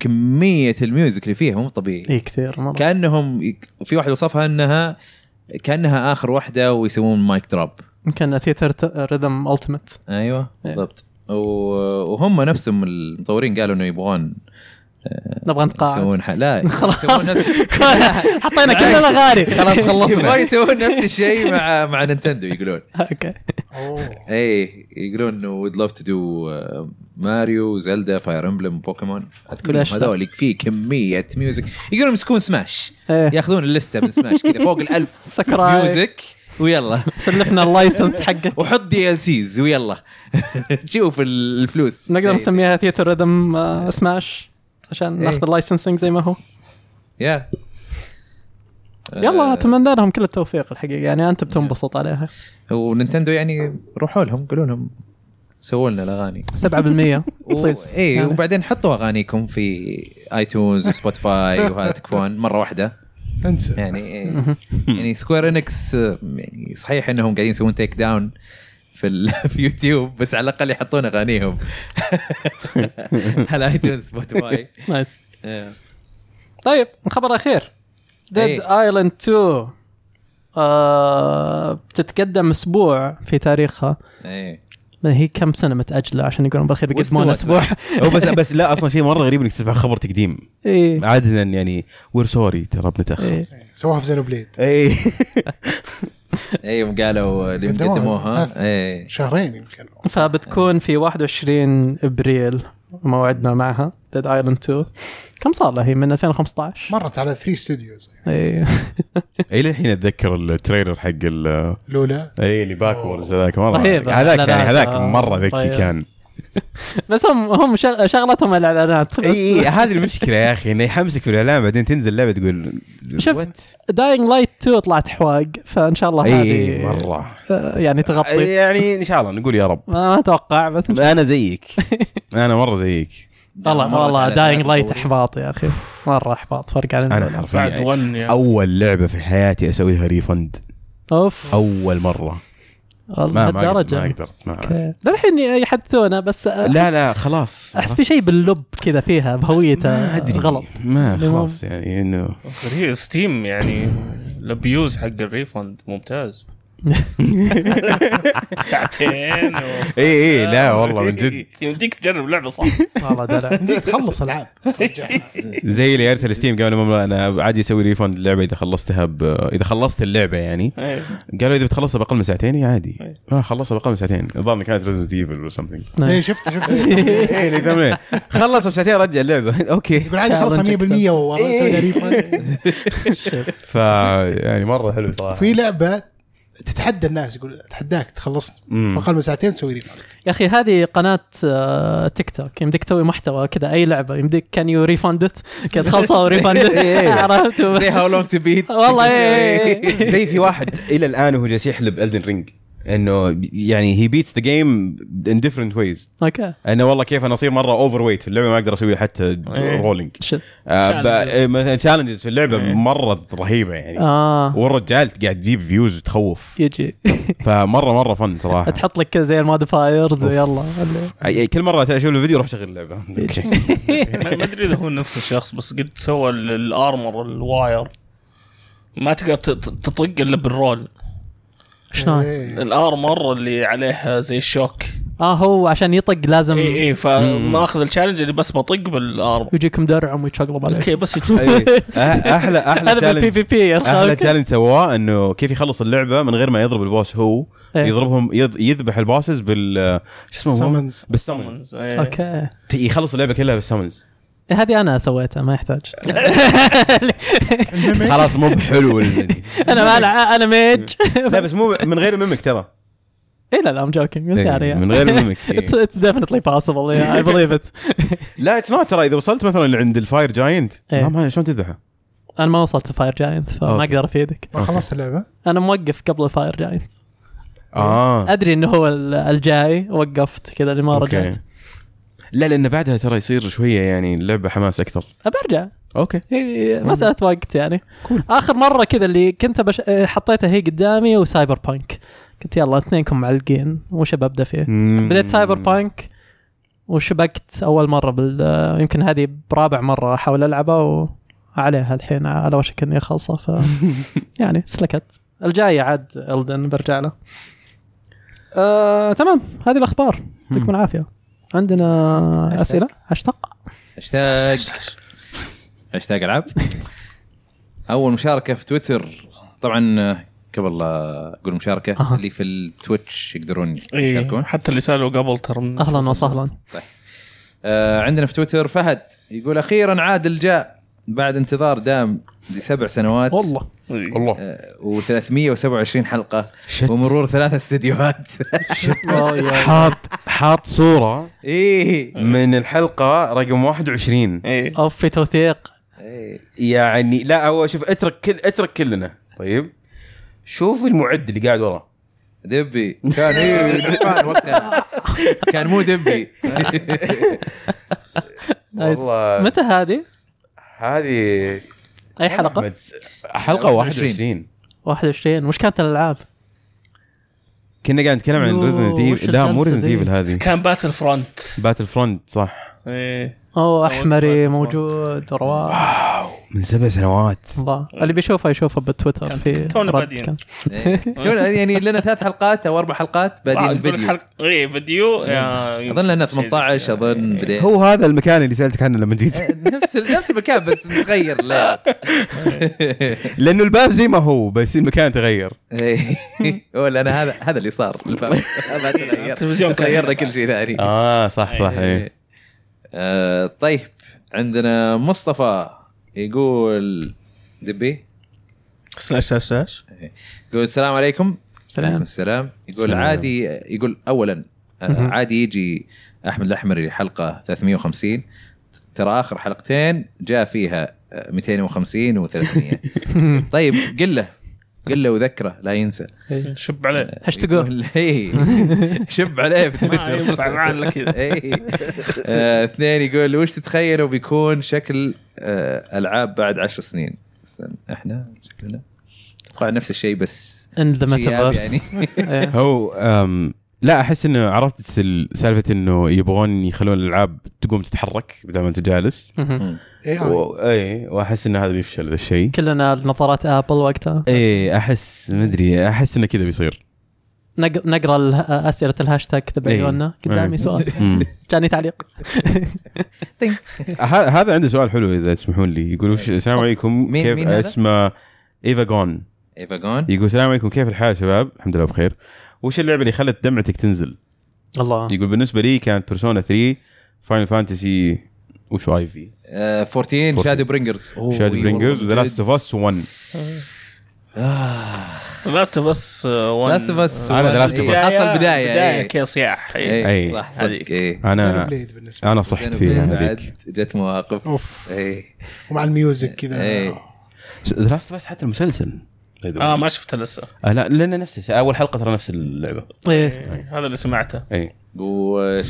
كميه الميوزك اللي فيها مو طبيعي اي إيه، كثير مره كانهم يك- في واحد وصفها انها كانها اخر واحده ويسوون مايك دروب يمكن ثيتر ريذم التمت ايوه إيه. بالضبط و- وهم نفسهم المطورين قالوا انه يبغون نبغى نتقاعد يسوون ح... لا خلاص. يسوون نفس حطينا كل الاغاني خلاص يبغون يسوون نفس الشيء مع مع نينتندو يقولون اوكي اوه اي يقولون انه ويد لاف تو دو ماريو زلدا فاير امبلم بوكيمون عاد كلهم ليش لا؟ هذول في كميه ميوزك يقولون يمسكون سماش ايه ياخذون اللسته من سماش كذا فوق الألف سكراي. ميوزك ويلا سلفنا اللايسنس حقك وحط دي ال سيز ويلا تشوف ال- الفلوس نقدر نسميها ثيتر ريذم سماش عشان إيه. ناخذ اللايسنسنج زي ما هو يا يلا اتمنى لهم كل التوفيق الحقيقه يعني انت بتنبسط عليها وننتندو يعني روحوا لهم قولوا لهم سووا لنا الاغاني 7% و... إيه، بليز اي وبعدين حطوا اغانيكم في ايتونز سبوتيفاي وهذا تكفون مره واحده انسى يعني إيه. يعني سكوير انكس يعني صحيح انهم قاعدين يسوون تيك داون في, ال... في يوتيوب بس على الاقل يحطون اغانيهم على إيه. ايتونز سبوتيفاي نايس طيب خبر اخير إيه. ديد ايلاند 2 آه، بتتقدم اسبوع في تاريخها ايه ما هي كم سنه متاجله عشان يقولون بالاخير بيقدمون واستوت. اسبوع هو بس بس لا اصلا شيء مره غريب انك تسمع خبر تقديم اي عاده يعني وير سوري ترى إيه. بنتاخر إي. إيه. سواها في زينو بليد اي ايوه قالوا اللي قدموها. قدموها ثلاث. ايه شهرين يمكن فبتكون في 21 ابريل موعدنا معها ديد ايلاند 2 كم صار لها هي من إيه. 2015 مرت على ثري ستوديوز يعني. اي اي للحين اتذكر التريلر حق ال- الاولى اي اللي باكوردز هذاك مره رهيب. هذاك يعني إعلانات. هذاك مره ذكي طيب. كان بس هم هم شغ- شغلتهم الاعلانات اي اي هذه المشكله يا اخي انه يحمسك في الاعلان بعدين تنزل لعبه تقول شوف what؟ داينج لايت 2 طلعت حواق فان شاء الله اي هذه اي مره آه، يعني تغطي يعني ان شاء الله نقول يا رب ما ما اتوقع بس انا زيك انا مره زيك والله والله داينج لايت احباط يا اخي مره احباط فرق عن انا انا حرفيا بعد يعني ون يعني. اول لعبه في حياتي اسويها ريفند اوف اول مره والله ما ما قدرت- الدرجة ما قدرت ما اوكي للحين يحدثونا بس لا لا خلاص احس في شيء باللب كذا فيها بهويته ما ادري غلط ما اللي ما- خلاص يعني انه غريب ستيم يعني الابيوز حق الريفند ممتاز ساعتين و... اي اي لا والله من جد يمديك تجرب لعبه صح والله دلع يمديك تخلص العاب ترجعها. زي اللي يرسل ستيم قبل ما انا عادي اسوي ريفند اللعبه اذا خلصتها ب... اذا خلصت اللعبه يعني إيه. قالوا اذا بتخلصها باقل من ساعتين يا عادي إيه. ما خلصها باقل من ساعتين الظاهر كانت ريزنت ايفل ولا سمثينج نعم. إيه، شفت شفت اي اللي ثمانية. إيه، خلصها بساعتين رجع اللعبه اوكي يقول عادي خلصها 100% والله نسوي إيه. لها refund. ف يعني مره حلو صراحه في لعبه تتحدى الناس يقول اتحداك تخلصني مم. اقل من ساعتين تسوي ريفاند يا اخي هذه قناه آه، تيك توك يمديك تسوي محتوى كذا اي لعبه يمديك كان يو ريفاندت كذا تخلصها وريفاندت عرفت زي هاو لونج تو بيت والله إيه، إيه، إيه. زي في واحد الى الان وهو جالس يحلب الدن رينج انه يعني هي بيتس ذا جيم ان ديفرنت ويز اوكي انه والله كيف انا اصير مره اوفر ويت في اللعبه ما اقدر اسوي حتى آه، إيه. رولينج شت. Challenges. إيه. مثلا تشالنجز إيه، في اللعبه مره رهيبه يعني اه والرجال قاعد تجيب فيوز وتخوف يجي فمره مره فن صراحه تحط لك كذا زي الموديفايرز ويلا أي- أي كل مره اشوف الفيديو اروح اشغل اللعبه اوكي ما ما ادري اذا هو نفس الشخص بس قد سوى ال- الارمر الواير ما تقدر ت- ت- تطق الا بالرول شلون؟ إيه. الارمر اللي عليه زي إيه، الشوك اه هو عشان يطق لازم إيه، اي اي فماخذ التشالنج اللي بس بطق بالارمر يجيك مدرعم ويتشقلب عليك اوكي بس يشوف احلى احلى هذا بالبي تشالنج في بي يا احلى أخي. تشالنج سواه انه كيف يخلص اللعبه من غير ما يضرب البوس هو إيه. يضربهم يض- يذبح البوسز بال شو اسمه summons. بالسمنز إيه. اوكي يخلص اللعبه كلها بالسمنز إيه، هذه انا سويتها ما يحتاج الميمي. خلاص مو بحلو ال- انا ما ألع- انا ميج لا بس مو من غير الميمك ترى اي لا لا ام جوكينج إيه، من غير الميمك إيه. اتس ديفنتلي بوسيبل اي بليف ات لا اتس نوت ترى اذا وصلت مثلا عند الفاير جاينت إيه. ما- ما شلون تذبحه؟ انا ما وصلت فاير جاينت فما أوكي. اقدر افيدك ما خلصت اللعبه انا موقف قبل فاير جاينت اه ادري انه هو ال- الجاي وقفت كذا اللي ما رجعت أوكي. لا لان بعدها ترى يصير شويه يعني اللعبه حماس اكثر ابى ارجع اوكي هي مساله وقت يعني كول. اخر مره كذا اللي كنت بش... حطيتها هي قدامي وسايبر بانك قلت يلا اثنينكم معلقين وش ببدا فيه بديت سايبر بانك وشبكت اول مره بال يمكن هذه برابع مره احاول العبها وعليها الحين على وشك اني اخلصها ف يعني سلكت الجاي عاد الدن برجع له آه، تمام هذه الاخبار يعطيكم العافيه عندنا اسئله اشتق هاشتاج هاشتاج العاب اول مشاركه في تويتر طبعا قبل لا اقول مشاركه أها. اللي في التويتش يقدرون إيه. يشاركون حتى اللي سالوا قبل ترى من- اهلا وسهلا آه عندنا في تويتر فهد يقول اخيرا عادل جاء بعد انتظار دام لسبع سنوات والله إيه. والله آه، و327 حلقه شت. ومرور ثلاث استديوهات حاط حاط صوره ايه إيه. من الحلقه رقم 21 إيه. اوف في توثيق يعني لا هو شوف اترك كل اترك كلنا طيب شوف المعد اللي قاعد وراه دبي كان إيه، دبان وقتها كان مو دبي نايس. والله متى هذه؟ هذه اي حلقه؟ أحمد، حلقه 21 21 وش كانت الالعاب؟ كنا قاعد نتكلم عن يوه، ريزنت وش ايفل لا الجلسة مو ريزنت ذي؟ ايفل هذه كان باتل فرونت باتل فرونت صح ايه اوه احمري أول موجود رواه من سبع سنوات الله اللي بيشوفه يشوفه بتويتر كان في تونا رد بادين. كان. إيه. شلون يعني لنا ثلاث حلقات او اربع حلقات بادين الفيديو حلقه ايه فيديو يا- اظن لنا شيء زي 18 كذا. إيه. اظن بدينا هو هذا المكان اللي سالتك عنه لما جيت نفس نفس المكان بس متغير لا لانه الباب زي ما هو بس المكان تغير إيه. ولا انا هذا هذا اللي صار طيب. الفرق. ما تغير التلفزيون بس غيرنا كل شيء ثاني آه. اه صح صح إيه. آه، طيب عندنا مصطفى يقول دبي سلاش سلاش سلاش يقول السلام عليكم عليكم سلام السلام يقول السلام. عادي يقول اولا آه، مهم. عادي يجي احمد الاحمري حلقه 350 ترى اخر حلقتين جاء فيها آه، 250 و300 طيب قل له قل له وذكره لا ينسى شب عليه هاشتاجوه. يقول- إيه. شب عليه في ما تويتر ينفع معنا كذا إيه. آه، اثنين يقول وش تتخيلوا بيكون شكل آه، العاب بعد عشر سنين استنى، احنا شكلنا اتوقع نفس الشيء بس ان ذا شياب يعني. ميتافيرس إيه. هو أم لا احس انه عرفت ال- سالفه انه يبغون يخلون الالعاب تقوم تتحرك بدل ما انت جالس مهم. يعني. اي آي. و- اي واحس انه هذا بيفشل ذا الشيء إيه، كلنا نظارات ابل وقتها اي احس مدري احس انه كذا بيصير نق- نقرا اله- اسئله الهاشتاج إيه. تبعيونا إيه. قدامي سؤال أمم. جاني تعليق ه- هذا عنده سؤال حلو اذا تسمحون لي يقول وش السلام عليكم مين- كيف مين هذا؟ اسمه ايفا جون ايفا جون يقول السلام عليكم كيف الحال شباب الحمد لله بخير وش اللعبه اللي خلت دمعتك تنزل الله آه. يقول بالنسبه لي كانت بيرسونا 3 فاينل فانتسي وش اي في آه، 14 شادو برينجرز شاد برينجرز ذا لاست اوف اس 1 لاست اوف اس لاست اوف اس أنا The Last of Us. إيه، آه، حصل بدايه بدايه إيه. كذا آه، صياح إيه. إيه. أي. صح صدق هذيك. إيه. زينو انا بليد بالنسبه انا صحت زينو فيها بليد هذيك بعد جت مواقف إيه. اوف اي ومع الميوزك كذا إيه. ذا لاست اوف اس حتى المسلسل اه ما شفته لسه آه لا لانه نفس اول حلقه ترى نفس اللعبه إيه. هذا اللي سمعته اي بس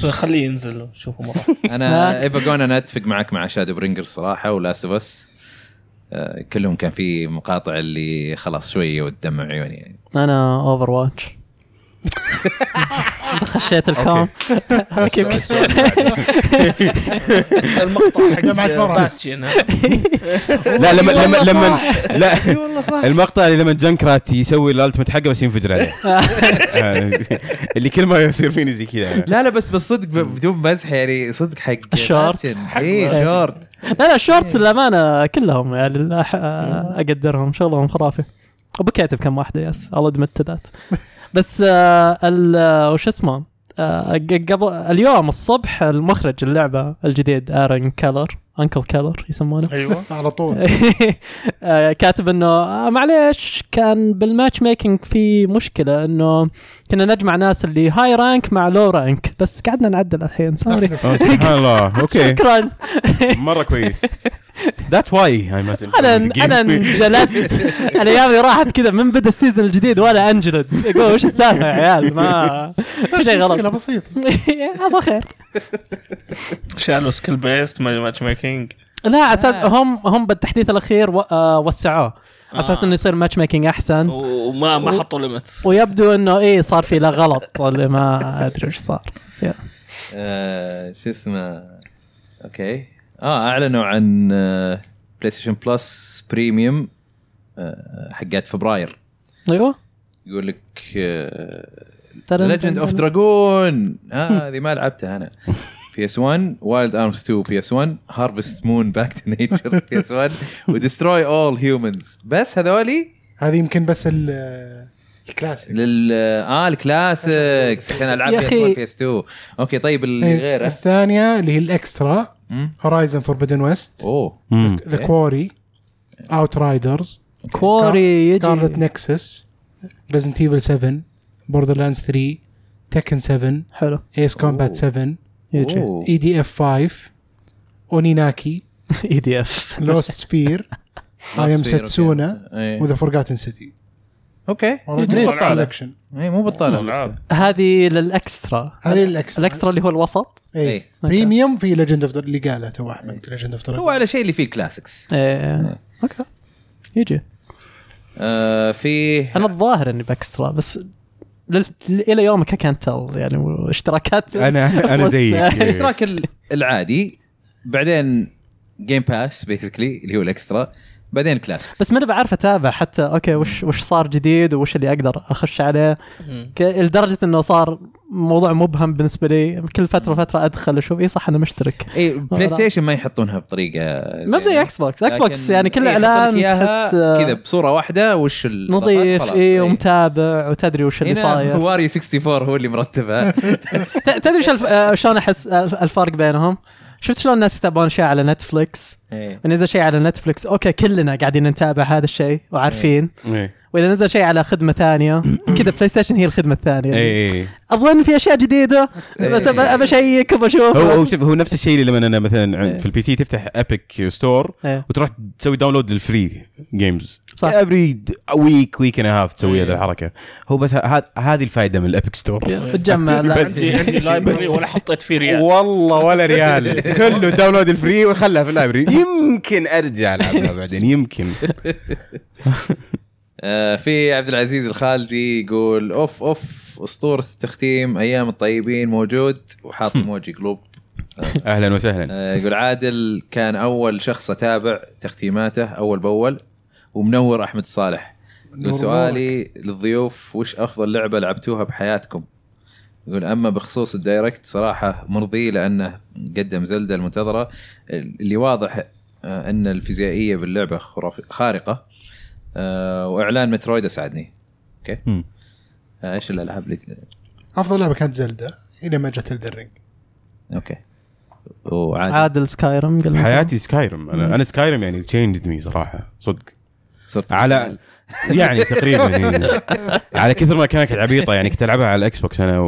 وانا خليه ينزل شوفه مره ايفا جون انا اتفق معك مع شادو برينجرز صراحه ولاست اوف اس آه، كلهم كان في مقاطع اللي خلاص شويه وتدمع عيوني يعني انا اوفر واتش خشيت الكوم كيف- المقطع حق جمعت فرع. باستشن لا لما لما لما لا المقطع اللي لما جنكرات يسوي الالتمت حقه بس ينفجر عليه آه، اللي كل ما يصير فيني زي كذا أنا. لا لا بس بالصدق ب- بدون مزح يعني صدق حق الشورت. حق اي باشن. شورت لا لا الشورتس الامانه كلهم يعني لا أح- اقدرهم شغلهم خرافي بكيت بكم واحده يس الله دمت ذات بس آه، ال- آه، وش اسمه آه، ق- قبل اليوم الصبح المخرج اللعبه الجديد ارن كالر انكل كالر يسمونه ايوه على إيه، طول آه، كاتب انه آه، معليش كان بالماتش ميكنج في مشكله انه كنا نجمع ناس اللي هاي رانك مع لو رانك بس قعدنا نعدل الحين سوري آه، سبحان الله اوكي شكرا مره كويس ذاتس واي انا انا انجلدت انا ايامي راحت كذا من بدا السيزون الجديد وانا انجلد اقول وش السالفه يا عيال ما في شيء مشكله غلط بسيطه عسى خير شالوا سكيل بيست ماتش ميكينج لا على اساس هم هم بالتحديث الاخير و- آه، وسعوه على اساس آه. انه يصير ماتش ميكينج احسن وما ما حطوا ليمتس ويبدو انه ايه صار في لا غلط اللي ما ادري ايش صار بس يلا. آه، شو اسمه اوكي اه اعلنوا عن آه، بلاي ستيشن بلس بريميوم آه، حقات فبراير ايوه يقول يقول لك آه، ليجند اوف دراجون هذه ما لعبتها انا بي اس 1 وايلد ارمز 2 بي اس 1 هارفست مون باك تو نيتشر بي اس 1 ودستروي اول هيومنز بس هذولي هذه يمكن بس ال- الكلاسيك لل اه الكلاسيكس عشان العاب يا بي اس أخي. 1 بي اس 2 اوكي طيب اللي إيه، غيره الثانيه اللي هي الاكسترا مم. هورايزن فوربدن ويست اوه ذا كواري اوت رايدرز كوري سكارلت يجي نكسس ريزنت ايفل 7 بوردر لاندز 3 تكن 7 حلو ايس كومبات 7 يجي E أوه. اي دي اف 5 اونيناكي اي دي اف لوست فير اي ام ساتسونا إيه. وذا فورغاتن سيتي اوكي جميل. اوريجنال كولكشن اي مو والله بطاله ألعاب. هذه للاكسترا هذه الاكسترا الاكسترا اللي هو الوسط اي إيه. بريميوم في ليجند اوف اللي قالها تو احمد ليجند اوف هو على شيء اللي فيه الكلاسيكس ايه اوكي يجي آه في انا الظاهر اني باكسترا بس لل... الى يومك كانت تل يعني اشتراكات انا انا زيك إيه. الاشتراك ال- العادي بعدين جيم باس بيسكلي اللي هو الاكسترا بعدين كلاسيكس بس ماني بعرف اتابع حتى اوكي وش وش صار جديد وش اللي اقدر اخش عليه مم. ك- لدرجه انه صار موضوع مبهم بالنسبه لي كل فتره فتره ادخل اشوف اي إيه صح انا مشترك اي بلاي ستيشن إيه، ما يحطونها بطريقه ما زي اكس بوكس اكس بوكس يعني إيه، كل اعلان تحس آه، كذا بصوره واحده وش ال- نظيف خلاص، إيه. اي ومتابع وتدري وش اللي هنا صاير واري 64 هو اللي مرتبها ت- تدري شو الف- آه، شلون احس الف- الفرق بينهم؟ شفت شلون الناس يتابعون شيء على نتفلكس؟ إيه. نزل شيء على نتفلكس اوكي كلنا قاعدين نتابع هذا الشيء وعارفين إيه. واذا نزل شيء على خدمه ثانيه كذا بلاي ستيشن هي الخدمه الثانيه ايه اظن في اشياء جديده بس أب- ابى اشيك وابى إيه. هو هو اشوف شوف هو نفس الشيء اللي لما انا مثلا إيه. عن- في البي سي تفتح ابيك ستور إيه. وتروح تسوي داونلود للفري جيمز صح. افري ويك ويك اند هاف تسوي إيه. هذه الحركه هو بس ه- هذا- هذه الفائده من الابيك ستور بتجمع لا. بس. عندي عندي لايبرري ولا حطيت فيه ريال والله ولا ريال كله داونلود الفري وخلها في اللايبرري يمكن ارجع العبها بعدين يمكن آه، في عبد العزيز الخالدي يقول اوف اوف اسطوره التختيم ايام الطيبين موجود وحاط موجي قلوب اهلا وسهلا آه، يقول عادل كان اول شخص اتابع تختيماته اول باول ومنور احمد صالح يقول سؤالي للضيوف وش افضل لعبه لعبتوها بحياتكم؟ يقول اما بخصوص الدايركت صراحه مرضي لانه قدم زلده المنتظره اللي واضح آه، ان الفيزيائيه باللعبه خراف- خارقه آه، واعلان مترويد اسعدني اوكي مم. آه، ايش الالعاب اللي افضل لعبه كانت زلدا الى ما جت الدرينج اوكي وعاد عادل سكايرم قال لك. حياتي سكايرم انا انا سكايرم يعني تشينجد مي صراحه صدق صرت على يعني تقريبا يعني. على كثر ما كانت عبيطه يعني كنت العبها على الاكس بوكس انا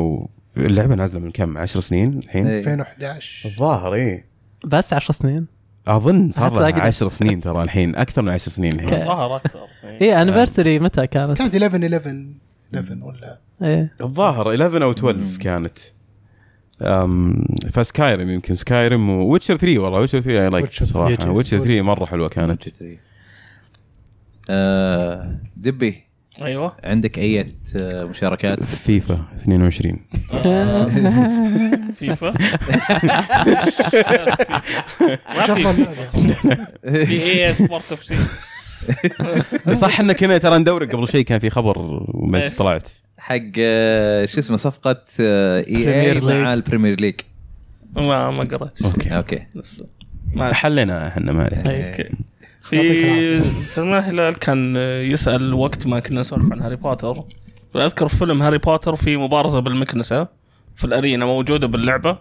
واللعبه نازله من كم 10 سنين الحين إيه. 2011 الظاهر ايه بس 10 سنين اظن صار أحس أقدر. لها 10 سنين ترى الحين اكثر من 10 سنين الحين ظهر اكثر إيه. آه. اي انيفرساري متى كانت؟ كانت 11 11 11 ولا ايه الظاهر 11 او 12 كانت أم فسكايرم يمكن سكايرم وويتشر 3 والله ويتشر 3 اي لايك Witcher 3 صراحه جميل. ويتشر 3 مره حلوه كانت آه، دبي ايوه عندك اي آه، مشاركات فيفا 22 فيفا وش ما افضل في لعبه؟ في إيه، اي سبورت اف سي صح ان كنا ترى ندور قبل شيء كان في خبر بس إيه. طلعت حق آه، شو اسمه صفقه اي اي Premier إيه مع League. البريمير ليج ما ما قرأت اوكي اوكي لسه. حلينا احنا ما عليه. إيه. اوكي يعطيك في سلمان هلال كان يسال وقت ما كنا نسولف عن هاري بوتر اذكر في فيلم هاري بوتر في مبارزه بالمكنسه في الارينا موجوده باللعبه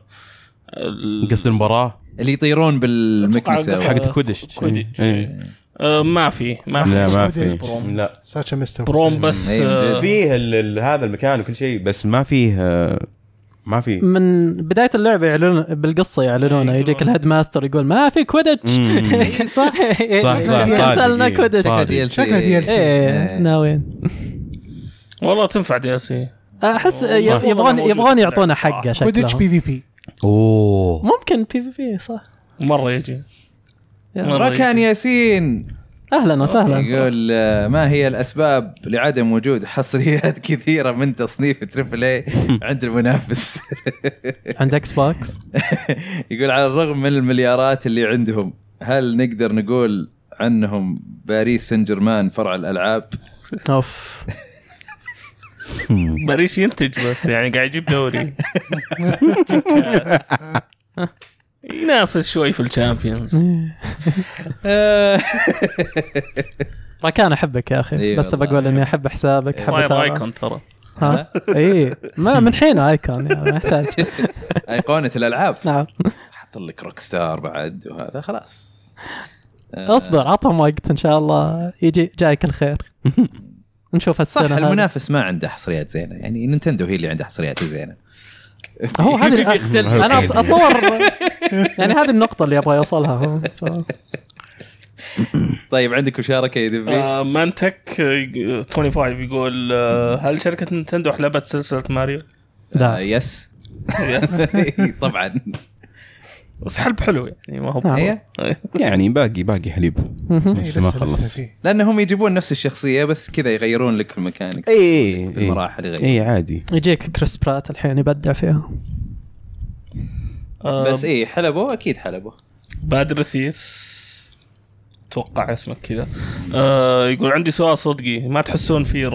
ال- قصد المباراه اللي يطيرون بالمكنسه أتوقع حقت كودش كوديتش. إيه. آه، ما في ما في لا ما كوديتش في بروم. لا ساتش مستر بروم بس إيه، آه، موجود. فيه ال- ال- هذا المكان وكل شيء بس ما فيه آه، ما فيه من بدايه اللعبه يعلنون بالقصه يعلنونه يجيك الهيد ماستر يقول ما في كودتش إيه، مم. صح صح، صح، سالنا صادق، كودتش صادق. شكلها دي ال سي ايه إيه. ناويين والله تنفع دي ال سي احس والله يب- والله يبغون موجود. يبغون يعطونا حقه كودتش شكلهم بي في بي اوه ممكن بي في بي صح مره يجي يا. مرة ركان يجي. ياسين اهلا وسهلا يقول آه، ما هي الاسباب لعدم وجود حصريات كثيره من تصنيف تريبل اي عند المنافس عند اكس بوكس يقول على الرغم من المليارات اللي عندهم هل نقدر نقول عنهم باريس سان جيرمان فرع الالعاب اوف باريس ينتج بس يعني قاعد يجيب دوري ينافس شوي في الشامبيونز ركان احبك يا اخي إيه بس والله. بقول اني احب حسابك احب صاير أتابعه. ايكون ترى ها اي ما من حين ايكون يعني ما يحتاج ايقونه الالعاب نعم حط لك روك ستار بعد وهذا خلاص آه، اصبر عطهم وقت ان شاء الله يجي جايك الخير نشوف صح السنه هذه. المنافس ما عنده حصريات زينه يعني نينتندو هي اللي عندها حصريات زينه هو هذه بيختل. انا أت- اتصور يعني هذه النقطه اللي ابغى اوصلها هو. ف- طيب عندك مشاركه يا دبي آه، مانتك آه، 25 يقول آه، هل شركة نينتندو حلبت سلسلة ماريو؟ لا. آه، إيه، يس طبعا بس حلب حلو يعني ما هو آه. هي يعني باقي باقي حليب مهم. إيه، لسه ما خلص فيه لانهم يجيبون نفس الشخصيه بس كذا يغيرون لك الميكانيك إيه. اي في المراحل يغير اي إيه، عادي يجيك كريس برات الحين يبدع فيها آه، بس إيه. اي حلبوا اكيد حلبوا بادر سيس اتوقع اسمك كذا آه يقول عندي سؤال صدقي ما تحسون في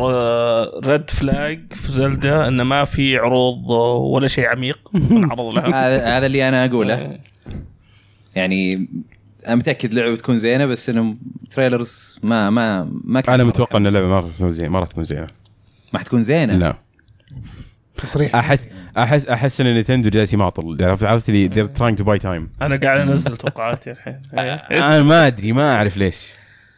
ريد فلاج في زلدة انه ما في عروض ولا شيء عميق نعرض لها هذا هذا اللي انا اقوله يعني انا متاكد لعبه بتكون زينه بس انهم تريلرز ما ما ما كان انا متوقع ان اللعبه ما راح تكون زينه ما راح تكون زينه ما حتكون زينه لا تصريح احس احس احس ان نينتندو جالس يماطل عرفت عرفت لي they're trying to buy time انا قاعد انزل توقعاتي الحين آه. انا ما ادري ما اعرف ليش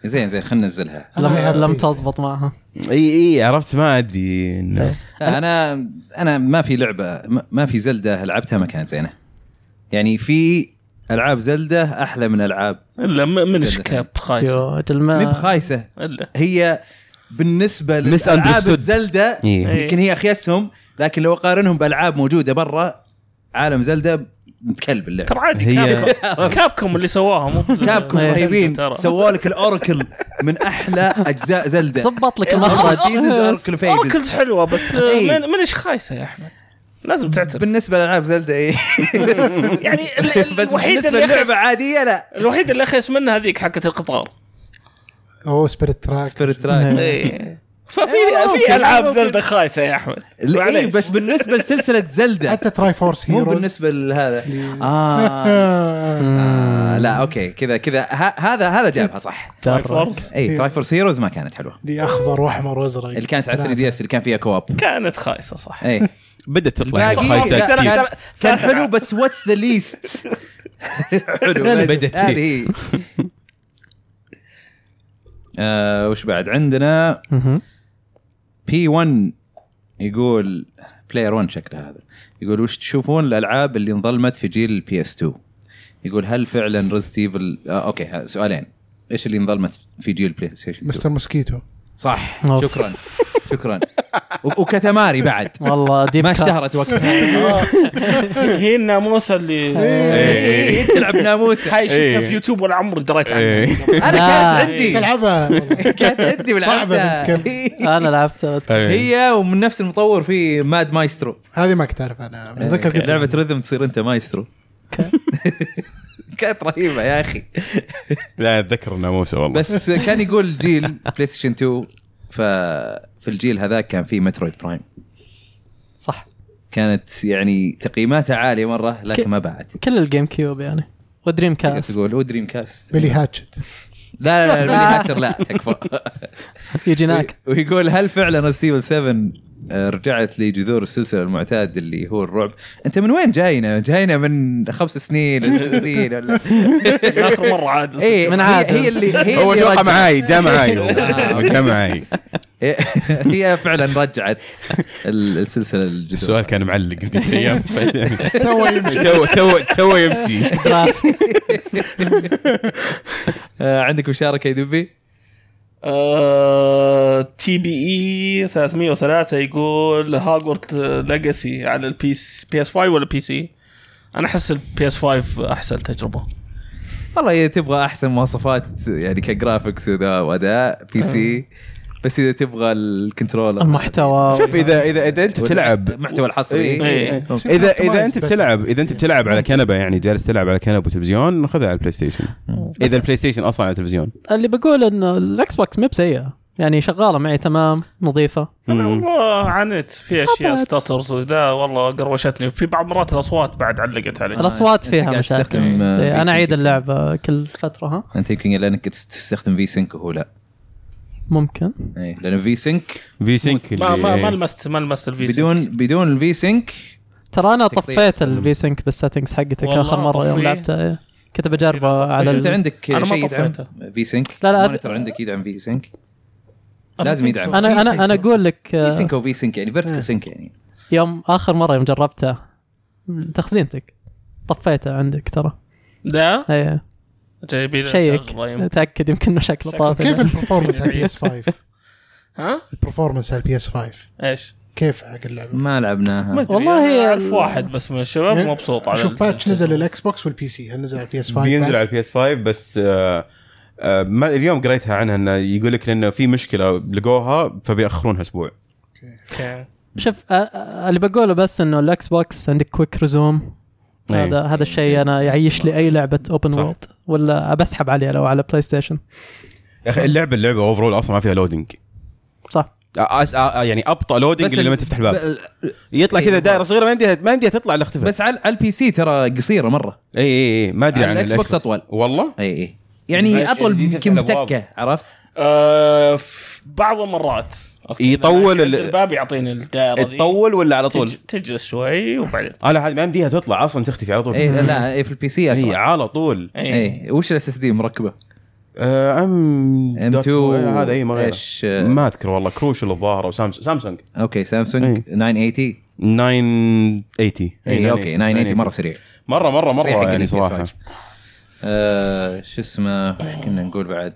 زين زين خلينا ننزلها أنا ما لم, يعرف لم فيه. تزبط معها اي اي عرفت ما ادري انه لا انا انا ما في لعبه ما- ما في زلده لعبتها ما كانت زينه يعني في العاب زلده احلى من العاب الا م- من زلدة. شكاب خايس يا مي جلمان بخايسه الا هي بالنسبه Misunderstood. للالعاب الزلده إيه. يمكن هي اخيسهم لكن لو اقارنهم بالعاب موجوده برا عالم زلده متكلب اللعبه ترى عادي هي- كابكم كابكم اللي سواها مو بزلدة. كابكم إيه. رهيبين ترى. سووا لك الاوراكل من احلى اجزاء زلده زبط لك المخرج الاوراكل اوركلز فيجز حلوه بس إيه. من- من ايش خايسه يا احمد لازم تعترف بالنسبه لالعاب زلده اي يعني ال- ال- بس الوحيده بالنسبه إيه. اللي للعبه أخس- عاديه لا الوحيده اللي اخيس منها هذيك حقت القطار او سبيريت تراك سبيريت تراك. تراك إيه. ففي ممكن، في العاب ممكن. زلده خايسه يا احمد اي معليش. إيه، بس بالنسبه لسلسله زلده حتى تراي فورس مو هيروز بالنسبه لهذا آه. آه لا اوكي كذا كذا ه- هذا هذا جابها صح تراي فورس اي تراي فورس هيروز ما كانت حلوه اللي اخضر واحمر وازرق اللي كانت على 3 دي اس اللي كان فيها إيه. كواب كانت خايسه صح اي بدات تطلع الباقي- خايسة لا، كثير. كان- ترى- كان ترى- حلو بس واتس ذا ليست حلو بدت بس هذه هي. آه، وش بعد عندنا مهم. بي 1 يقول بلاير 1 شكله هذا يقول وش تشوفون الالعاب اللي انظلمت في جيل البي اس 2 يقول هل فعلا ريزد ايفل آه اوكي ها- سؤالين ايش اللي انظلمت في جيل بلاي ستيشن 2 مستر موسكيتو صح أوف. شكرا شكرا و- وكتماري بعد والله ديب ما كات. اشتهرت وقتها هي الناموسه اللي إيه، إيه. إيه، تلعب ناموسه هاي شفتها إيه. في يوتيوب ولا عمري دريت عنها إيه. لا. انا كانت عندي تلعبها والله. كانت عندي صعبة ولعبتها انا لعبت إيه. هي ومن نفس المطور في ماد مايسترو هذه ما كنت اعرف انا اتذكر قلت لعبه ريذم تصير انت مايسترو كانت رهيبه يا اخي لا اتذكر الناموسه والله بس كان يقول جيل بلاي ستيشن 2 ففي الجيل هذاك كان في مترويد برايم صح كانت يعني تقييماتها عاليه مره لكن ما باعت كل الجيم كيوب يعني ودريم تقدر كاست تقول ودريم كاست بيلي هاتشت لا لا لا بيلي هاتشر لا تكفى يجي هناك وي- ويقول هل فعلا ريسيفل 7 آه، رجعت لجذور السلسله المعتاد اللي هو الرعب انت من وين جاينا جاينا من خمس سنين ولا ست سنين ولا من اخر مره عاد ايه من هي- عادل. هي اللي هي هو اللي اتوقع رجعت. معاي جاء معاي هو. آه، جاء معاي هي فعلا رجعت ال- السلسله الجذور السؤال كان معلق ذيك الايام تو يمشي تو تو تو يمشي درافت. آه، عندك مشاركه يا دبي تي بي اي 303 E يقول هاجورت ليجاسي على البي بي اس 5 ولا بي سي انا احس البي اس 5 احسن تجربه والله اذا تبغى احسن مواصفات يعني كجرافكس وذا واداء بي آه. سي بس اذا تبغى الكنترولر المحتوى شوف اذا اذا اذا انت بتلعب المحتوى الحصري إيه. إيه. اذا اذا انت بتلعب اذا انت بتلعب على كنبه يعني جالس تلعب على كنبه وتلفزيون خذها على البلاي ستيشن اذا البلاي ستيشن اصلا على التلفزيون اللي بقول انه الاكس بوكس مو بسيئه يعني شغاله معي تمام نظيفه انا والله عانيت في اشياء ستاترز وذا والله قروشتني في بعض مرات الاصوات بعد علقت علي الاصوات أنت فيها قاعد مشاكل تستخدم، آه، سيئة. PC انا اعيد كثير. اللعبه كل فتره ها انت يمكن لانك تستخدم في سync وهو لا ممكن إيه، لان في سينك في سينك ما ما ما لمست ما لمست الفي بدون بدون الفي سينك ترى انا تقطيع طفيت تستخدم. الفي سينك بالسيتنجز حقتك والله اخر مره يوم طفيه. لعبتها إيه. كنت بجربه بس على انت ال... عندك أنا ما شيء يدعم طفيته. في سينك لا، لا، مونيتور عندك يدعم في سينك I don't لازم think يدعم. so. انا انا انا اقول لك في آه، سينك او في سينك يعني فيرتيكال سينك يعني يوم اخر مره يوم جربته تخزينتك طفيته عندك ترى إيه. لا اي جايبين له شيك شغلة يمكن. تاكد يمكن انه شكله شكله. طافي كيف البرفورمانس على البي اس 5 ها البرفورمانس على البي اس 5 ايش؟ كيف حق اللعبه ما ما لعبناها أدري، والله أنا هي اعرف ال- واحد بس من الشباب مبسوط على شوف ال- باتش نزل للاكس بوكس والبي سي هل نزل على البي اس 5 بينزل على البي اس 5 بس آه، آه، ما اليوم قريتها عنها انه يقول لك لانه في مشكله لقوها فبيأخرونها اسبوع أوكي. شوف أ- أ- اللي بقوله بس انه الاكس بوكس عندك كويك ريزوم إيه. هذا هذا الشيء انا يعيش لي اي لعبه اوبن صح. وورلد ولا بسحب عليه لو على بلاي ستيشن يا اخي اللعبه اللعبه اوفرول اصلا ما فيها لودنج صح يعني ابطا لودنج اللي لما تفتح الباب ب- يطلع إيه، كذا دائره صغيره ما يمديها ما يمديها تطلع الا اختفت بس على على البي سي ترى قصيره مره اي اي اي إيه، ما ادري على عن الإكس بوكس أطول. والله اي اي يعني ماشي، اطول دي يمكن تفتح الأبواب. بتكه عرفت؟ آه، في بعض المرات أوكي، يطول أنا ماشي ال- عند الباب يعطيني الدائره ذي. تطول ولا على طول؟ تج- تجلس شوي وبعدين انا عاد ما يمديها تطلع اصلا تختفي على طول اي لا إيه، في البي سي هي اسرع على طول اي اي إيه. وش الاس اس دي مركبه؟ آه، ام ام دوت 2 هذا اي ما غيره. ايش آه، ما اذكر والله كروشل الظاهر او سامسونج سامسونج اوكي سامسونج إيه. 980 980 إيه، اي اوكي 980 مره سريع مره مره مره صحيح، حق يعني ال PS5. صراحه آه، شو اسمه كنا نقول بعد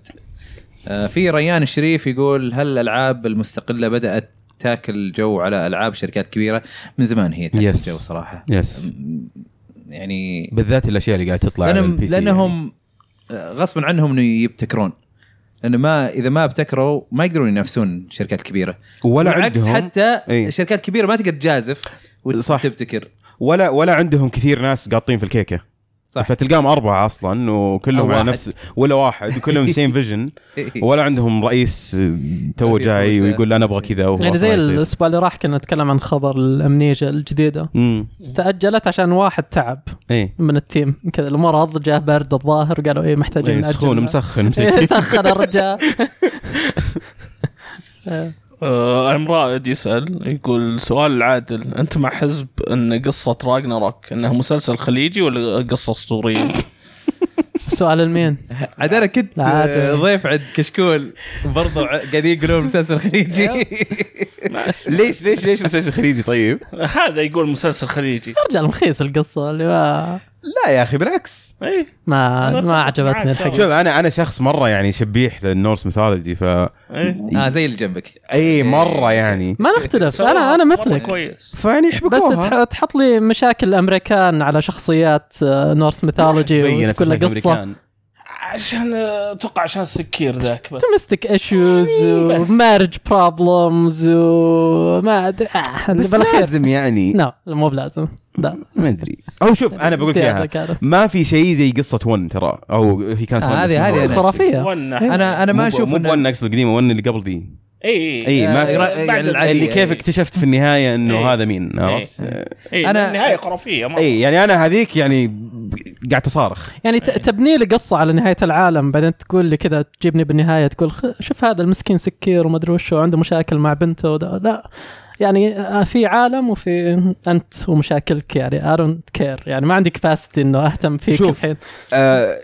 آه، في ريان الشريف يقول هل الالعاب المستقله بدات تاكل جو على العاب شركات كبيره من زمان هي تاكل Yes. جو صراحه يس يعني بالذات الاشياء اللي قاعد تطلع على لأنهم البي سي لانهم آه، غصبا عنهم انه يبتكرون لانه ما اذا ما ابتكروا ما يقدرون ينافسون شركات كبيره يعني. ولا بالعكس عندهم حتى حتى إيه. الشركات الكبيره ما تقدر تجازف صح. وتبتكر ولا ولا عندهم كثير ناس قاطين في الكيكه صح. فتلقاهم اربعه اصلا وكلهم أو على واحد. نفس ولا واحد وكلهم سيم فيجن إيه. ولا عندهم رئيس تو ما في جاي فرصة. ويقول انا ابغى كذا وهو يعني أصلاً زي يصير. الاسبوع اللي راح كنا نتكلم عن خبر الامنيجا الجديده امم تاجلت عشان واحد تعب ايه من التيم كذا المرض جاه برد الظاهر قالوا ايه محتاجين إيه، نأجل. سخون مسخن إيه، مسكين سخن الرجال آه، رائد يسال يقول سؤال العادل انت مع حزب ان قصه راجناروك انها مسلسل خليجي ولا قصه اسطوريه؟ سؤال المين عاد انا كنت لا عاد. آه، ضيف عند كشكول برضو ع- قاعدين يقولون مسلسل خليجي أيوه. ليش ليش ليش مسلسل خليجي طيب؟ هذا يقول مسلسل خليجي رجال مخيس القصه اللي ما لا يا اخي بالعكس اي ما, أنا ما أتفق عجبتني معك الحقيقه شوف انا انا شخص مره يعني شبيح للنورس ميثولوجي ف اي اه زي اللي جنبك أيوه. اي مره يعني ما نختلف انا انا مرة مثلك كويس فيعني بس تح- يحبكوها تحط لي مشاكل الامريكان على شخصيات آه، نورس ميثولوجي تبين وتقول له أفلام قصه أمريكان. عشان اتوقع عشان السكير ذاك بس دومستيك ايشوز إيه. ومارج بروبلمز وما ادري آه اللي بس بالخير لازم يعني نعم. لا مو بلازم لا ما ادري او شوف انا بقول لك زيادة اياها كانت. ما في شيء زي قصه ون ترى او هي كانت آه، ون هذه- اسمها. هذه أنا- خرافيه ون انا انا ما اشوف مو إنه- ون نكس القديمه ون اللي قبل دي اي اي ما آه، يعني بعد العادية. اللي إيه. كيف اكتشفت في النهايه انه إيه. هذا مين إيه. عرفت؟ اي أنا- انا النهايه خرافيه ما اي يعني انا هذيك يعني قاعد اصارخ يعني ت- تبني لي قصه على نهايه العالم بعدين تقول لي كذا تجيبني بالنهايه تقول خ- شوف هذا المسكين سكير وما ادري وش عنده مشاكل مع بنته وده. لا يعني آه، في عالم وفي انت ومشاكلك يعني ارون كير يعني ما عندي كباستي انه اهتم فيك شوف. الحين آه،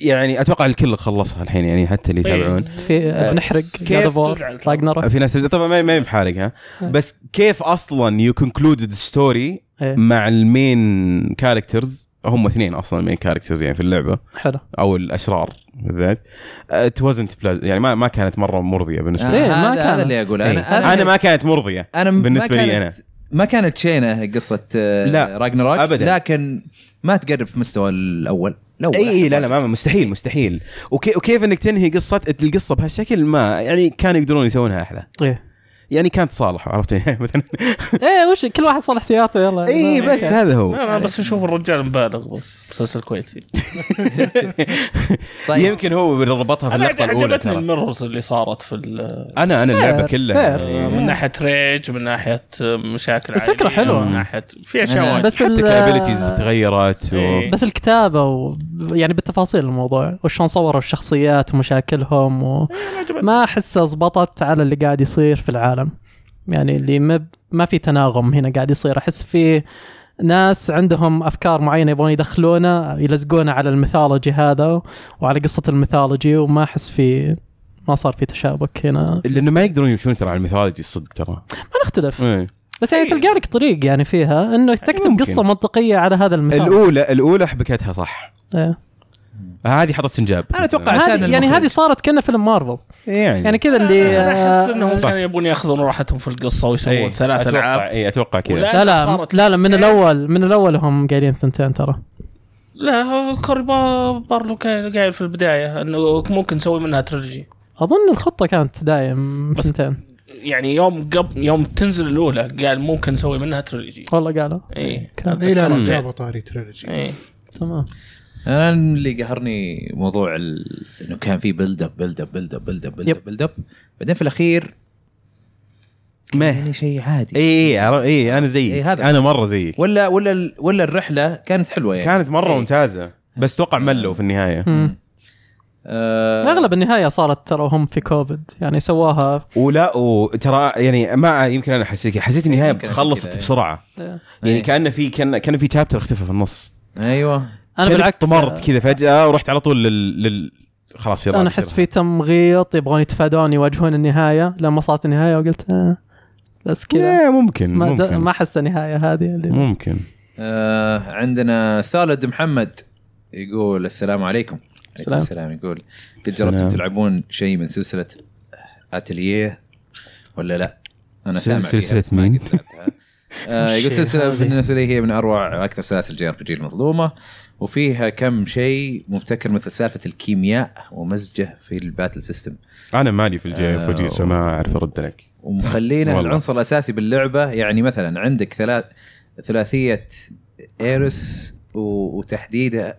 يعني اتوقع الكل خلصها الحين يعني حتى اللي يتابعون في آه، بنحرق كيف God of War، تزعل؟ Ragnarok. في ناس تز- طبعا ما ما بحارق ها بس كيف اصلا يو كونكلودد ستوري إيه. مع المين كاركترز هم اثنين اصلا المين كاركترز يعني في اللعبه حلو او الاشرار بالذات Uh, ات وزنت يعني ما ما كانت مره مرضيه بالنسبه آه، لي إيه، ما إيه. هذا كانت. هذا اللي اقوله انا انا, أنا ما كانت مرضيه انا م- ما بالنسبه لي انا كانت- ما كانت شينه قصه لا، لا راجنروك أبداً. لكن ما تقرب في مستوى الاول الاول اي إي، لا لا ما ما- مستحيل مستحيل وكي وكيف انك تنهي قصه القصه بهالشكل ما يعني كانوا يقدرون يسوونها احلى ايه يعني كانت صالح عرفت مثلا ايه وش كل واحد صلح سيارته يلا اي ما- إيه، بس هذا لا هو انا بس اشوف الرجال مبالغ بس مسلسل كويتي طيب يمكن هو ربطها في انا اللقطه الاولى عجبتني ترى. الميرورز اللي صارت في ال- انا انا اللعبه فير، كلها فير. يعني من ناحيه ريج من ناحيه مشاكل إيه. الفكرة عائلية، حلوة. إيه، من ناحيه في أنا- اشياء وايد بس حتى ال- كابيلتيز تغيرت و... إيه. بس الكتابه و... يعني بالتفاصيل الموضوع وشلون صوروا الشخصيات ومشاكلهم و... ما احسها زبطت على اللي قاعد يصير في العالم يعني اللي ما ما في تناغم هنا قاعد يصير احس في ناس عندهم افكار معينه يبغون يدخلونه يلزقونه على الميثولوجي هذا وعلى قصه الميثولوجي وما احس في ما صار في تشابك هنا لانه ما يقدرون يمشون ترى على الميثولوجي الصدق ترى ما نختلف إيه. بس يعني تلقى لك طريق يعني فيها انه تكتب ممكن. قصه منطقيه على هذا المثال الاولى الاولى حبكتها صح إيه. هذه حطت سنجاب انا اتوقع عشان هذه يعني المخرج. هذه صارت كأنها فيلم مارفل يعني يعني كذا اللي انا احس انهم صح. كانوا يبون ياخذون راحتهم في القصه ويسوون ثلاث إيه، أتوقع- العاب اي اتوقع كذا إيه. لا ولا- لا صارت لا لا من إيه. الاول من الاول هم قايلين ثنتين ترى لا كوري با- بارلو كان قايل في البدايه انه ممكن نسوي منها تريلوجي اظن الخطه كانت دايم بس- ثنتين يعني يوم قبل يوم تنزل الاولى قال ممكن نسوي منها تريلوجي والله قالوا اي كان- اي إيه، لا لا زين. جابوا طاري تريلوجي اي تمام انا اللي قهرني موضوع ال... انه كان في بيلد اب بيلد اب بيلد اب بيلد اب بيلد اب يب. بيلد اب بعدين في الاخير ما يعني شيء عادي اي اي اي انا إيه، زيك إي، هذا. انا مره زيك ولا ولا ال- ولا الرحله كانت حلوه يعني كانت مره إيه. ممتازه بس توقع ملوا في النهايه مم. آه... اغلب النهايه صارت ترى هم في كوفيد يعني سواها ولا وترى يعني ما يمكن انا حسيت حسيت النهايه يمكن أكون كذا، خلصت إي. بسرعه إيه. يعني إي. كان في كان كان في تشابتر اختفى في النص ايوه انا كأنك بالعكس آه. طمرت كذا فجاه ورحت على طول لل, لل... خلاص يلا انا احس في تمغيط يبغون يتفادون يواجهون النهايه لما صارت النهايه وقلت آه بس كذا كذا ممكن ما, د- ممكن ما حس النهايه هذه اللي ممكن آه عندنا سالد محمد يقول السلام عليكم السلام. السلام يقول قد السلام. جربتم تلعبون شيء من سلسله اتليه ولا لا؟ انا سامع فيها سلسلة بس ما مين؟ قد لعبتها. آه يقول الشيء سلسله هذه. بالنسبه لي هي من اروع اكثر سلاسل جي ار بي جي المظلومه وفيها كم شيء مبتكر مثل سالفه الكيمياء ومزجه في الباتل سيستم انا مالي في الجي آه، بروجيس فما اعرف ارد لك ومخلينا والله. العنصر الاساسي باللعبه يعني مثلا عندك ثلاث ثلاثيه ايرس و- وتحديدها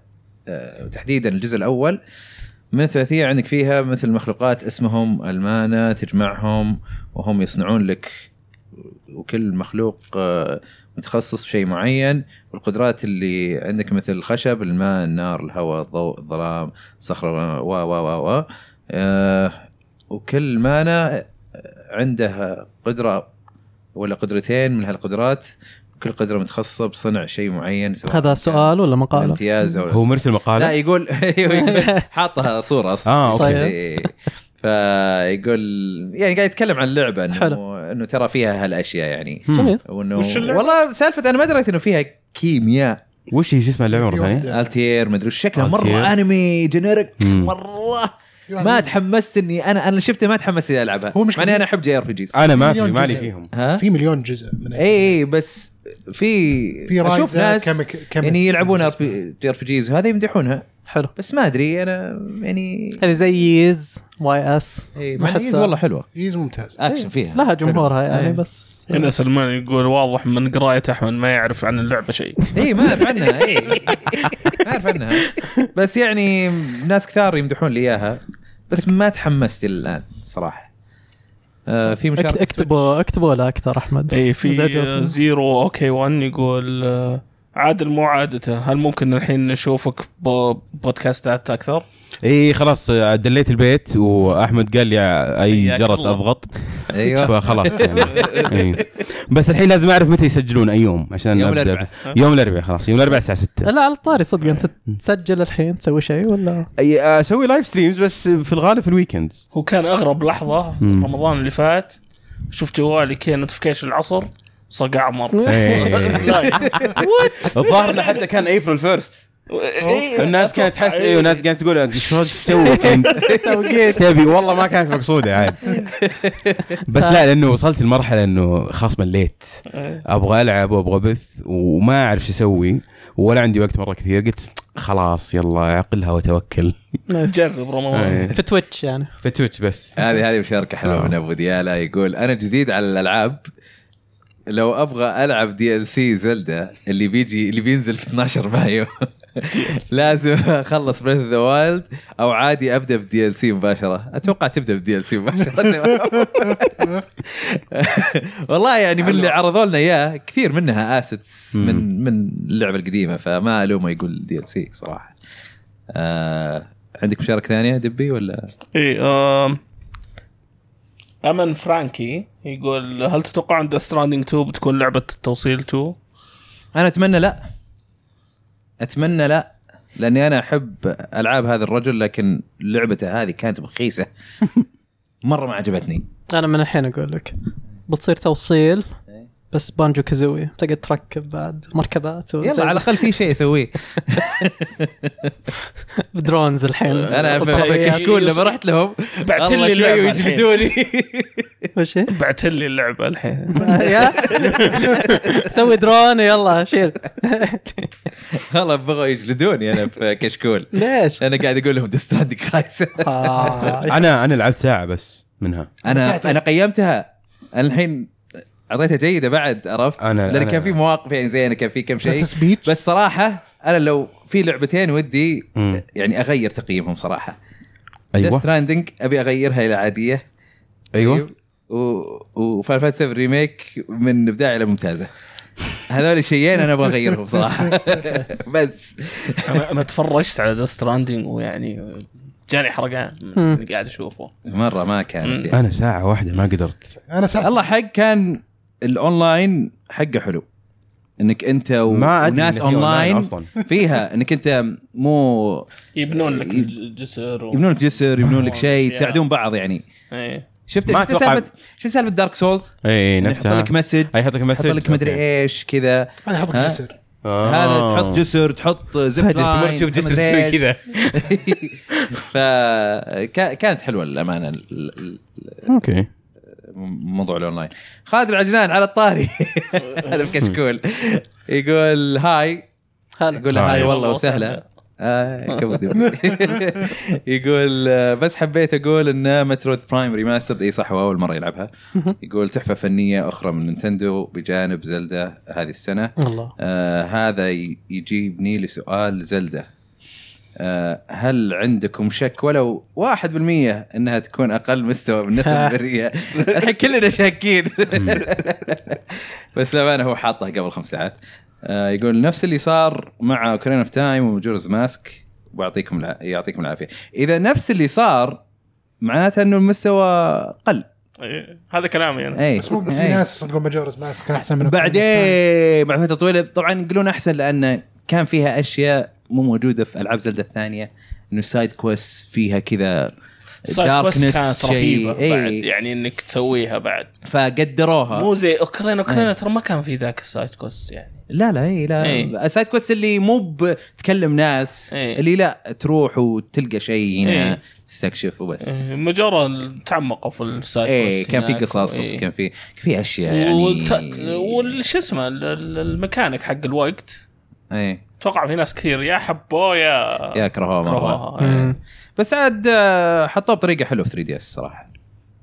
آه، وتحديدا الجزء الاول من الثلاثيه عندك فيها مثل مخلوقات اسمهم المانا تجمعهم وهم يصنعون لك وكل مخلوق آه، متخصص بشيء معين والقدرات اللي عندك مثل الخشب الماء النار الهواء الضوء الظلام صخره و و و و آه، وكل مانا عنده قدره ولا قدرتين من هالقدرات كل قدره متخصصه بصنع شيء معين سواء هذا كان سؤال ولا مقاله؟ امتياز او هو مرسل لا مقاله يقول يقول- حاطها صوره اصلا آه، أوكي. طيب. إيه. فيقول يعني قاعد يتكلم عن اللعبه حلو. انه انه ترى فيها هالاشياء يعني هم. جميل وانه وش اللعبة؟ والله سالفه انا ما دريت انه فيها كيمياء وش هي شو اسمها اللعبه في مره ثانيه؟ واحدة- التير مدري وش شكلها Altair. مره انمي جينيرك مم. مره في واحدة- ما تحمست اني انا انا شفته ما تحمست اني العبها هو مشكلة- مع اني انا احب جي ار بي جيز انا ما في مليون مالي جزء. فيهم ها في مليون جزء من اي اي بس في في اشوف رايزا ناس كمك كمس- يعني يلعبون جي ار بي جيز وهذا يمدحونها حلو بس ما ادري انا يعني هذه زي ييز واي اس إيه، ما مع أحسها. إنيز والله حلوه ايز ممتاز اكشن فيها لها جمهورها حلو. يعني إيه. بس هنا سلمان يقول واضح من قرايه احمد ما يعرف عن اللعبه شيء اي ما اعرف عنها اي ما اعرف عنها بس يعني ناس كثار يمدحون لي اياها بس ما تحمست إلى الان صراحه آه في اكت- مشاركه اكتبوا اكتبوا لها اكثر احمد اي إيه، في زادوا- زيرو اوكي 1 يقول آه، عادل مو عادته هل ممكن الحين نشوفك بودكاستات اكثر؟ اي خلاص دليت البيت واحمد قال لي اي أيوه. حياك جرس الله. اضغط ايوه فخلاص يعني إي. بس الحين لازم اعرف متى يسجلون اي يوم عشان يوم أبدأ. الأربعاء. يوم الاربعاء خلاص يوم الاربعاء الساعه 6 لا على الطاري صدق انت تسجل الحين تسوي شيء ولا اي اسوي لايف ستريمز بس في الغالب في الويكندز هو كان اغرب لحظه مم. رمضان اللي فات شفت جوالي كذا نوتيفيكيشن العصر صقع مره إيه. الظاهر انه حتى كان ابريل فيرست إيه، الناس أتوقع كانت تحس إيه. اي والناس كانت تقول شو تسوي انت إيش تبي والله ما كانت مقصوده عاد بس لا لانه وصلت لمرحله انه خلاص مليت ابغى العب وابغى بث وما اعرف شو اسوي ولا عندي وقت مره كثير قلت خلاص يلا عقلها وتوكل نايس. جرب إيه. رمضان في تويتش يعني في تويتش بس هذه هذه مشاركه حلوه من ابو ديالا يقول انا جديد على الالعاب لو ابغى العب دي ال سي زلدا اللي بيجي اللي بينزل في 12 مايو لازم اخلص بريث ذا وايلد او عادي ابدا بدي ال سي مباشره اتوقع تبدا بدي ال سي مباشره والله يعني من اللي عرضوا لنا اياه كثير منها اسيتس من من اللعبه القديمه فما الومه يقول دي ال سي صراحه آه عندك مشاركه ثانيه دبي ولا اي إيه، آم، امن فرانكي يقول هل تتوقعون ذا ستراندنج 2 بتكون لعبه التوصيل 2؟ انا اتمنى لا اتمنى لا لاني انا احب العاب هذا الرجل لكن لعبته هذه كانت بخيسه مره ما عجبتني انا من الحين اقول لك بتصير توصيل بس بانجو كازوي تقعد تركب بعد مركبات وزي- يلا على الاقل في شيء اسويه درونز الحين انا في- في طيب. كشكول لما رحت لهم بعت والله لي شوي اللعبه الحين ويجلدوني وش هي؟ بعت لي اللعبه الحين يا سوي درون يلا شيل والله بغوا يجلدوني انا في كشكول ليش؟ انا قاعد اقول لهم ديستراندك خايسه آه، انا انا لعبت ساعه بس منها انا انا قيمتها انا الحين اعطيتها جيده بعد عرفت؟ أنا- لان أنا- كان في مواقف يعني زينه كان في كم شيء بس سبيتش بس صراحه انا لو في لعبتين ودي مم. يعني اغير تقييمهم صراحه ذا ايوه ستراندنج ابي اغيرها الى عاديه ايوه طيب. و... وفاير فانتسي 7 ريميك من ابداع الى ممتازه هذول الشيئين انا ابغى اغيرهم صراحه بس انا انا تفرجت على ذا ستراندنج ويعني جاني حرقان من اللي قاعد اشوفه مره ما كانت مم. يعني. انا ساعه واحده ما قدرت انا ساعه الله حق كان الاونلاين حقه حلو انك انت و... ما أدري وناس إن في أونلاين اونلاين أصلاً. فيها انك انت مو يبنون لك ي- جسر و... يبنون لك جسر يبنون لك شيء أشياء. تساعدون بعض يعني إيه. شفت ما شفت أتوقع- سالفه شفت سالفه دارك سولز اي يحط إيه، نفسها لك مسج اي يحط يعني لك يحط مسج لك مدري ايش كذا هذا حط ها؟ إيه. جسر آه. هذا تحط جسر تحط زب فجاه لاين، تمر تشوف جسر مدري مسوي إيش. كذا فكانت حلوه للامانه ال- ال- اوكي موضوع الاونلاين خالد العجلان على الطاري هذا بكشكول يقول هاي خالد يقول له هاي هاي. والله وسهلا آه، كبد. يقول آه، بس حبيت اقول ان مترويد برايم ريماسترد اي صح هو اول مره يلعبها يقول تحفه فنيه اخرى من نينتندو بجانب زلدة هذه السنه والله آه هذا ي- يجيبني لسؤال زلدة آه هل عندكم شك ولو 1% انها تكون اقل مستوى من النسخ البريه؟ الحين كلنا شاكين بس للامانه هو حاطها قبل خمس ساعات آه يقول نفس اللي صار مع اوكرين اوف تايم وجورز ماسك ويعطيكم الع... يعطيكم العافيه اذا نفس اللي صار معناته انه المستوى قل إيه، إيه. هذا كلامي انا اي بس مو في أي. ناس صدقوا ماجورز ماسك كان احسن من بعدين إيه. بعد فتره طويله طبعا يقولون احسن لان كان فيها اشياء مو موجوده في العاب زلده الثانيه انه سايد كويست فيها كذا سايد كويست darkness كانت شيء. إيه. رهيبه بعد اي يعني انك تسويها بعد فقدروها مو زي اوكرين إيه. اوكرين ترى ما كان في ذاك السايد كويست يعني لا لا اي لا إيه. سايد كويست اللي مو بتكلم ناس إيه. اللي لا تروح وتلقى شيء هنا إيه. تستكشف وبس مجرد تعمقوا في السايد اي كويست إيه. كان في هناك. قصص إيه. وكان في كان في اشياء والت... يعني والش اسمه ال- ال- الميكانيك حق الوقت اي اتوقع في ناس كثير يا حبوه يا إيه. يا كرهوها مره آه. كرهوها. إيه. بس عاد آه، حطوه بطريقه حلوه في 3 دي اس صراحه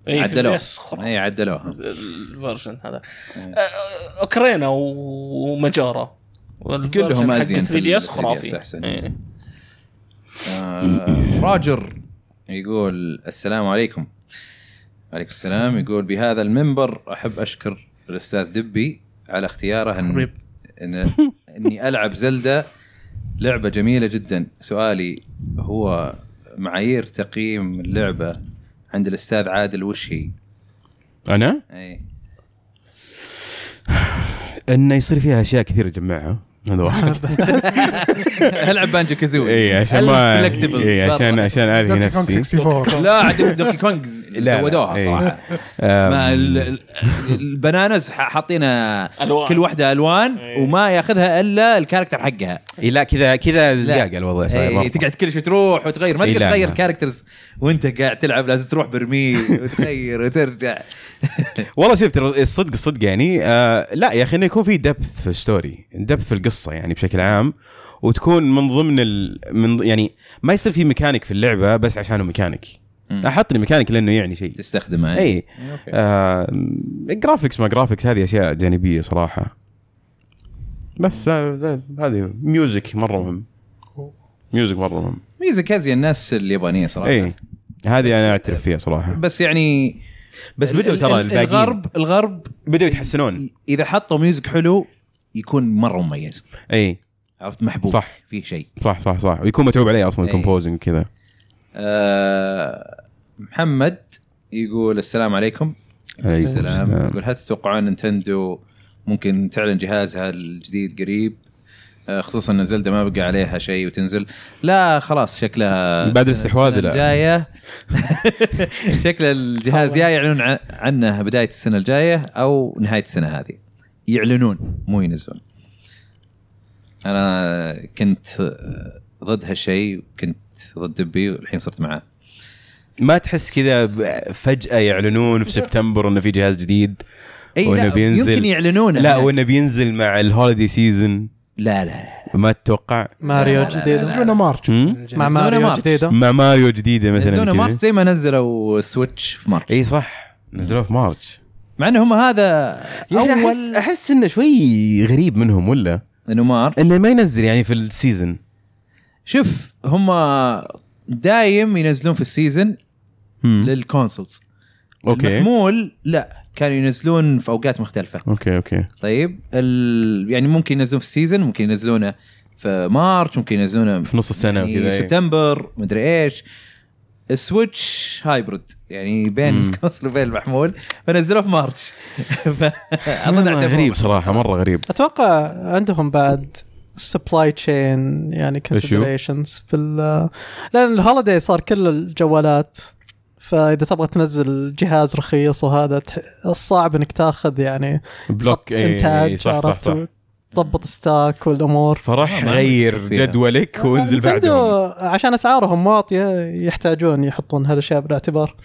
إيه، عدلوها 3DS خرافي. اي عدلوها الفيرجن هذا إيه. آه، اوكرينا و- ومجارة والفيرجن كلهم حق أزين في 3 دي اس 3DS خرافي أحسن. إيه. آه، راجر يقول السلام عليكم عليكم السلام يقول بهذا المنبر احب اشكر الاستاذ دبي على اختياره ان, حبيب. إن اني العب زلدة لعبه جميله جدا سؤالي هو معايير تقييم اللعبه عند الاستاذ عادل إيه. وش هي؟ انا اي انه يصير فيها اشياء كثير تجمعها هذا واحد العب بانجو كازوي اي إيه، عشان ما الكولكتبلز. اي عشان عشان الهي دونكي كونغ نفسي 64 لا عاد دوكي كونج لا، زودوها إيه. صراحه ما ال- ال- البنانز ح- حاطينها ألوان. كل واحده الوان إيه. وما ياخذها الا الكاركتر حقها إي إيه، لا كذا كذا زقاق الوضع صاير إيه، مرة. تقعد كل شوي تروح وتغير ما إيه، تقدر لا، تغير ما. كاركترز وانت قاعد تلعب لازم تروح برميل وتغير وترجع والله شفت الصدق الصدق يعني آه لا يا اخي انه يكون في دبث في الستوري دبث في القصه يعني بشكل عام وتكون من ضمن ال... من يعني ما يصير في ميكانيك في اللعبه بس عشانه ميكانيك مم. إيه. احط لي ميكانيك لانه يعني شيء إيه. تستخدمها اي أوكي. آه جرافيكس ما جرافيكس هذه اشياء جانبيه صراحه بس آه، ذا- هذه ميوزك مره مهم ميوزك مره مهم ميوزك هذه الناس اليابانيه صراحه اي هذه انا اعترف فيها صراحه بس يعني بس ال- بدوا ال- ترى ال- الباقيين. الغرب الغرب بدأوا يتحسنون ي- اذا حطوا ميوزك حلو يكون مره مميز اي عرفت محبوب صح. فيه شيء إيه، صح صح صح ويكون متعوب عليه اصلا إي. الكومبوزنج كذا آه، محمد يقول السلام عليكم عليكم السلام السلام. يقول هل تتوقعون نينتندو ممكن تعلن جهازها الجديد قريب آه، خصوصا ان زلده ما بقى عليها شيء وتنزل لا خلاص شكلها بعد الاستحواذ السنة لا. الجايه شكل الجهاز يا يعلنون عن- عنه بدايه السنه الجايه او نهايه السنه هذه يعلنون مو ينزلون انا كنت آه، ضد هالشيء وكنت ضد دبي والحين صرت معاه ما تحس كذا ب- فجاه يعلنون في سبتمبر انه في جهاز جديد اي وإنه إيه، لا بينزل- يمكن يعلنونه لا لا وانه بينزل مع الهوليدي سيزون لا لا ما تتوقع ماريو لا، لا، لا، جديد ينزلونه مارتش مم. السنة الجاية. مع ينزلونه ماريو مارس. جديده مع ماريو جديده مثلا ينزلونه كذا. مارس زي ما نزلوا سويتش في مارس اي صح نزلوه في مارتش مع انهم هذا اول اول احس انه شوي غريب منهم ولا انه مارس انه ما ينزل يعني في السيزون شوف هم دايم ينزلون في السيزون للكونسولز اوكي المحمول لا كانوا ينزلون في اوقات مختلفه اوكي اوكي طيب ال... يعني ممكن ينزلون في السيزون ممكن ينزلونه في مارش ممكن ينزلونه في نص السنه يعني وكذا إيه. إي. سبتمبر مدري ايش السويتش هايبرد يعني بين مم. الكونسل وبين المحمول فنزلوه في مارش ف- أظن والله اعتبروه غريب صراحه مره غريب اتوقع عندهم بعد سبلاي تشين يعني كونسيدريشنز بال لان الهوليداي صار كل الجوالات فاذا تبغى تنزل جهاز رخيص وهذا تح- صعب انك تاخذ يعني بلوك خط اي إي، إيه، صح صح عرفت؟ صح تضبط ستاك والامور فراح ما غير عندك فيها. جدولك وانزل نتندو بعدهم عشان اسعارهم واطيه يحتاجون يحطون هالاشياء بالاعتبار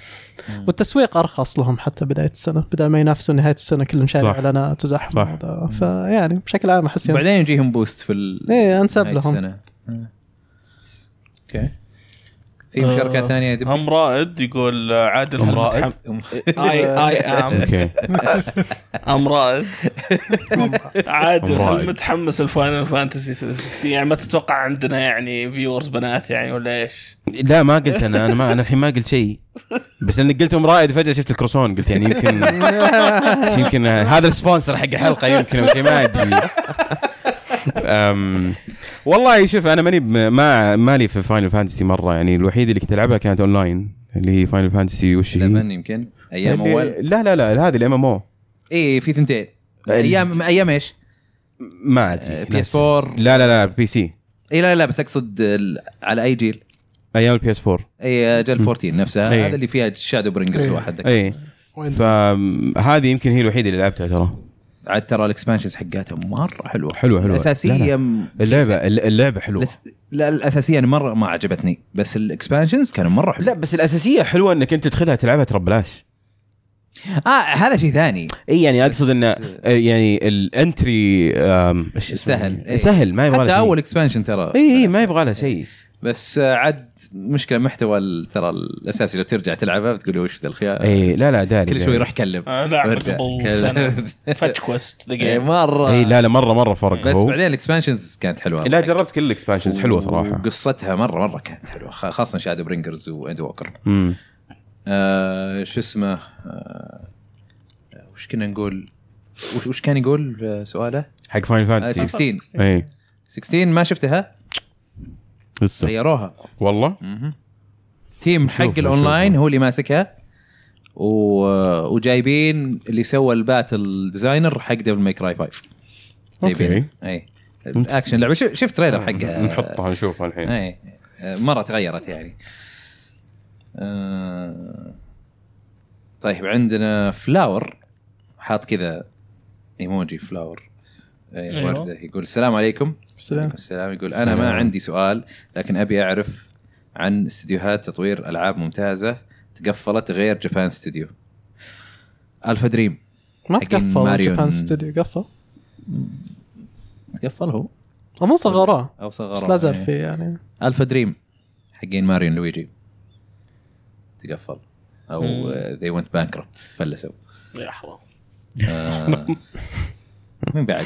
مم. والتسويق ارخص لهم حتى بدايه السنه بدل ما ينافسون نهايه السنه كلهم شارع صح. اعلانات وزحمه صح. وهذا. فيعني بشكل عام احس ينس- بعدين يجيهم بوست في ال... ايه انسب نهاية لهم السنة. آه. اوكي في مشاركات آه، ثانيه يا دبي؟ هم رائد يقول آه، عادل هم رائد؟ المتحم- أم- اي اي ام اوكي ام رائد عادل أم رائد. هل متحمس الفاينل فانتسي 16 يعني ما تتوقع عندنا يعني فيورز بنات يعني ولا ايش؟ لا ما قلت انا انا ما انا الحين ما قلت شيء بس لانك قلت ام رائد فجاه شفت الكروسون قلت يعني يمكن يمكن هذا السبونسر حق الحلقه يمكن او شيء ما ادري أم، والله شوف انا ماني بم- ما مالي في فاينل فانتسي مره يعني الوحيده اللي كنت العبها كانت اونلاين اللي هي فاينل فانتسي وش هي؟ 11 يمكن ايام اللي- اول لا لا لا هذه الام ام او اي في ثنتين ال- ايام ايام ايش؟ ما ادري بي اس 4 لا لا لا بي سي اي إيه، لا لا بس اقصد ال- على اي جيل ايام البي اس 4 اي جيل 14 نفسها إيه. هذا اللي فيها شادو برينجرز إيه. واحد ذاك. اي وين فهذه يمكن هي الوحيده اللي لعبتها ترى عاد ترى الاكسبانشنز حقتها مره حلوه حلوة، حلوة. لا، الاساسيه لا. م- اللعبه اللعبه حلوه لس- لا الاساسيه أنا مره ما عجبتني بس الاكسبانشنز كانوا مره حلوة لا بس الاساسيه حلوه انك انت تدخلها تلعبها ترى ببلاش اه هذا شيء ثاني اي يعني اقصد بس- انه آه، يعني الانتري آم، ايش اسمه؟ سهل، إي. سهل ما يبغى حتى لها اول شيء اكسبانشن ترى اي اي ما يبغى لها شيء بس آه، عاد مشكله محتوى ال- ترى الاساسي لو ترجع تلعبها بتقول وش ذا الخيار اي لا لا داري آه، كل داري. شوي روح كلم آه، لعبة وارجع. قبل كلم. سنة. فتش كويست ذا إيه، جيم مره اي لا لا مره مره فرق بس هو بعدين الاكسبانشنز كانت حلوه لا جربت كل الاكسبانشنز حلوه صراحه قصتها مره مره كانت حلوه خ- خاصه شادو برينجرز واند ووكر امم آه شو اسمه آه وش كنا نقول وش- وش كان يقول آه، سؤاله؟ حق فاينل آه فانتسي 16 اي 16 ما شفتها لسه غيروها والله مهم. تيم حق نشوف. الاونلاين هو اللي ماسكها و... وجايبين اللي سوى الباتل ديزاينر حق ديفل ماي كراي 5 جايبينه. إيه. اي اكشن لعبه شف- شفت تريلر حقها نحطها نشوفها الحين اي مره إيه. آه، تغيرت يعني آه، طيب عندنا فلاور حاط كذا ايموجي فلاور أي، أيوة. ورده يقول السلام عليكم سلام عليكم السلام يقول انا ما عندي سؤال لكن ابي اعرف عن استديوهات تطوير العاب ممتازه تقفلت غير جابان ستوديو الفا دريم ما حقين تقفل ماريون. جابان ستوديو قفل تقفل هو هم صغروه او بس صغر إيه. لا زال في يعني الفا دريم حقين ماريون لويجي تقفل او مم. ذي ونت بانكربت فلسوا يا حرام آه، مين بعد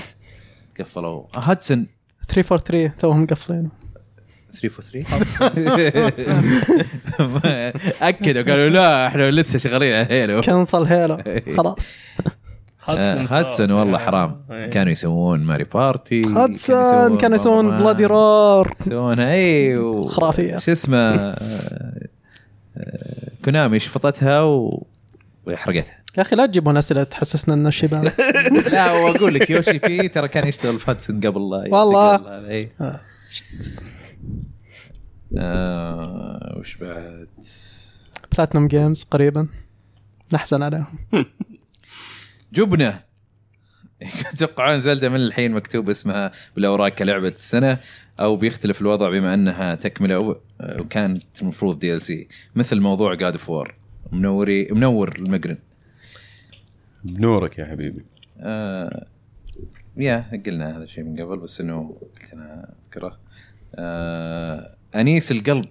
قفلوا آه، هاتسون 343 توهم مقفلين 343 اكدوا قالوا لا احنا لسه شغالين على هيلو كنسل هيلو إيه. خلاص آه، صار. هاتسون والله حرام إيه. كانوا يسوون ماري بارتي هاتسون كانوا يسوون بابا بلادي مان. رار يسوونها اي و... خرافية. أيوه. شو اسمه آه، آه، كونامي شفطتها و... وحرقتها يا اخي لا تجيبون اسئله تحسسنا ان الشيبان لا واقول لك يوشي بي ترى كان يشتغل في هاتسون قبل لا إيه. يعتقل والله. هذا، إي. آه. آه وش بعد بلاتنم جيمز قريبا نحزن عليهم جبنه يتوقعون زلدة من الحين مكتوب اسمها بالاوراق كلعبه السنه او بيختلف الوضع بما انها تكمله و- آه، وكانت المفروض دي ال سي مثل موضوع جاد اوف وور منوري منور المقرن بنورك يا حبيبي آه يا قلنا هذا الشيء من قبل بس انه قلت انا اذكره آه انيس القلب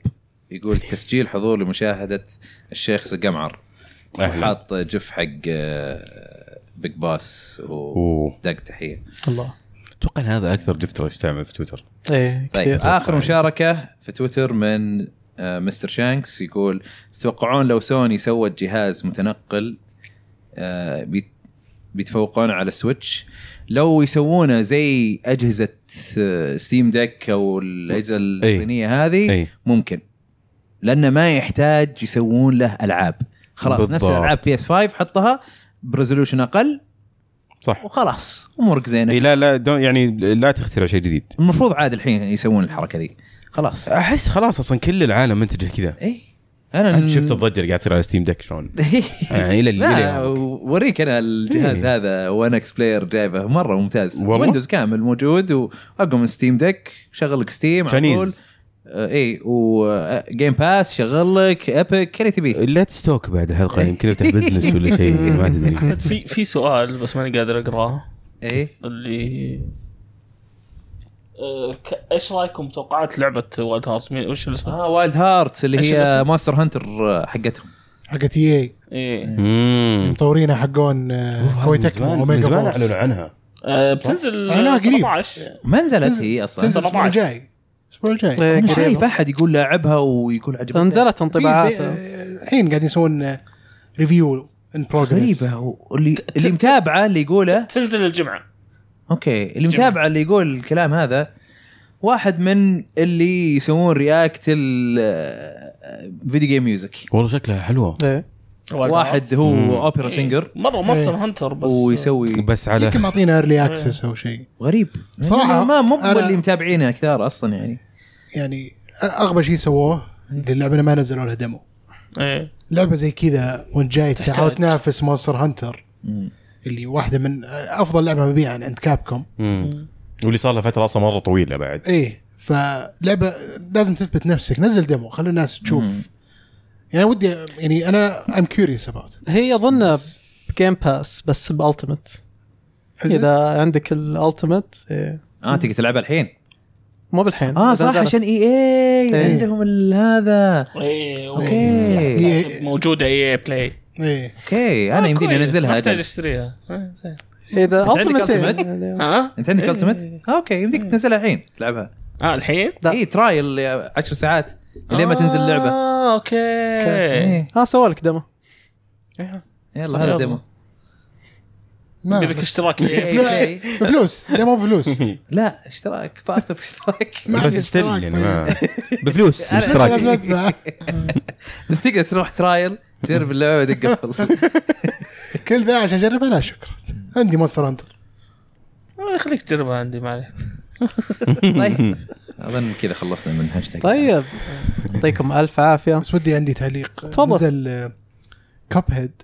يقول تسجيل حضور لمشاهده الشيخ سقمعر اهلا حاط جف حق آه، بيج باس و اوه دق تحيه الله اتوقع إن هذا اكثر جفتر ايش تعمل في تويتر ايه طيب كثير يعني. اخر مشاركه في تويتر من آه، مستر شانكس يقول تتوقعون لو سوني سوت جهاز متنقل آه، بيت- بيتفوقون على سويتش لو يسوونه زي اجهزه آه، ستيم ديك او الاجهزه الصينيه هذه اي ممكن لانه ما يحتاج يسوون له العاب خلاص نفس بالضبط. العاب بي اس 5 حطها برزولوشن اقل صح وخلاص امورك زينه اي لا لا دون- يعني لا تخترع شيء جديد المفروض عاد الحين يسوون الحركه دي خلاص احس خلاص اصلا كل العالم منتجه كذا اي انا انت شفت الضجه اللي قاعد تصير على ستيم ديك شلون آه، الى ال- لا الى اوريك انا الجهاز إيه. هذا وان اكس بلاير جايبه مره ممتاز والله؟ ويندوز كامل موجود واقوى من ستيم ديك شغل لك ستيم على طول Chinese. آه، اي وجيم باس شغل لك ايبك اللي تبيه لا تستوك بعد الحلقه يمكن افتح بزنس ولا شيء ما تدري احمد في في سؤال بس ماني قادر اقراه اي اللي آه، ك- ايش رايكم توقعات لعبه وايلد هارت وش اللي صار؟ اه وايلد هارت اللي إيش هي الاسم؟ ماستر هانتر حقتهم حقت اي ايه مم. مطورينها حقون آه، كويتك من زمان- من اوميجا زمان فورس اعلنوا عنها آه، بتنزل آه، لا، قريب. 17 ما نزلت تنزل- هي اصلا تنزل الاسبوع 17. الجاي الاسبوع الجاي إيه، انا قريبة. شايف احد يقول لاعبها ويقول عجبتني نزلت في- انطباعاته آه، الحين قاعدين يسوون آه، ريفيو ان بروجرس غريبه واللي اللي متابعه اللي يقوله تنزل الجمعه اوكي اللي متابعه اللي يقول الكلام هذا واحد من اللي يسوون آه، رياكت الفيديو جيم ميوزك والله شكلها حلوه ايه Wild واحد مم. هو اوبرا Heart. سينجر إيه. مره ماستر إيه. هانتر بس ويسوي بس على يمكن معطينا ايرلي اكسس او شيء غريب يعني صراحة ما مو هو أنا- اللي متابعينه كثار اصلا يعني يعني أ- اغبى شيء سووه إيه. ذي اللعبه إنه ما نزلوا لها ديمو ايه لعبه زي كذا وانت جاي تحتاج. تحاول تنافس مونستر هانتر مم. اللي واحده من آه، افضل لعبه مبيعا عند كابكوم مم. واللي صار لها فتره اصلا مره طويله بعد ايه فلعبه لازم تثبت نفسك نزل ديمو خلي الناس تشوف يعني ودي يعني انا ام كيوريوس اباوت هي اظن بجيم باس بس بالتمت اذا عندك الالتمت إيه. اه تقدر تلعبها الحين مو بالحين اه إذا صح نزلت. عشان اي اي إيه. عندهم ال- هذا ايه اوكي هي موجوده اي بلاي ايه اوكي آه، انا يمديني انزلها احتاج أجل. اشتريها إيه، زين. اذا عندك التمت Ultimate؟ إيه. ها انت عندك إيه. التمت؟ اوكي يمديك تنزلها الحين تلعبها اه الحين لا. اي ترايل 10 ساعات لين آه. ما تنزل اللعبه اه اوكي إيه. اه سووا لك دمو يلا هذا يلا. ديمو ما يبي لك اشتراك EA. إيه. بفلوس ديمو بفلوس لا اشتراك فاكتب اشتراك ما بس عندي استني اشتراك يعني طيب. ما بفلوس أنا- بس اشتراك. لازم ادفع تقدر تروح ترايل جرب اللعبه بعدين قفل كل ذا عشان اجربها لا شكرا عندي مونستر هانتر آه، خليك تجربها عندي ما عليك طيب اظن كذا خلصنا من هاشتاج طيب يعطيكم الف عافيه بس ودي عندي تعليق تفضل. نزل آه، كاب هيد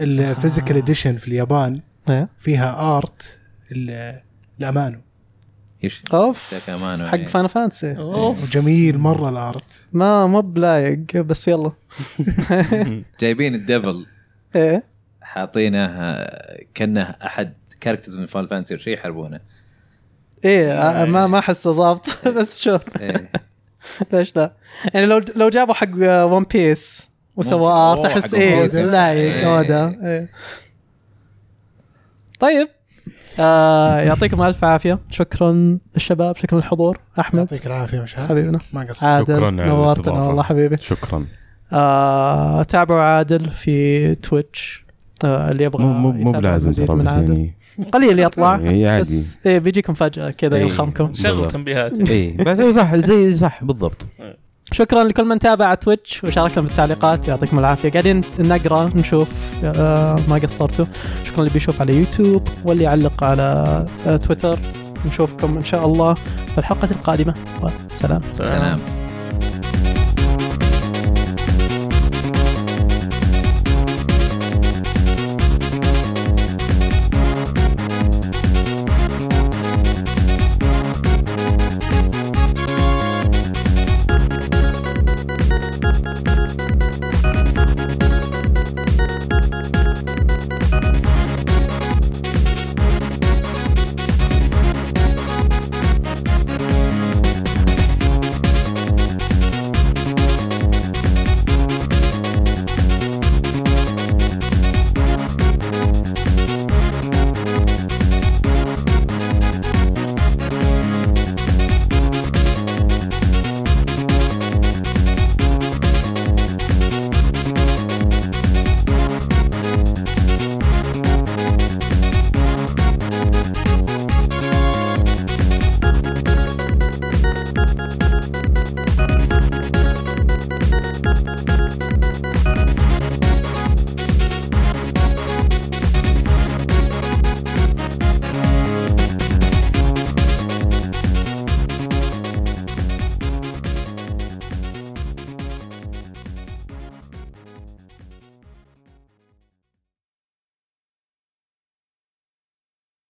الفيزيكال اديشن في اليابان إيه. فيها ارت ال- الامانو ايش اوف ذاك أمانة. حق فان فانسي اوف وجميل مره الارت ما مو بلايق بس يلا جايبين الديفل ايه حاطينه كانه احد كاركترز من فان فانسي شيء يحاربونه ايه آه، ما ما احسه ضابط بس شو إيه. ليش لا؟ يعني لو لو جابوا حق ون بيس وسووا ممكن. ارت أوه، احس حق ايه One Piece. لايق إيه. اودا إيه. طيب آه يعطيكم الف عافيه شكرا الشباب شكرا الحضور احمد يعطيك العافيه مشعل حبيبنا ما قصرت شكراً عادل على نورتنا الاستضافة. والله حبيبي شكرا آه تابعوا عادل في تويتش آه اللي يبغى مو مو مو يتابع بلازم مزيد ترى من بس عادل يعني قليل يطلع إيه، عادي. بس إيه بيجيكم فجاه كذا يلخمكم شغل تنبيهات اي بس إيه صح زي صح بالضبط شكرا لكل من تابع على تويتش وشاركنا بالتعليقات يعطيكم العافيه قاعدين نقرا نشوف آه، ما قصرتوا شكرا اللي بيشوف على يوتيوب واللي يعلق على آه، تويتر نشوفكم ان شاء الله في الحلقه القادمه والسلام سلام